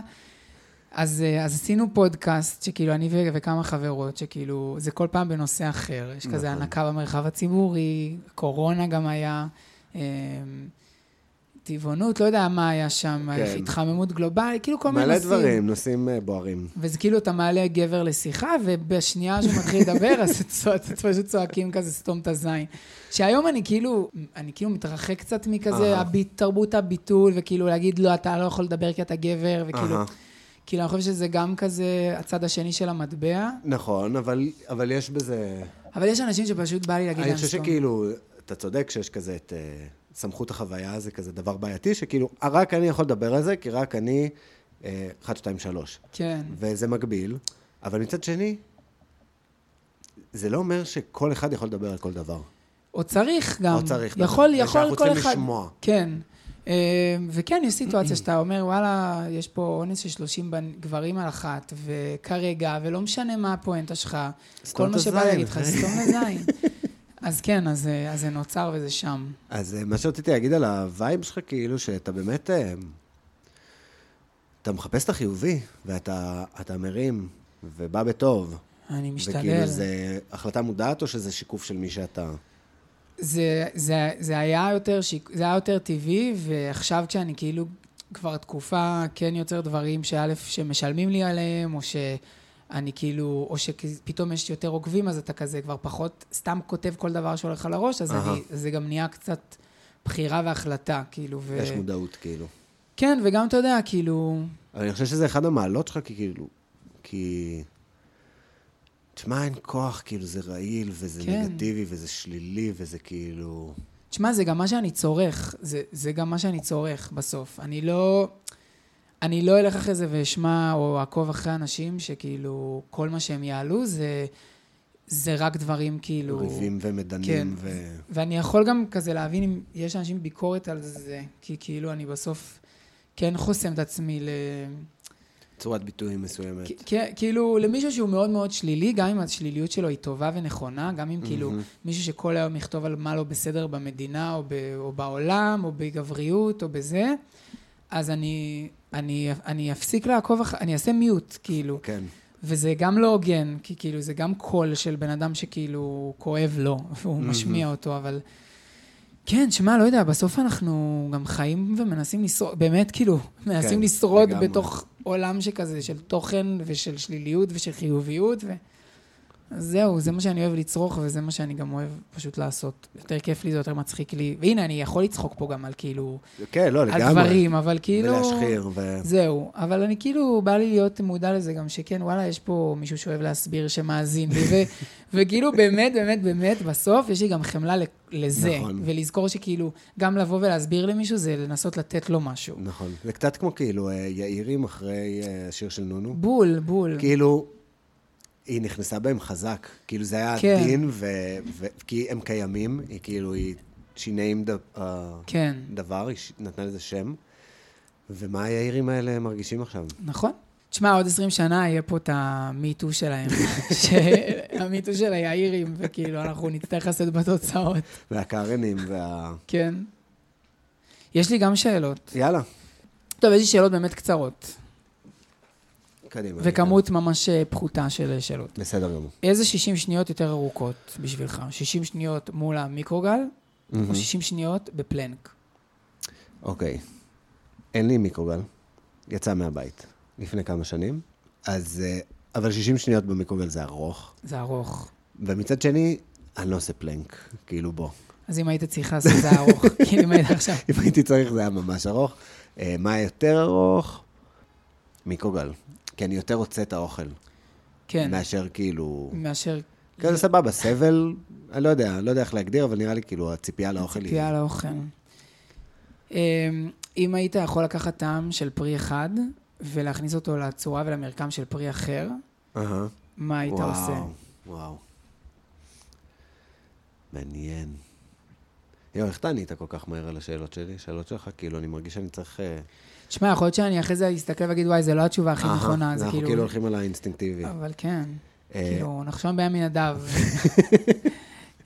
אז, אה, אז עשינו פודקאסט, שכאילו אני ו- וכמה חברות, שכאילו, זה כל פעם בנושא אחר. יש כזה נכון. הנקה במרחב הציבורי, קורונה גם היה, אה, טבעונות, לא יודע מה היה שם, כן. התחממות גלובלית, כאילו כל מיני מלא נושאים. דברים, נושאים אה, בוערים. וזה כאילו אתה מעלה גבר לשיחה, ובשנייה שהוא מתחיל לדבר, אז צוע- אתם פשוט צועקים כזה, סתום את הזין. שהיום אני כאילו, אני כאילו מתרחק קצת מכזה אהה. הביט, תרבות הביטול, וכאילו להגיד, לא, אתה לא יכול לדבר כי אתה גבר, וכאילו, אהה. כאילו, אני חושב שזה גם כזה הצד השני של המטבע, נכון, אבל, אבל יש בזה... אבל יש אנשים שפשוט בא לי להגיד אני להם חושב סתום. שכאילו, אתה צודק שיש כזה את אה, סמכות החוויה, זה כזה דבר בעייתי, שכאילו, אה, רק אני יכול לדבר על זה, כי רק אני, אה, 1, 2, 3. כן. וזה מגביל, אבל מצד שני, זה לא אומר שכל אחד יכול לדבר על כל דבר. או צריך גם. או צריך, יכול, נכון. יכול ושאנחנו כל אחד. צריכים לשמוע. כן. אה, וכן, יש סיטואציה שאתה אומר, וואלה, יש פה אונס של 30 בנ- גברים על אחת, וכרגע, ולא משנה מה הפואנטה שלך, סתום כל את מה שבא הזין. להגיד לך, סתום לזין. אז כן, אז, אה, אז זה נוצר וזה שם. אז אה, מה שרציתי להגיד על הווייב שלך, כאילו, שאתה באמת... אה, אתה מחפש את החיובי, ואתה אתה מרים, ובא בטוב. אני משתדל. וכאילו, זה החלטה מודעת, או שזה שיקוף של מי שאתה? זה, זה, זה, היה יותר שיק... זה היה יותר טבעי, ועכשיו כשאני כאילו כבר תקופה כן יוצר דברים שא', שמשלמים לי עליהם, או שאני כאילו, או שפתאום יש יותר עוקבים, אז אתה כזה כבר פחות סתם כותב כל דבר שהולך על הראש, אז אהה. אני, זה גם נהיה קצת בחירה והחלטה, כאילו. ו... יש מודעות, כאילו. כן, וגם אתה יודע, כאילו, אבל אני חושב שזה אחד המעלות שלך, כי כאילו... כי... תשמע, אין כוח, כאילו, זה רעיל, וזה כן. נגטיבי, וזה שלילי, וזה כאילו... תשמע, זה גם מה שאני צורך. זה, זה גם מה שאני צורך בסוף. אני לא... אני לא אלך אחרי זה ואשמע או אעקוב אחרי אנשים שכאילו כל מה שהם יעלו זה, זה רק דברים כאילו... ריבים כן. ומדנים, ו... ואני יכול גם כזה להבין אם יש לאנשים ביקורת על זה, כי כאילו אני בסוף כן חוסם את עצמי ל... צורת ביטויים מסוימת. כ- כ- כאילו, למישהו שהוא מאוד מאוד שלילי, גם אם השליליות שלו היא טובה ונכונה, גם אם כאילו מישהו שכל היום יכתוב על מה לא בסדר במדינה, או, ב, או בעולם, או בגבריות, או בזה, אז אני, אני, אני אפסיק לעקוב, אח... אני אעשה מיוט, כאילו. כן. וזה גם לא הוגן, כי כאילו, זה גם קול של בן אדם שכאילו כואב לו, והוא משמיע אותו, אבל... כן, שמע, לא יודע, בסוף אנחנו גם חיים ומנסים לשרוד, באמת, כאילו, מנסים כן, לשרוד לגמרי. בתוך עולם שכזה, של תוכן ושל שליליות ושל חיוביות, ו... אז זהו, זה מה שאני אוהב לצרוך, וזה מה שאני גם אוהב פשוט לעשות. יותר כיף לי, זה יותר מצחיק לי. והנה, אני יכול לצחוק פה גם על כאילו, כן, לא, על לגמרי. דברים, אבל כאילו... ולהשחיר, ו... זהו, אבל אני כאילו, בא לי להיות מודע לזה גם שכן, וואלה, יש פה מישהו שאוהב להסביר שמאזין לי, ו- וכאילו באמת, באמת, באמת, בסוף יש לי גם חמלה ל- לזה. נכון. ולזכור שכאילו, גם לבוא ולהסביר למישהו זה לנסות לתת לו משהו. נכון. זה קצת כמו כאילו אה, יאירים אחרי אה, שיר של נונו. בול, בול. כאילו, היא נכנסה בהם חזק. כאילו, זה היה כן. עדין, ו... ו- כי הם קיימים, היא כאילו, היא שיניים ד... אה, כן, דבר, היא ש- נתנה לזה שם. ומה היאירים האלה מרגישים עכשיו? נכון. תשמע, עוד 20 שנה יהיה פה את המיטו שלהם, שהמיטו של היאירים, וכאילו, אנחנו נצטרך לשאת בתוצאות, והקארנים וה... כן. יש לי גם שאלות. יאללה, טוב, יש לי שאלות באמת קצרות. קדימה. וכמות ממש אה, פחותה של אה, שאלות. בסדר גמור. איזה 60 שניות יותר ארוכות בשבילך? 60 שניות מול המיקרוגל, או 60 שניות בפלנק? אוקיי. אין לי מיקרוגל. יצא מהבית. לפני כמה שנים. אז, אה, אבל 60 שניות במיקרוגל זה ארוך. זה ארוך. ומצד שני, אני לא עושה פלנק, כאילו בוא. אז אם היית צריכה לעשות זה ארוך, כאילו אם היית עכשיו... אם הייתי צריך, זה היה ממש ארוך. אה, מה היה יותר ארוך? מיקרוגל. כי אני יותר רוצה את האוכל, כן, מאשר כאילו... מאשר כאילו זה סבבה, סבל, אני לא יודע, אני לא יודע איך להגדיר, אבל נראה לי כאילו הציפייה לאוכל היא... ציפייה לאוכל. אמ, אם היית יכול לקחת טעם של פרי אחד ולהכניס אותו לצורה ולמרקם של פרי אחר, אהה. מה היית וואו, עושה? וואו. מעניין. יואו, איך אתה ענית כל כך מהר על השאלות שלי? שאלות שלך, כאילו, אני מרגיש שאני צריך... אה, תשמע, יכול להיות שאני אחרי זה אסתכל ואגיד, וואי, זו לא התשובה הכי אהה, נכונה, זה אנחנו כאילו כאילו... הולכים על האינסטינקטיבי. אבל כן, אה, כאילו, נחשון בים מנדב.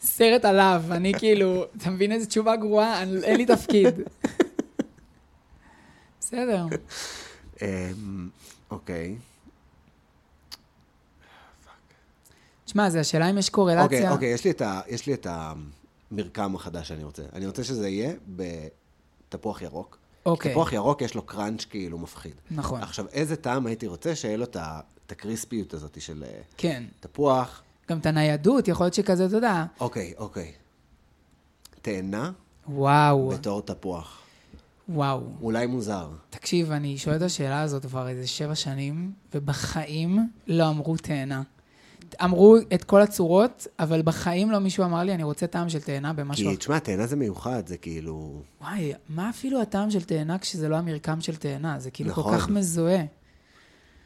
סרט עליו, אני כאילו, אתה מבין איזה תשובה גרועה? אני- אין לי תפקיד. בסדר. אמ, אוקיי. תשמע, זה השאלה אם יש אוקיי, קורלציה. אוקיי, יש לי את ה- יש לי את המרקם החדש שאני רוצה. אני רוצה שזה יהיה בתפוח ירוק. אוקיי. תפוח ירוק יש לו קראנץ' כאילו מפחיד. נכון. עכשיו, איזה טעם הייתי רוצה שיהיה לו את ה- את הקריספיות הזאת של אה, כן. תפוח? גם את הניידות, יכול להיות שכזה, אתה יודע, אוקיי, אוקיי. תאנה וואו, בתור תפוח. וואו. אולי מוזר. תקשיב, אני שואל את השאלה הזאת כבר איזה שבע שנים, ובחיים לא אמרו תאנה. אמרו את כל הצורות, אבל בחיים לא מישהו אמר לי, אני רוצה טעם של תאנה במשהו כי, אחר. תשמע, תאנה זה מיוחד, זה כאילו... וואי, מה אפילו הטעם של תאנה כשזה לא המרקם של תאנה? זה כאילו כל נכון. כך מזוהה.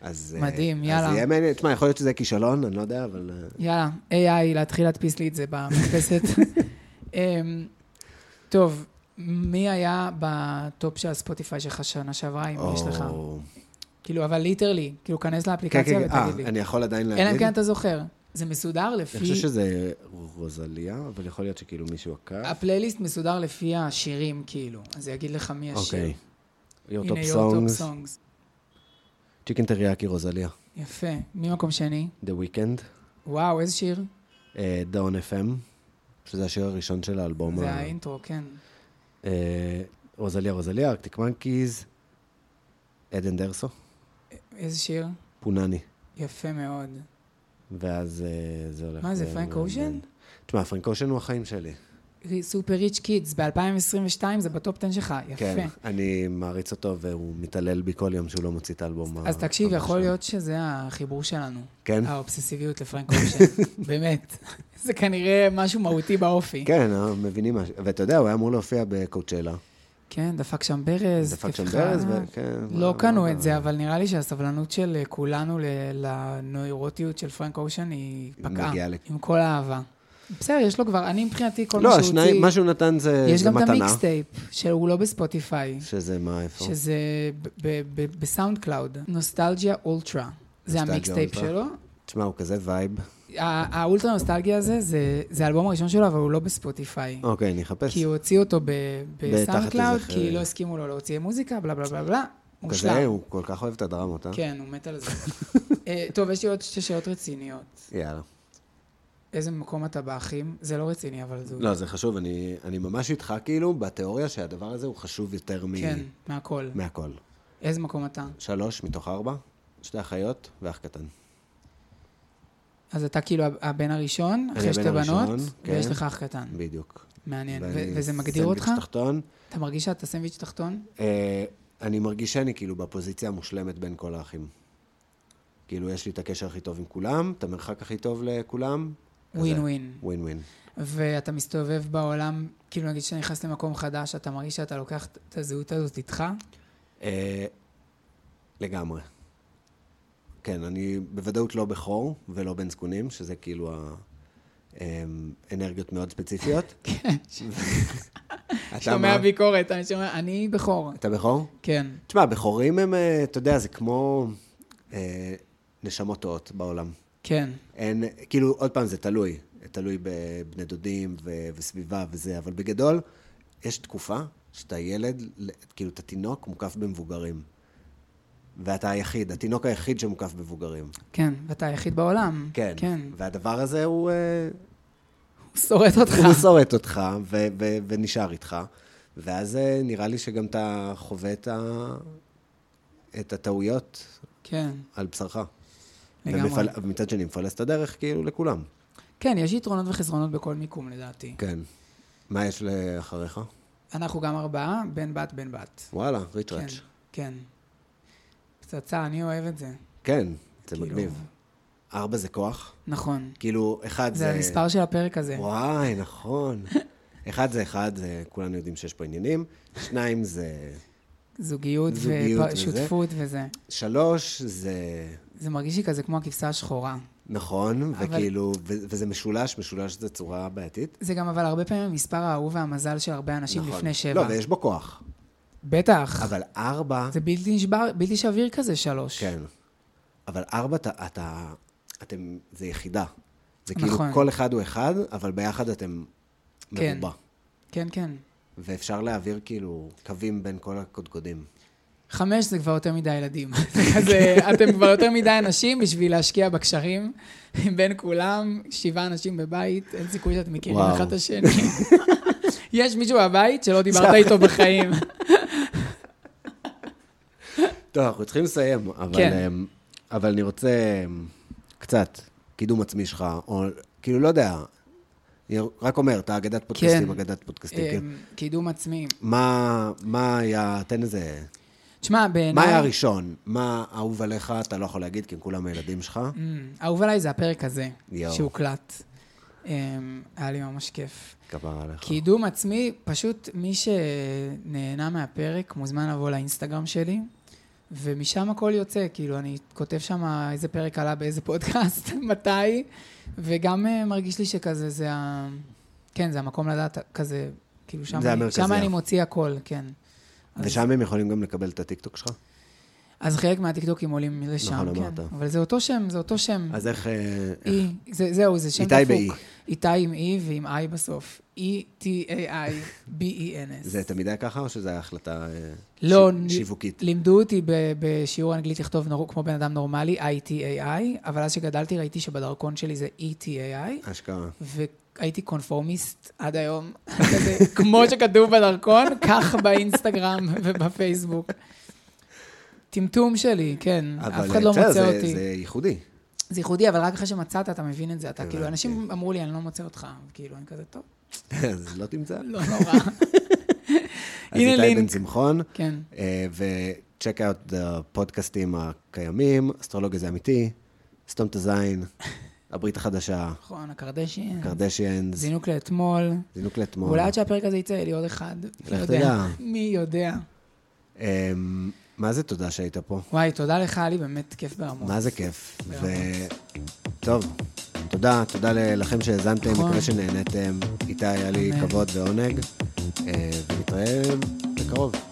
אז... אה, מדהים, יאללה. אז יהיה מעניין, תשמע, יכול להיות שזה כישלון, אני לא יודע, אבל... אה, יאללה, AI, להתחיל להדפיס לי את זה במדפסת. אמ, טוב, מי היה בטופ של הספוטיפיי שלך שנה שעברה, אם יש לך? או- כאילו, אבל ליטרלי, כאילו, כנס כן, לאפליקציה כן, כן, ותגיד לי. אה, אני יכול עדיין אלא אם להגיד? כן אתה זוכר. זה מסודר אני חושב לפי... שזה רוזליה, אבל יכול להיות שכאילו מישהו עקב. הפלייליסט מסודר לפי השירים, כאילו. אז זה יגיד לך מי השיר. אוקיי. Your הנה, top your top songs, songs. צ'יקן טריאקי רוזליה, יפה. מי מקום שני? The Weeknd, וואו, איזה שיר? אה, Down FM, שזה השיר הראשון של האלבום. זה ה- האינטרו, כן. אה, רוזליה רוזליה, ארקטיק מנקיז, עדן דרסו, איזה שיר? פונני. יפה מאוד. ואז אה, זה הולך... מה זה, ו- פרנק ו- אושן? תשמע, פרנק אושן הוא החיים שלי. סופר ריץ' קידס, ב-2022 זה בטופ 10 שלך, כן, יפה. אני מעריץ אותו והוא מתעלל בי כל יום שהוא לא מוציא את האלבום. אז ה- תקשיב, החדש יכול שלו. להיות אה, שזה החיבור שלנו. כן? האובססיביות לפרנק אושן, באמת. זה כנראה משהו מהותי באופי. כן, אה, מבינים משהו. ואתה יודע, הוא היה אמור להופיע בקואוצ'לה. כן, דפק שם ברז. דפק שם תפחה. ברז, כן, וכן. לא קנו את זה, אבל נראה לי שהסבלנות של אה, כולנו ל- לנוירוטיות של פרנק אושן היא פקעה. מגיעה לכ- עם כל האהבה. בסדר, יש לו כבר, אני מבחינתי, כל מה לא, שהוא השניים, מה הוציא, שהוא נתן זה יש זה גם את מתנה. המיקסטייפ, שהוא לא בספוטיפיי, שזה מה, איפה? שזה ב- ב- ב- בסאונד קלאוד. נוסטלגיה אולטרה. זה נוסטלגיה המיקסטייפ אולטרה. שלו. תשמע, הוא כזה וייב. כן. ה- האולטרה נוסטלגיה הזה, זה- זה האלבום הראשון שלו, אבל הוא לא בספוטיפיי. אוקיי, אני אחפש. כי הוא הוציא אותו ב- איזה בסאונד קלאוד, חרב. כי לא הסכימו לו להוציא מוזיקה, בלה בלה בלה בלה. הוא מושלם. כזה, הוא כל כך אוהב את הדרמות, אה? כן, הוא מת על זה. אה, טוב, יש לי עוד שתי שאלות רציניות. יאללה. איזה מקום אתה באחים? זה לא רציני, אבל זה... לא, זה חשוב, אני אני ממש איתך, כאילו, בתיאוריה שהדבר הזה הוא חשוב יותר מ- כן, מהכל. מהכל. איזה מקום אתה? שלוש מתוך ארבע, שתי אחיות ואח קטן. אה. אז אתה כאילו הבן הראשון, הבן אחרי שתי בנות, הראשון, כן. ויש לך אח קטן. בדיוק. מעניין. ו- ואני וזה מגדיר אותך? סנדוויץ' תחתון. אתה מרגיש שאתה סנדוויץ' תחתון? אה, אני מרגיש שאני כאילו בפוזיציה המושלמת בין כל האחים. כאילו, יש לי את הקשר הכי טוב עם כולם, את המרחק הכי טוב לכולם. כזה. ווין ווין. ווין ווין. ואתה מסתובב בעולם, כאילו נגיד שאתה נכנס למקום חדש, אתה מרגיש שאתה לוקח את הזהות הזאת איתך? אה, לגמרי. כן, אני בוודאות לא בכור ולא בן זקונים, שזה כאילו ה- אמ, אנרגיות מאוד ספציפיות. כן. אתה שומע מה? ביקורת, אני שומע, אני בכור. אתה בכור? כן. תשמע, בכורים הם, אה, אתה יודע, זה כמו אה, נשמות טועות בעולם. כן. אין, כאילו, עוד פעם, זה תלוי. תלוי בבני דודים ו- וסביבה וזה, אבל בגדול, יש תקופה שאתה ילד, ל- כאילו, אתה תינוק מוקף במבוגרים. ואתה היחיד, התינוק היחיד שמוקף במבוגרים. כן, ואתה היחיד בעולם. כן. כן. והדבר הזה הוא, אה, הוא שורט אותך. הוא מסורט אותך ו- ו- ונשאר איתך. ואז אה, נראה לי שגם אתה חווה את, ה- את הטעויות כן, על בשרך. לגמרי. ומפל- ומצד שני, מפלס את הדרך כאילו לכולם. כן, יש יתרונות וחסרונות בכל מיקום לדעתי. כן. מה יש לאחריך? אנחנו גם ארבעה, בן בת, בן בת. וואלה, כן, ריצ'ראץ'. כן. פצצה, אני אוהב את זה. כן, זה כאילו, מגניב. ארבע זה כוח? נכון. כאילו, אחד זה... זה המספר של הפרק הזה. וואי, נכון. אחד זה אחד, זה כולנו יודעים שיש פה עניינים. שניים זה... זוגיות זוגיות וזה. ושותפות וזה. שלוש זה... זה מרגיש לי כזה כמו הכבשה השחורה. נכון, אבל- וכאילו, ו- וזה משולש, משולש זה צורה בעייתית. זה גם אבל הרבה פעמים המספר האהוב והמזל של הרבה אנשים נכון. לפני שבע. לא, ויש בו כוח. בטח. אבל ארבע... זה בלתי נשבר, בלתי שביר כזה שלוש. כן. אבל ארבע, אתה, אתה, אתם, זה יחידה. זה כאילו נכון. כל אחד הוא אחד, אבל ביחד אתם כן. מרובע. כן, כן. ואפשר להעביר כאילו קווים בין כל הקודקודים. חמש זה כבר יותר מדי ילדים. זה כזה, אתם כבר יותר מדי אנשים בשביל להשקיע בקשרים בין כולם, שבעה אנשים בבית, אין סיכוי שאתם מכירים וואו. אחד את השני. יש מישהו בבית שלא דיברת איתו בחיים. טוב, אנחנו צריכים לסיים, אבל, כן. אמ, אבל אני רוצה אמ, קצת קידום עצמי שלך, או כאילו, לא יודע, אני רק אומר, אתה אגדת פודקאסטים, אגדת פודקאסטים, כאילו. כן. אמ, קידום עצמי. מה, מה היה, תן איזה, תשמע, מה בעיניי... היה הראשון? מה אהוב עליך, אתה לא יכול להגיד, כי הם כולם הילדים שלך. אמ, אהוב עליי זה הפרק הזה, יואו. שהוקלט. אמ, היה לי ממש כיף. כפרה עליך. קידום עצמי, פשוט מי שנהנה מהפרק מוזמן לבוא לאינסטגרם שלי, ומשם הכל יוצא, כאילו, אני כותב שם איזה פרק עלה באיזה פודקאסט, מתי, וגם אה, מרגיש לי שכזה זה ה... כן, זה המקום לדעת, כזה, כאילו, שם, זה אני, המרכזייה. שם אני מוציא הכל, כן. אז- ושם הם יכולים גם לקבל את הטיקטוק שלך? אה. אז חלק מהטיקטוקים עולים לשם, נכון, כן. אמרת. אבל זה אותו שם, זה אותו שם. אז איך... אה, איך- אי, זה, זהו, זה שם איתי דפוק. באי. איתי עם אי ועם איי בסוף. E E-T-A-I-B-E-N-S. זה תמיד היה ככה, או שזו הייתה החלטה אה, לא, ש- נ- שיווקית? לימדו אותי ב- בשיעור אנגלית לכתוב נור- כמו בן אדם נורמלי, I-T-A-I, אבל אז שגדלתי ראיתי שבדרכון שלי זה E E-T-A-I, השקעה. והייתי קונפורמיסט עד היום. כזה, כמו שכתוב בדרכון, כך באינסטגרם ובפייסבוק. טמטום שלי, כן. אף אחד אה, לא בסדר, מוצא זה- אותי. זה ייחודי. זה ייחודי, אבל רק אחרי שמצאת, אתה מבין את זה. אתה כאילו, הבנתי. אנשים אמרו לי, אני לא מוצא אותך. כאילו, אני כזה, טוב, אז לא תמצא. לא נורא. אז הנה איתי בן לינק. צמחון, כן, ו-check out the הפודקאסטים הקיימים, אסטרולוגיה זה אמיתי, סתום את הזין, הברית החדשה, נכון, הקרדשיין, קרדשיאנס, זינוק לאתמול. זינוק לאתמול. אולי עד שהפרק הזה יצא, יהיה לי עוד אחד. מי לך יודע? תדע. מי יודע. אמ, מה זה תודה שהיית פה? וואי, תודה לך, היה לי באמת כיף ברמות. מה זה כיף. ברמות. ו... טוב, תודה, תודה ל- לכם שהאזנתם, נכון. מקווה שנהנתם. איתי היה לי אמן. כבוד ועונג, אה, ונתראה בקרוב.